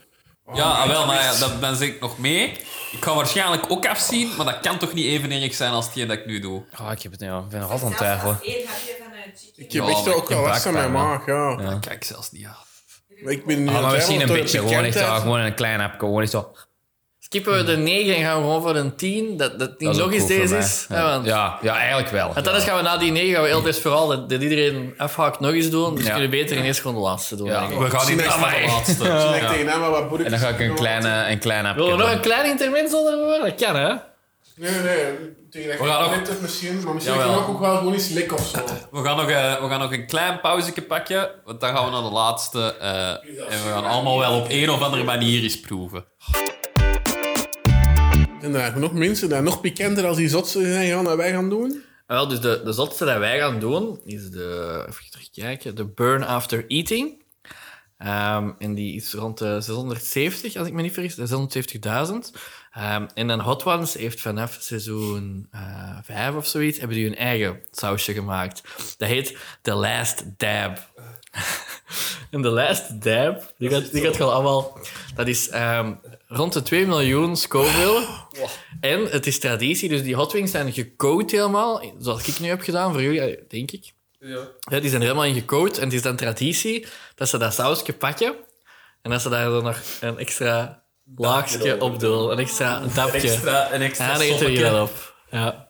Ja, ah, wel, maar ja, dan, dan zit ik nog mee. Ik ga waarschijnlijk ook afzien, maar dat kan toch niet even erg zijn als hetgeen dat ik nu doe. Ah, ik heb het, ja, ik ben nog altijd aan het Zelfs twijfelen. als één hapje van een chickie. Ik heb Ja, echt maar ook wel last van mijn buikpijn, maag, ja. Dat Ah, kijk ik zelfs niet aan. Maar Ik ben nu Ah, aan maar het misschien een twijfelen beetje. door de Gewoon echt pikantheid. ah, gewoon een klein app. Gewoon echt zo. Skippen we de 9 en gaan we gewoon voor een 10. Dat, dat niet is ook logisch cool voor deze mij. is. Ja. Ja, want, ja, ja, eigenlijk wel. want anders gaan we na die 9 gaan we heel best vooral dat, dat iedereen afhaakt nog eens doen. Dus Ja. kunnen we beter in eerst gewoon de laatste doen. denk ik. We gaan niet Zie echt mij. naar de laatste. Ik zeg tegen hem, maar wat boer ik En dan ga ik een kleine, een klein app. Wil er nog een klein intermezzo ervoor? Dat kan, hè? Nee, nee, nee. Tegen dat We gaan je ook- net hebt misschien, maar misschien Jawel. kan ik ook wel gewoon iets likken of zo. We gaan, nog, eh, we gaan nog een klein pauzeke pakken, want dan gaan we naar de laatste. eh, en we gaan allemaal wel op een of andere manier eens proeven. En daar hebben nog mensen die nog pikanter als die zotsen zijn gaan dat wij gaan doen. Ah, Wel, dus de, de zotste dat wij gaan doen is de, even terugkijken, de Burn After Eating. Ehm, en die is rond de 670, als ik me niet vergis, de 670.000. Ehm, en dan Hot Ones heeft vanaf seizoen 5 of zoiets, hebben die hun eigen sausje gemaakt. Dat heet The Last Dab. en The Last Dab, die gaat, die gaat gewoon allemaal... Dat is ehm, rond de 2 miljoen Scoville. En het is traditie, dus die hot wings zijn gecoat helemaal, zoals ik nu heb gedaan voor jullie, eh, denk ik. Ja, die zijn er helemaal in gecoat en het is dan traditie dat ze dat sausje pakken en dat ze daar dan nog een extra laagje op doen, een extra dapje. een en dan eten jullie dat op. Ja.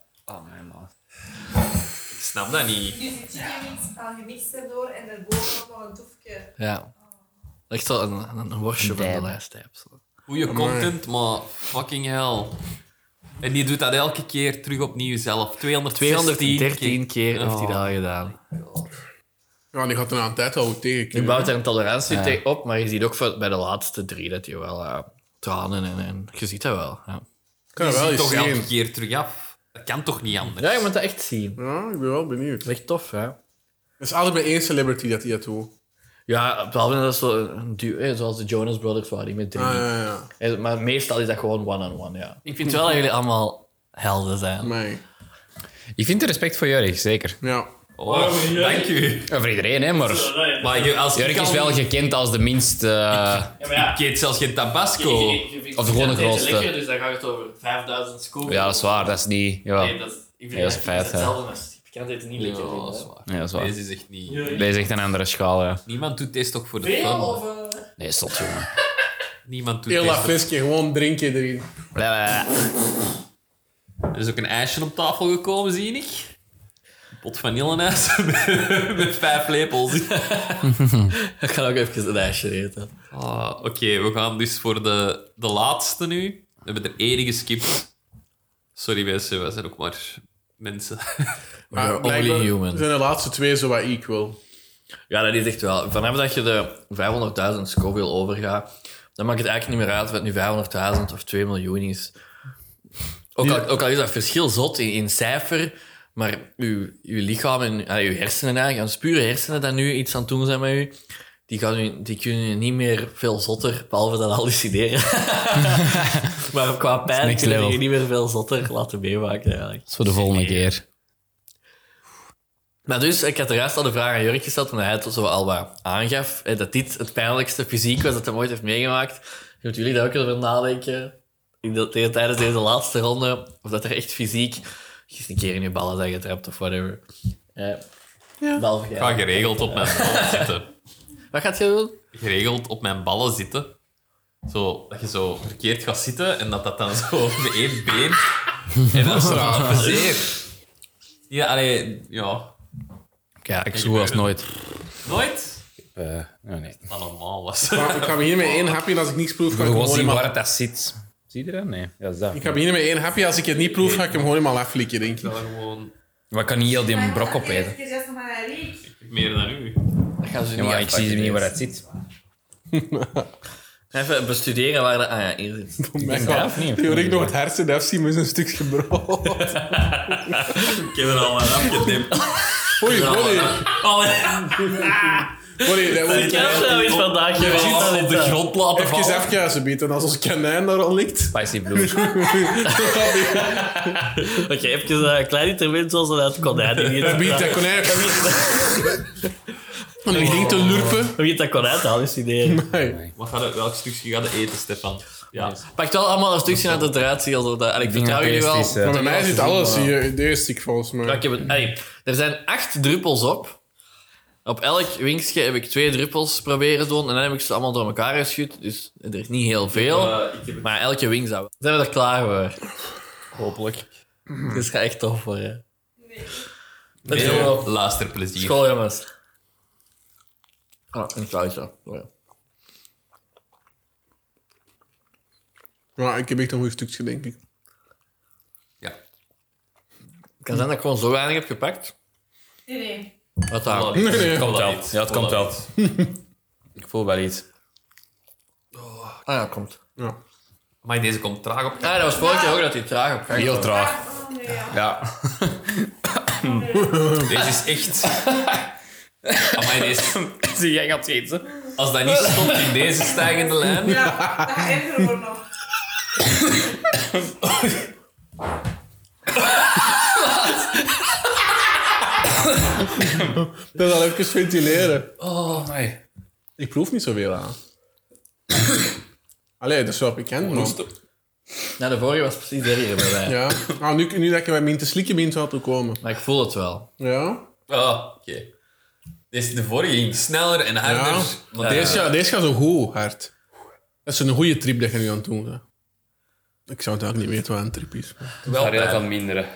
Ik snap dat niet. Dus die chicken wings gaan gemixt erdoor en erbovenop nog een toefje. ja. Echt zo een, een, een worstje van de lijst. hè, zo. Goeie content, maar fucking hell. En die doet dat elke keer terug opnieuw zelf. Oh. 213 213 keer heeft hij dat al gedaan. Ja, die gaat er aan tijd al goed tegen. Je kunnen. bouwt er een tolerantie tegen op, maar je ziet ook voor- bij de laatste drie dat je wel eh, tranen en, en je ziet dat wel. Ja. kan er Die wel ziet eens toch elke zien. keer terug af. Dat kan toch niet anders? ja, je moet dat echt zien. Ja, ik ben wel benieuwd. Dat is echt tof, hè? Het is altijd bij één celebrity dat hij dat doet. Ja, behalve dat is zo een duo, eh, zoals de Jonas Brothers waren, die met drie. Ah, ja, ja. Eh, Maar meestal is dat gewoon one-on-one, ja. Ik vind wel dat jullie allemaal helden zijn. Nee. Ik vind het respect voor Jurk, zeker. Ja. Oh, dank u. Ja, voor iedereen, hè, maar Maar je- als Jurk ik is al- wel gekend als de minst. eh, Ik eet zelfs geen tabasco. Of gewoon de grootste. dus dan gaat het over 5000 scoops. ja, dat is waar, dat is niet. Ja, Nee, dat is, ik Ja, dat is feit, hè. als ik kan dit niet Ja, lekker vinden, dat hè. is waar. Nee, dat is waar. Deze is echt niet... Deze is echt een andere schaal, ja. Niemand doet deze toch voor de Veel fun? of... eh, Nee, stot, jongen. Niemand doet Heel dat deze toch- flesje, gewoon drinken erin. Blablabla. Er is ook een ijsje op tafel gekomen, zie ik. Een pot vanilleijs met, met vijf lepels. Ik ga ook even een ijsje eten. Ah, Oké, we gaan dus voor de, de laatste nu. We hebben er één geskipt. Sorry mensen, wij zijn ook maar mensen. Maar only blijkbaar human. zijn de laatste twee zo wat equal. Ja, dat is echt wel. Vanaf dat je de 500.000 Scoville overgaat, dan maakt het eigenlijk niet meer uit wat nu 500.000 of 2 miljoen is. Ook al, ook al is dat verschil zot in, in cijfer, maar uw, uw lichaam en ah, uw hersenen eigenlijk, als pure hersenen dat nu iets aan het doen zijn met u, die, gaan u, die kunnen u niet meer veel zotter, behalve dat hallucineren. maar qua pijn kunnen next die level. je niet meer veel zotter laten meemaken eigenlijk. Dat is voor de volgende keer. Maar dus, ik had de rest al de vraag aan Jurk gesteld, omdat hij het zo al wat aangaf. hè, Dat dit het pijnlijkste fysiek was dat hij ooit heeft meegemaakt. Je moet jullie daar ook over nadenken. Ik denk dat tijdens deze laatste ronde, of dat er echt fysiek... je is een keer in je ballen zijn getrapt of whatever. Eh, behalve jij. Ik ga geregeld op mijn ballen zitten. Wat gaat je doen? Geregeld op mijn ballen zitten. Zo, dat je zo verkeerd gaat zitten en dat dat dan zo met één been... En dat is zo van, "Verzeer." Ja, allee, ja. Ja, ik zo als nooit. Nooit? Eh, nee, nee. Dat normaal was. Maar ik ga beginnen met één hapje en als ik niets proef, ga We ik gaan hem gewoon gewoon zien waar helemaal... dat zit. Zie je dat? Nee, dat is dat. Ik ga beginnen met één hapje, als ik het niet proef, ga ik hem gewoon helemaal aflikken, denk ik. Dat gewoon Ah, Maar ik kan niet heel die brok Ik opeten. heb zelfs nog maar een riek. meer dan u. Ik gaan ze Ja, niet maar ik zie afpakken, niet waar deze. het zit. Even bestuderen waar dat... Ah ja, hier zit het. Mijn dat god, of niet, of Die hoor niet? ik nog het hersen afzien met zo'n stukje brood. Ik heb er al een afgetipt. Oei, oei. Oh, Oei, dat moet ik heb zoiets vandaag gedaan. op de grond laten Even vallen. afkuisen, Piet. En als ons kanijn daar al ligt... Spicy Blue. Oké, even eh, een klein intervent zoals dat het konijn niet Dat biedt dat konijn. En die ging te lurpen. Wie het dat konijn te hallucineren. Nee. Wat gaat het- Welk stukje gaat het eten, Stefan? Ja. Pakt wel allemaal een stukje uit het eruit, zie, alsof dat... eh, en ik vertrouw jullie wel. Egoïstisch, hè. Maar bij mij zit alles hier in deze stick, volgens Ja, mij. ik heb het, allee, er zijn acht druppels op. Op elk winkje heb ik twee druppels proberen te doen. En dan heb ik ze allemaal door elkaar geschud. Dus er is niet heel veel. Eh, ik heb het- maar elke wing zou... Zijn we er klaar voor? Hopelijk. Dit gaat echt tof worden. Dat is Veel helemaal op. Luisterplezier. School, jongens. Oh, een pauze. Maar ik heb echt een goed stukje, denk ik. Ja. Het kan zijn dat ik gewoon zo weinig heb gepakt. Nee, nee. Wat daar. Nee, nee. Komt wel. Ja, het komt wel. Ik voel wel iets. Ah ja, komt. Ja. Maar deze komt traag op. Ah, dat was vorige keer ook dat hij traag op gang Heel traag. Oh, nee, ja. Ja. Deze is echt... Amai, deze... Zie jij gaat eten? Als dat niet stond in deze stijgende lijn... Ja, dat gaat erger worden nog. Dat zal even ventileren. Oh, nee. Ik proef niet zoveel aan. Allee, dat is wel bekend, man. Nou, de vorige was precies er hier bij mij. Ja. Ah, nu, nu dat je bij min te slikken bent, zou het ook komen. Maar ik voel het wel. Ja. Ah, oké. Deze, de vorige ging sneller en harder. Ja. dus- Maar Deze, gaat- deze gaat zo goed hard. Dat is een goede trip dat je nu aan het doen bent. Ik zou het ook niet weten wat een trip is. maar- wel Daar heel pijn. van minderen.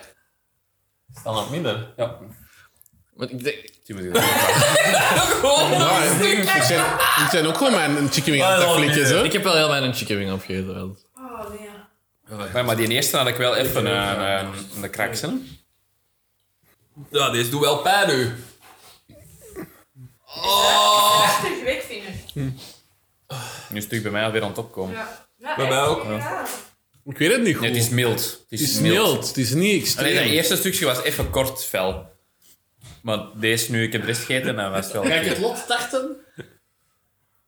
Staan aan het minder. Ja. Want ik denk, Die moet ik wel. Ja, hè. ik, zijn, ik zijn ook gewoon mijn chicken Ah, wing aan het flikken, zo. Eh, Ik heb wel heel weinig chicken wing opgegeten. wel. Oh, nee. ja. Nee, maar die eerste had ik wel even eh, een, een, een krak zitten. Ja, deze doet wel pijn nu. Prachtig wegvinger. Nu is het natuurlijk bij mij alweer aan het opkomen. Ja. Ja, Bij mij echt. ook. Ja. Ik weet het niet goed. Nee, het is mild. Het Het is mild, het is niet Alleen dat extreem. eerste stukje was even kort fel. Maar deze nu, ik heb de rest gegeten en was het wel... Ga ik het lot starten?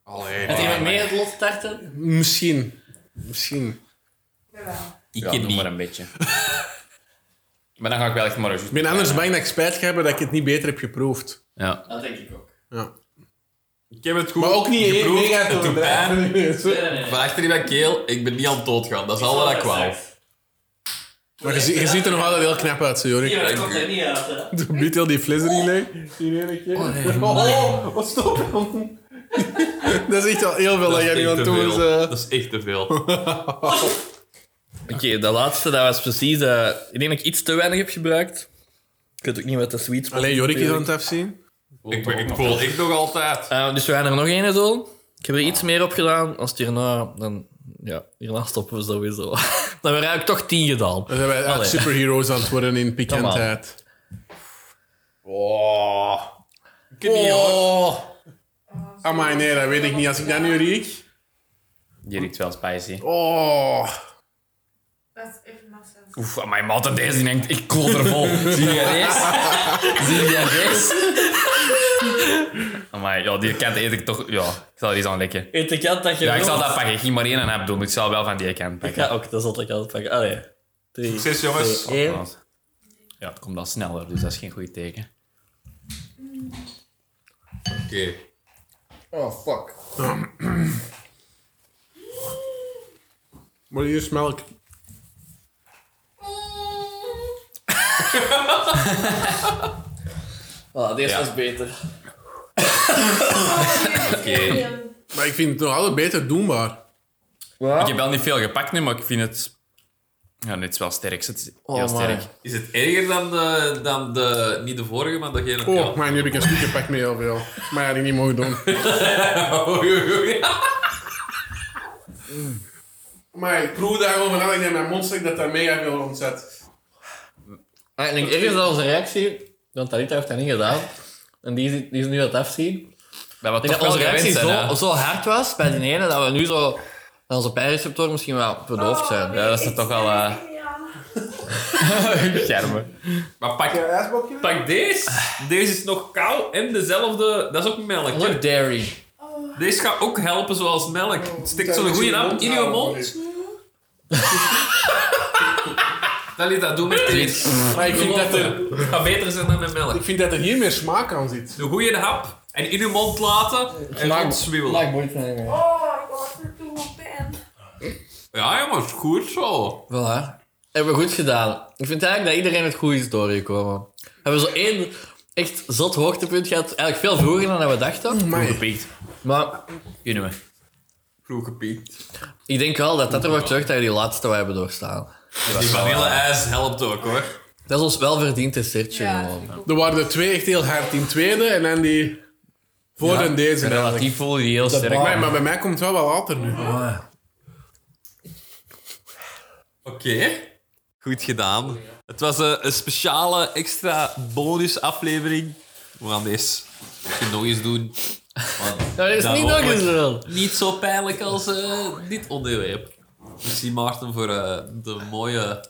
Heeft iemand meer het lot starten? Misschien. Misschien. Jawel. Ik Ja, ken nog niet. maar een beetje. maar dan ga ik wel echt maar eens... Ik ben anders bang dat ik spijt ga hebben dat ik het niet beter heb geproefd. Ja. Dat denk ik ook. Ja. Ik heb het goed Maar ook niet geproefd. mega het doet Nee, pijn. nee, nee. Van achter in mijn keel, ik ben niet aan het dood gaan. Dat is al wat ik wou. Maar je, zie- je ziet er nog altijd heel knap uit, zo, Jorik. dat komt er niet uit. hè. Doe biedt heel die fles erin, hè. Die ene keer. Oh, oh, wat stop. Dat is echt wel heel veel dat, is jij nu echt aan te het doen is. veel. eh. Dat is echt te veel. Oké, de laatste dat was precies. eh, ik denk dat ik iets te weinig heb gebruikt. Ik weet ook niet wat de sweet spot Alleen Jorik is aan natuurlijk. het afzien. ik, ben- ik voel echt nog altijd. Eh, dus we gaan er nog één doen. Ik heb er iets meer op gedaan. Als het hierna, dan. Ja, hierna stoppen we sowieso. dan hebben we eigenlijk toch tien gedaan. Dan zijn wij echt Allee. superheroes aan het worden in pikantheid. Oh. Amai, nee, dat weet ik niet. Als ik dat nu riek... Die riekt wel spicy. Oh. Dat is even massa. Oef, mijn maat deze die denkt, ik koel er vol. Zie je deze? Zie je deze? Amai, ja, die kant eet ik toch... Ja, ik zal er iets aan likken. Eet ik had dat je. Ja, ik zal dat pakken. Ik ging maar één en heb doen. Ik zal wel van die kant pakken. Ja, ook, dat zal ik altijd pakken. Allee. Drie. Succes, Eh, jongens. twee, één. Ja, het komt al sneller, dus dat is geen goed teken. Oké. Maar hier smel ik... Ah, deze Ja. was beter. Maar ik vind het nog altijd beter doenbaar. Ik heb wel niet veel gepakt nu, maar ik vind het... Ja, nu is het wel sterk. Het is heel Oh, sterk. man. Is het erger dan de, dan de... Niet de vorige, maar degene... Oh, Ja. maar nu heb ik een stukje pak mee heel veel. Maar ja, die niet mogen doen. Oei, oei, oei. Maar ik proef daar gewoon van aan. Ik denk mijn mond dat daar mega veel ontzet. Ah, ik denk ergens als een reactie, want Talita heeft dat niet gedaan. En die is, die is nu aan het afzien. Dat Ik denk dat onze reactie zo, zo hard was bij die ene dat we nu zo dat onze pijnreceptoren misschien wel verdoofd zijn. Ja, dat is toch al, eh, Germen. Maar pak, pak deze. Deze is nog koud en dezelfde. Dat is ook melk. hè. Look dairy. Deze gaat ook helpen zoals melk. Oh, Het stikt zo'n goede naam in je mond. Dan liet dat doen met deze. Maar ik vind, dat er, Het gaat beter zijn dan met melk. ik vind dat er hier meer smaak aan zit. Een goede hap en in je mond laten en dan zwiebelen. Oh, ik was er toen op pijn. Ja, jongens, het is goed zo. Voilà. Hebben we goed gedaan. Ik vind eigenlijk dat iedereen het goed is doorgekomen. Hebben we zo één echt zot hoogtepunt gehad. Eigenlijk veel vroeger dan we dachten. Gepiekt. Maar Kunnen we. Vroeg gepiekt. ik denk wel dat dat ervoor terug dat we die laatste wij hebben doorstaan. Die vanille-ijs helpt ook hoor. Dat is ons wel verdiend een sertje Ja. gewoon. Er waren er twee echt heel hard in tweede en dan die voor en deze. eigenlijk. Relatief voelde die heel sterk. Maar, maar bij mij komt het wel wat later nu. Oké. Goed gedaan. Het was eh, een, een speciale extra bonus aflevering. We gaan deze misschien nog eens doen. Maar Dat is niet nog eens wel. Niet zo pijnlijk als eh, dit onderwerp. Misschien Maarten voor eh, de mooie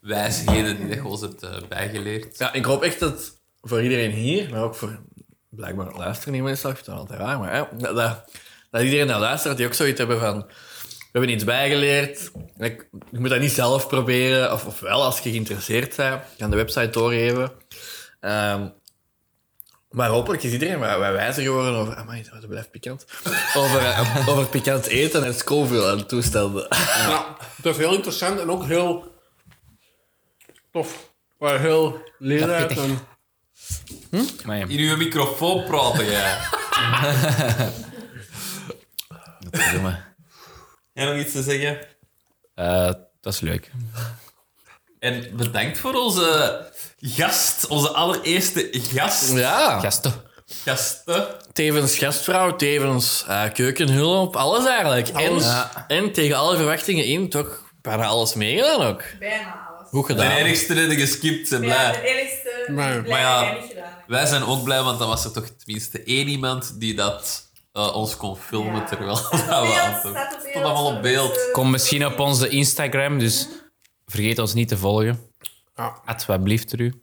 wijsheden die je ons hebt eh, bijgeleerd. Ja, ik hoop echt dat voor iedereen hier, maar ook voor blijkbaar luisteren mensen, ik vind dat altijd raar, maar hè, dat, dat, dat iedereen dat luistert, die ook zoiets hebben van, we hebben iets bijgeleerd, ik, je moet dat niet zelf proberen, of, of wel als je geïnteresseerd bent, kan de website doorgeven. Ehm, maar hopelijk is iedereen wij, wij wijzer geworden over... Amai, dat blijft pikant. Over, eh, over pikant eten en Scoville en toestanden. Ja, dat is heel interessant en ook heel tof. Maar heel leerrijk. en- In uw microfoon praten jij. Jij nog iets te zeggen? Eh, dat is leuk. En bedankt voor onze gast, onze allereerste gast. Ja. Gasten. Gasten. Tevens gastvrouw, tevens eh, keukenhulp, alles eigenlijk. En, en tegen alle verwachtingen in, toch bijna alles meegedaan ook. Bijna alles. Goed De gedaan. enigste die er geskipt zijn Ja, blij. de enigste Maar- blij maar ja. dat jij niet gedaan hebt. Wij zijn ook blij, want dan was er toch tenminste één iemand die dat eh, ons kon filmen Ja. terwijl Staat dat we op beeld, aan het doen. staat op Stond beeld, Dus, eh, allemaal op staat beeld. beeld. Kom misschien op onze Instagram, dus vergeet ons niet te volgen. Ja. At wat blieft er u.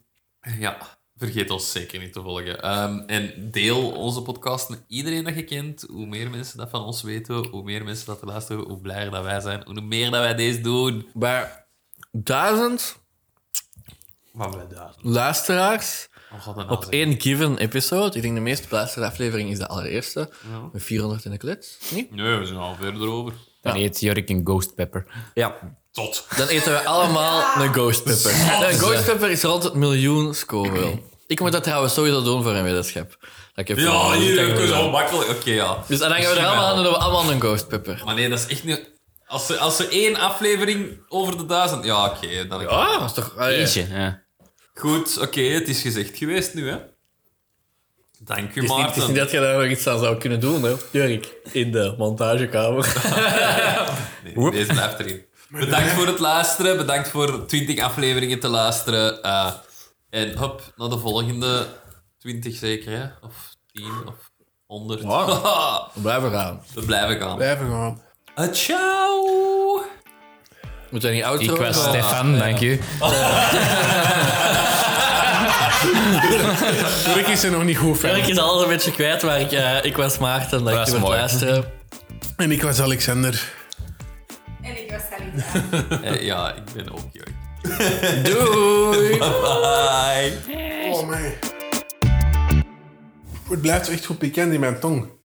Ja, vergeet ons zeker niet te volgen. Ehm, en deel onze podcast met iedereen dat je kent. Hoe meer mensen dat van ons weten, hoe meer mensen dat er luisteren, hoe blijer dat wij zijn, hoe meer dat wij deze doen. Bij duizend Maar wij daar. luisteraars Oh, God, dat nou op zeggen. één given episode. Ik denk de meest beluisterde aflevering is de allereerste. Met 400 in de klets, niet? Nee, we zijn al verder over. Dan eet Jorik een ghost pepper. Ja. Tot. Dan eten we allemaal een ghost pepper. Een ghost pepper is rond het miljoen Scoville. Ik moet dat trouwens sowieso doen voor een wetenschap. Dat ik heb Ja, hier, dat ik dat is heb- al makkelijk. Oké, ja. Dus en dan gaan we er Misschien allemaal aan wel. doen we allemaal een ghost pepper. Maar nee, dat is echt niet... Als er, als er één aflevering over de duizend... Ja, oké. dan Ah, dat is toch... allee. Eentje, ja. Goed, oké, het is gezegd geweest nu, hè. Dank u, Het is, niet, Maarten. het is niet dat je daar nog iets aan zou kunnen doen, hè? Jurk, in de montagekamer. Nee, deze blijft erin. Bedankt voor het luisteren. Bedankt voor 20 afleveringen te luisteren. Eh, en hop, naar de volgende 20 zeker, hè? Of 10 of 100. Wow. Blijven gaan. We blijven gaan. Blijven gaan. Ah, ciao! Moeten we niet Ik outro? was doen? Stefan, dank u. Druk is er nog niet goed Jurk verder. is alles een beetje kwijt, maar ik, eh, ik was Maarten. Dank je is voor het mooi. luisteren. En ik was Alexander. En ik was Halida. Eh, ja, ik ben ook Jurk. Doei! Bye! Oh, man. Het blijft echt goed bekend in mijn tong.